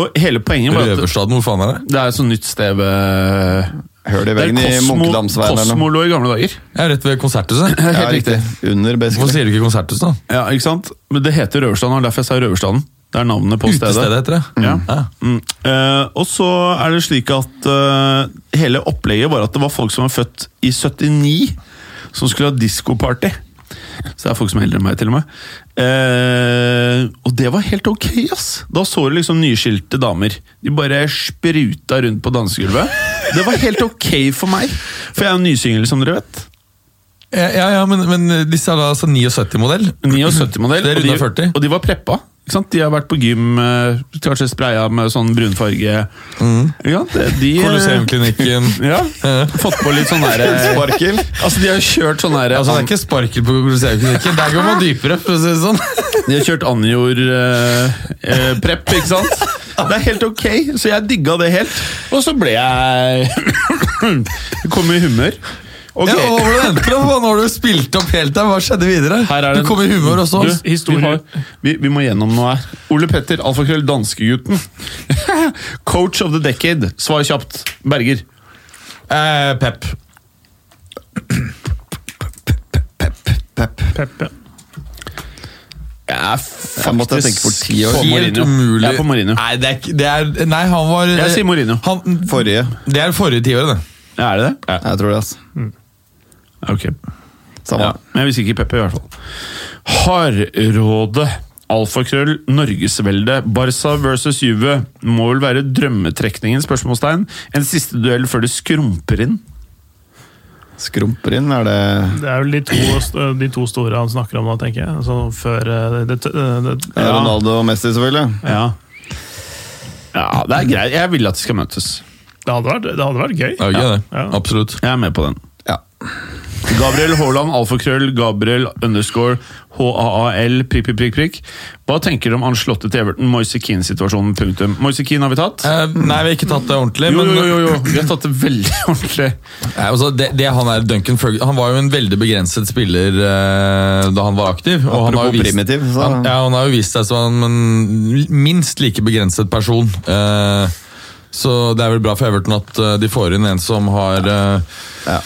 Speaker 2: Og hele poenget var at
Speaker 3: Røverstaden, hvor faen er det?
Speaker 2: det er et sånt nytt sted ved
Speaker 1: Høl i
Speaker 2: eh, Det
Speaker 1: veggen i
Speaker 2: er Kosmo,
Speaker 1: Munkedamsveien eller noe.
Speaker 2: Kosmolo i gamle dager.
Speaker 3: Jeg er rett ved konserthuset.
Speaker 1: Ja, riktig. Under,
Speaker 3: Hvorfor
Speaker 1: basically.
Speaker 3: sier du ikke konserthus, da?
Speaker 2: Ja, ikke sant? Men det heter Røverstaden, og derfor jeg sa Røverstaden. Det er navnet på stedet.
Speaker 3: Utestedet heter det.
Speaker 2: Ja.
Speaker 3: Ja.
Speaker 2: Mm. Eh, og så er det slik at eh, hele opplegget var at det var folk som var født i 79, som skulle ha diskoparty. Så det er folk som er eldre enn meg, til og med. Eh, og det var helt ok, ass! Da så du liksom nyskilte damer. De bare spruta rundt på dansegulvet. Det var helt ok for meg, for jeg er jo nysyngel, som dere vet.
Speaker 3: Ja, ja, ja men, men disse er da altså 79-modell.
Speaker 2: 79-modell.
Speaker 3: Det er
Speaker 2: og de-
Speaker 3: runda 40.
Speaker 2: Og de var preppa. Ikke sant? De har vært på gym, eh, kanskje spraya med sånn brunfarge. Ikke sant? De- De, eh,
Speaker 3: Colosseumklinikken.
Speaker 2: [laughs] Ja. Fått på litt sånn derre
Speaker 1: Sparkel.
Speaker 2: Altså, de har kjørt sånn derre
Speaker 3: Altså, det er ikke sparkel på Colosseumklinikken. Der går man dypere, for å si det sånn.
Speaker 2: De har kjørt Anjor eh, eh, prep, ikke sant? Det er helt ok, så jeg digga det helt. Og så ble jeg [coughs] Kom i humør. Ok.
Speaker 3: Ja, og hvordan endte det? Nå har du spilt opp helt der. Hva skjedde videre?
Speaker 2: Her er det
Speaker 3: Du kom i humør også.
Speaker 2: Du,
Speaker 4: Historie.
Speaker 2: Vi, har, vi, vi må gjennom noe her. Ole Petter, alfakrøll, danskegutten. [laughs] Coach of the decade. Svar kjapt. Berger.
Speaker 3: Eh, pep.
Speaker 4: Peppe.
Speaker 2: Jeg er
Speaker 1: Jeg måtte tenke for ti år.
Speaker 2: på
Speaker 3: Helt
Speaker 2: Mourinho.
Speaker 3: umulig.
Speaker 2: Jeg er på Mourinho.
Speaker 3: Nei, det er, ikke- det er, nei han var
Speaker 2: Jeg sier Mourinho.
Speaker 3: Han,
Speaker 1: Forrige.
Speaker 3: det er forrige tiåret, det.
Speaker 2: Er det det?
Speaker 1: Jeg tror det, altså.
Speaker 2: Ok. Ja.
Speaker 1: Samme.
Speaker 2: Men jeg visste ikke Peppe, i hvert fall. Hardråde. Alfakrøll, Norgesvelde, Barca versus Juve. Må vel være drømmetrekningen? spørsmålstegn. En siste duell før det skrumper inn.
Speaker 1: Skrumper inn, er det
Speaker 4: Det er vel de to, st- de to store han snakker om nå, tenker jeg. Altså, før eh, det, det, det,
Speaker 1: ja.
Speaker 2: Ja.
Speaker 1: Ronaldo og Messi, selvfølgelig.
Speaker 2: Ja. ja, det er greit. Jeg vil at de skal møtes.
Speaker 4: det, hadde vært, det hadde vært gøy.
Speaker 3: Det er jo gøy, det.
Speaker 4: Ja.
Speaker 3: Absolutt.
Speaker 2: Jeg er med på den.
Speaker 1: Ja.
Speaker 2: Gabriel Haaland, alfakrøll, Gabriel underscore HAAL, prikk, prikk, prikk. prikk. Hva tenker du om Anslottet til Everton, Moise Keane-situasjonen, punktum. Moise Keane har vi tatt?
Speaker 3: Eh, nei, vi har ikke tatt det ordentlig.
Speaker 2: Jo,
Speaker 3: men,
Speaker 2: jo, jo, jo. Vi har tatt det veldig [laughs] ordentlig.
Speaker 3: Nei, altså, det, det han er Duncan Ferg Han var jo en veldig begrenset spiller eh, da han var aktiv. Og han har jo
Speaker 1: Apropos
Speaker 3: vist,
Speaker 1: primitiv, så
Speaker 3: han, ja, han har jo vist seg som en en minst like begrenset person. Eh, så det er vel bra for Everton at eh, de får inn en som har eh,
Speaker 1: Ja.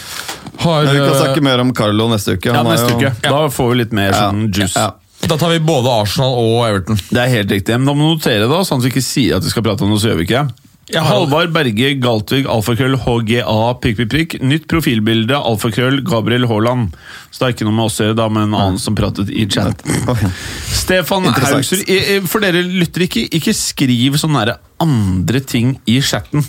Speaker 3: Har
Speaker 1: Men vi kan
Speaker 3: eh,
Speaker 1: snakke mer om Carlo neste uke.
Speaker 2: Ja,
Speaker 1: Han er
Speaker 2: neste
Speaker 1: jo-
Speaker 2: uke. Da får vi litt mer
Speaker 1: Ja.
Speaker 2: sånn juice.
Speaker 1: Ja.
Speaker 3: Da tar vi både Arsenal og Everton.
Speaker 2: Det er helt riktig. Men da må du notere, da, sånn at vi ikke sier at vi skal prate om noe, så gjør vi ikke det.
Speaker 3: Ja.
Speaker 2: Halvard Berge, Galtvig, alfakrøll, HGA, prikk, prikk, prikk. Nytt profilbilde, alfakrøll, Gabriel Haaland. Så det er ikke noe med oss å gjøre, da, men en annen som pratet i chat. [laughs] Stefan
Speaker 1: Interessant.
Speaker 2: Haugsrud, i- i- for dere lytter ikke, ikke skriv sånne der andre ting i chatten.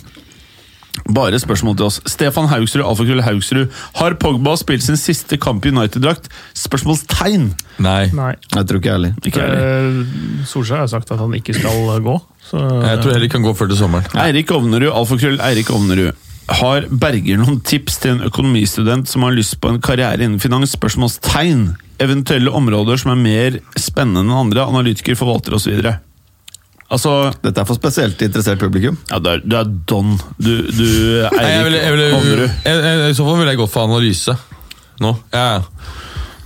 Speaker 2: Bare spørsmål til oss. Stefan Haugsrud, alfakrøll Haugsrud. Har Pogba spilt sin siste kamp i United-drakt? Spørsmålstegn!
Speaker 3: Nei.
Speaker 4: Nei.
Speaker 1: Jeg tror ikke jeg heller.
Speaker 2: Ikke jeg.
Speaker 4: Eh, Solskjær har sagt at han ikke skal eh, gå. Så,
Speaker 3: Jeg tror heller ikke han går før til sommeren.
Speaker 2: Eirik Ovnerud, alfakrøll Eirik Ovnerud. Har Berger noen tips til en økonomistudent som har lyst på en karriere innen finans? Spørsmålstegn. Eventuelle områder som er mer spennende enn andre. Analytiker, forvalter osv. Altså
Speaker 1: Dette er for spesielt interessert publikum.
Speaker 2: ja, Du er, du er don. Du, du
Speaker 3: Nei, jeg
Speaker 2: Eirik
Speaker 3: ville, jeg ville,
Speaker 2: Ovnerud.
Speaker 3: jeg, jeg, I så fall ville jeg gått for analyse. Nå. Ja, ja.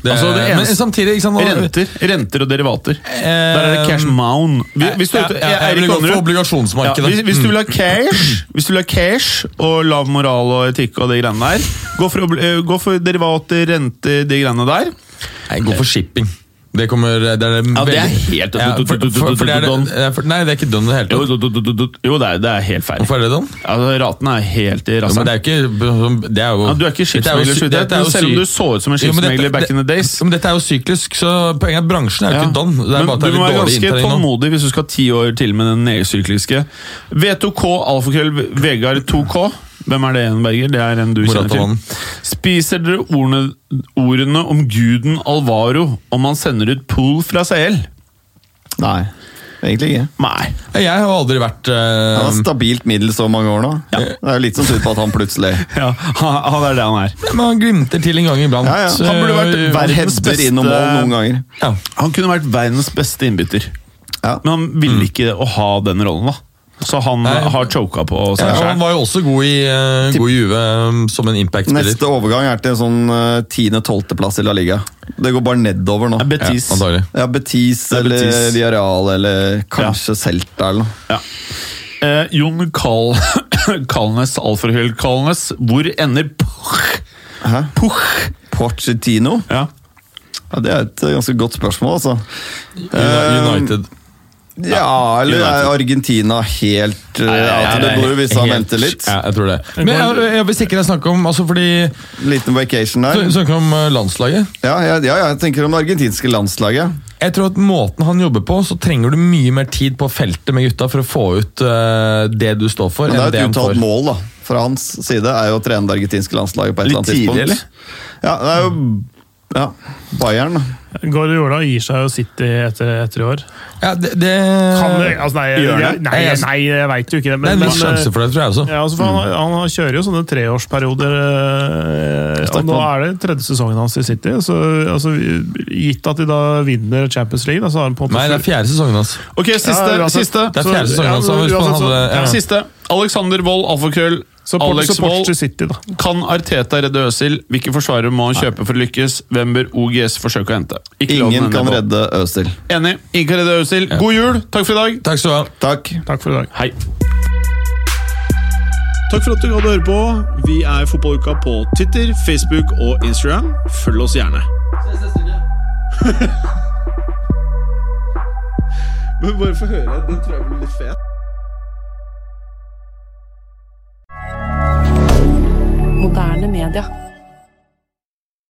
Speaker 3: Det,
Speaker 2: Altså, det
Speaker 3: men
Speaker 2: eneste-
Speaker 3: samtidig, ikke sant nå-
Speaker 2: Renter, renter og derivater. Der er det cash mound. Hvis, hvis du,
Speaker 3: Eh, Ja, ja, jeg
Speaker 2: Eirik
Speaker 3: ville gått for
Speaker 2: Ovnerud.
Speaker 3: obligasjonsmarkedet. Mm.
Speaker 2: hvis, hvis du vil ha cash Hvis du vil ha cash og lav moral og etikk og de greiene der, gå for, obli- eh, gå for derivater, renter, de greiene der.
Speaker 3: Nei, gå for shipping. Det kommer Det er
Speaker 2: Ja, det er
Speaker 3: veldig-
Speaker 2: helt-
Speaker 3: ja, for, for, for det er,
Speaker 2: Don.
Speaker 3: det er- for, Nei, det er ikke done i det hele
Speaker 2: Jo,
Speaker 3: tatt.
Speaker 2: jo, jo, jo, jo, jo det, er, det er helt feil.
Speaker 3: Hvorfor er det done?
Speaker 2: Altså, ratene er helt i
Speaker 3: Ja, men
Speaker 2: rassen.
Speaker 3: det er jo ikke Det er jo
Speaker 2: Ja, du er ikke
Speaker 3: Dette er jo
Speaker 2: skipsmegler,
Speaker 3: sy-
Speaker 2: så vidt jeg
Speaker 3: dette er
Speaker 2: vet,
Speaker 3: jo
Speaker 2: men selv om
Speaker 3: sy-
Speaker 2: du så ut som en
Speaker 3: Jo, men dette-
Speaker 2: skipsmegler back in the days.
Speaker 3: det- Men dette er jo syklisk, så poenget er bransjen er jo
Speaker 2: Ja.
Speaker 3: ikke done. Det er
Speaker 2: Men
Speaker 3: bare at det
Speaker 2: du
Speaker 3: er litt
Speaker 2: må
Speaker 3: dårlig
Speaker 2: være ganske
Speaker 3: inntrengning nå.
Speaker 2: tålmodig hvis du skal ti år til med den nedsykliske. V2K, alfakrøll, Vegard 2K. Hvem er det igjen, Berger? Det er en du kjenner til.
Speaker 3: Moratanen.
Speaker 2: Spiser dere ordene, ordene om guden Alvaro om han sender ut pool fra CL?
Speaker 1: Nei, egentlig ikke.
Speaker 2: Nei.
Speaker 3: Jeg har jo aldri vært eh,
Speaker 2: altså. Um,
Speaker 1: Han har stabilt middels så mange år nå. Det er jo litt som tyder på at han plutselig
Speaker 2: Ja, han, han er det han er.
Speaker 3: Men han glimter til en gang iblant.
Speaker 1: Ja, ja.
Speaker 2: Han burde vært
Speaker 3: Eh,
Speaker 2: verdens
Speaker 1: Hedder
Speaker 2: beste-
Speaker 1: innom mål noen ganger.
Speaker 3: ja.
Speaker 2: Han kunne vært verdens beste innbytter,
Speaker 1: Ja.
Speaker 2: men han ville ikke å ha den rollen, da. Så han
Speaker 3: Mm. Nei.
Speaker 2: har choka på
Speaker 3: Ja,
Speaker 2: seg
Speaker 3: og han
Speaker 2: sjøl.
Speaker 3: var jo også god i, eh, god i Juve eh, som en impact-spiller.
Speaker 1: Neste overgang er til en sånn tiende-tolvteplass i La Liga. Det går bare nedover nå.
Speaker 2: Betis.
Speaker 3: Ja, antagelig.
Speaker 1: Ja, Betis
Speaker 2: er
Speaker 1: eller
Speaker 2: Betis.
Speaker 1: Villarreal eller kanskje Celta eller noe.
Speaker 2: Eh, Jon Carl [coughs] Kalnes, alfahull Kalnes. Hvor ender Puch?
Speaker 1: Hæ?
Speaker 2: Puch?
Speaker 1: Pochettino?
Speaker 2: Ja.
Speaker 1: Ja, det er et eh, ganske godt spørsmål, altså.
Speaker 2: Eh,
Speaker 3: United.
Speaker 1: Ja, eller er Argentina helt eh, out of the blue hvis han
Speaker 3: Helt-
Speaker 1: venter litt?
Speaker 3: Ja, jeg tror det. Men jeg, jeg vil sikkert snakke om altså fordi,
Speaker 1: Liten vacation der.
Speaker 3: Snakke om eh, landslaget.
Speaker 1: Ja, ja, ja, jeg tenker om det argentinske landslaget.
Speaker 3: Jeg tror at måten han jobber på, så trenger du mye mer tid på feltet med gutta for å få ut eh, det du står for.
Speaker 1: Men det er jo
Speaker 3: enn
Speaker 1: et
Speaker 3: han får.
Speaker 1: uttalt mål da, fra hans side er jo å trene det argentinske landslaget på et
Speaker 2: Litt
Speaker 1: eller annet tidspunkt.
Speaker 2: tidlig, eller?
Speaker 1: Ja, det er jo ja, Bayern. da.
Speaker 4: Guardiola gir seg jo City etter, etter i år.
Speaker 3: Ja, det, det, Eh,
Speaker 4: Kan det, altså nei, jeg,
Speaker 2: Gjør det?
Speaker 4: nei,
Speaker 3: Jeg-
Speaker 4: nei, jeg veit jo ikke
Speaker 3: det
Speaker 4: det.
Speaker 3: er
Speaker 4: Men, eh,
Speaker 3: en viss sjanse
Speaker 4: men,
Speaker 3: for det, tror jeg også.
Speaker 4: ja, altså, for han, han kjører jo sånne treårsperioder. eh,
Speaker 1: Sterk
Speaker 4: Og nå
Speaker 1: mann.
Speaker 4: er det tredje sesongen hans i City. Så, altså, gitt at de da vinner Champions League, da, så har han på en
Speaker 3: Nei, det er
Speaker 4: måte
Speaker 3: fjerde sesongen hans.
Speaker 2: Ok, siste.
Speaker 4: Ja, uansett.
Speaker 2: siste.
Speaker 3: Det er
Speaker 4: Så-
Speaker 3: fjerde sesongen hans.
Speaker 4: ja,
Speaker 3: så hvis man
Speaker 4: uansett, så-
Speaker 3: hadde- ja.
Speaker 2: siste. Alexander Wold, alfakrøll.
Speaker 4: så Port-
Speaker 2: Alex
Speaker 4: support
Speaker 2: Wold.
Speaker 4: til City, da.
Speaker 2: Kan Arteta redde Øsil? Hvilke forsvarere må han kjøpe for å lykkes? Hvem bør OGS forsøke å hente? Ikke lov å
Speaker 1: Ingen
Speaker 2: nevne
Speaker 1: kan
Speaker 2: Wold.
Speaker 1: redde Øzil.
Speaker 2: Enig. Ingen kan redde Øsil. God jul! Takk for i dag!
Speaker 3: Takk skal du ha.
Speaker 1: Takk.
Speaker 4: Takk for i dag.
Speaker 2: Hei. Takk for at du gadd å høre på.
Speaker 5: Vi er Fotballuka på Twitter, Facebook og Instagram. Følg oss gjerne.
Speaker 2: Men bare få høre. Den tror jeg blir litt fet.
Speaker 6: Moderne media.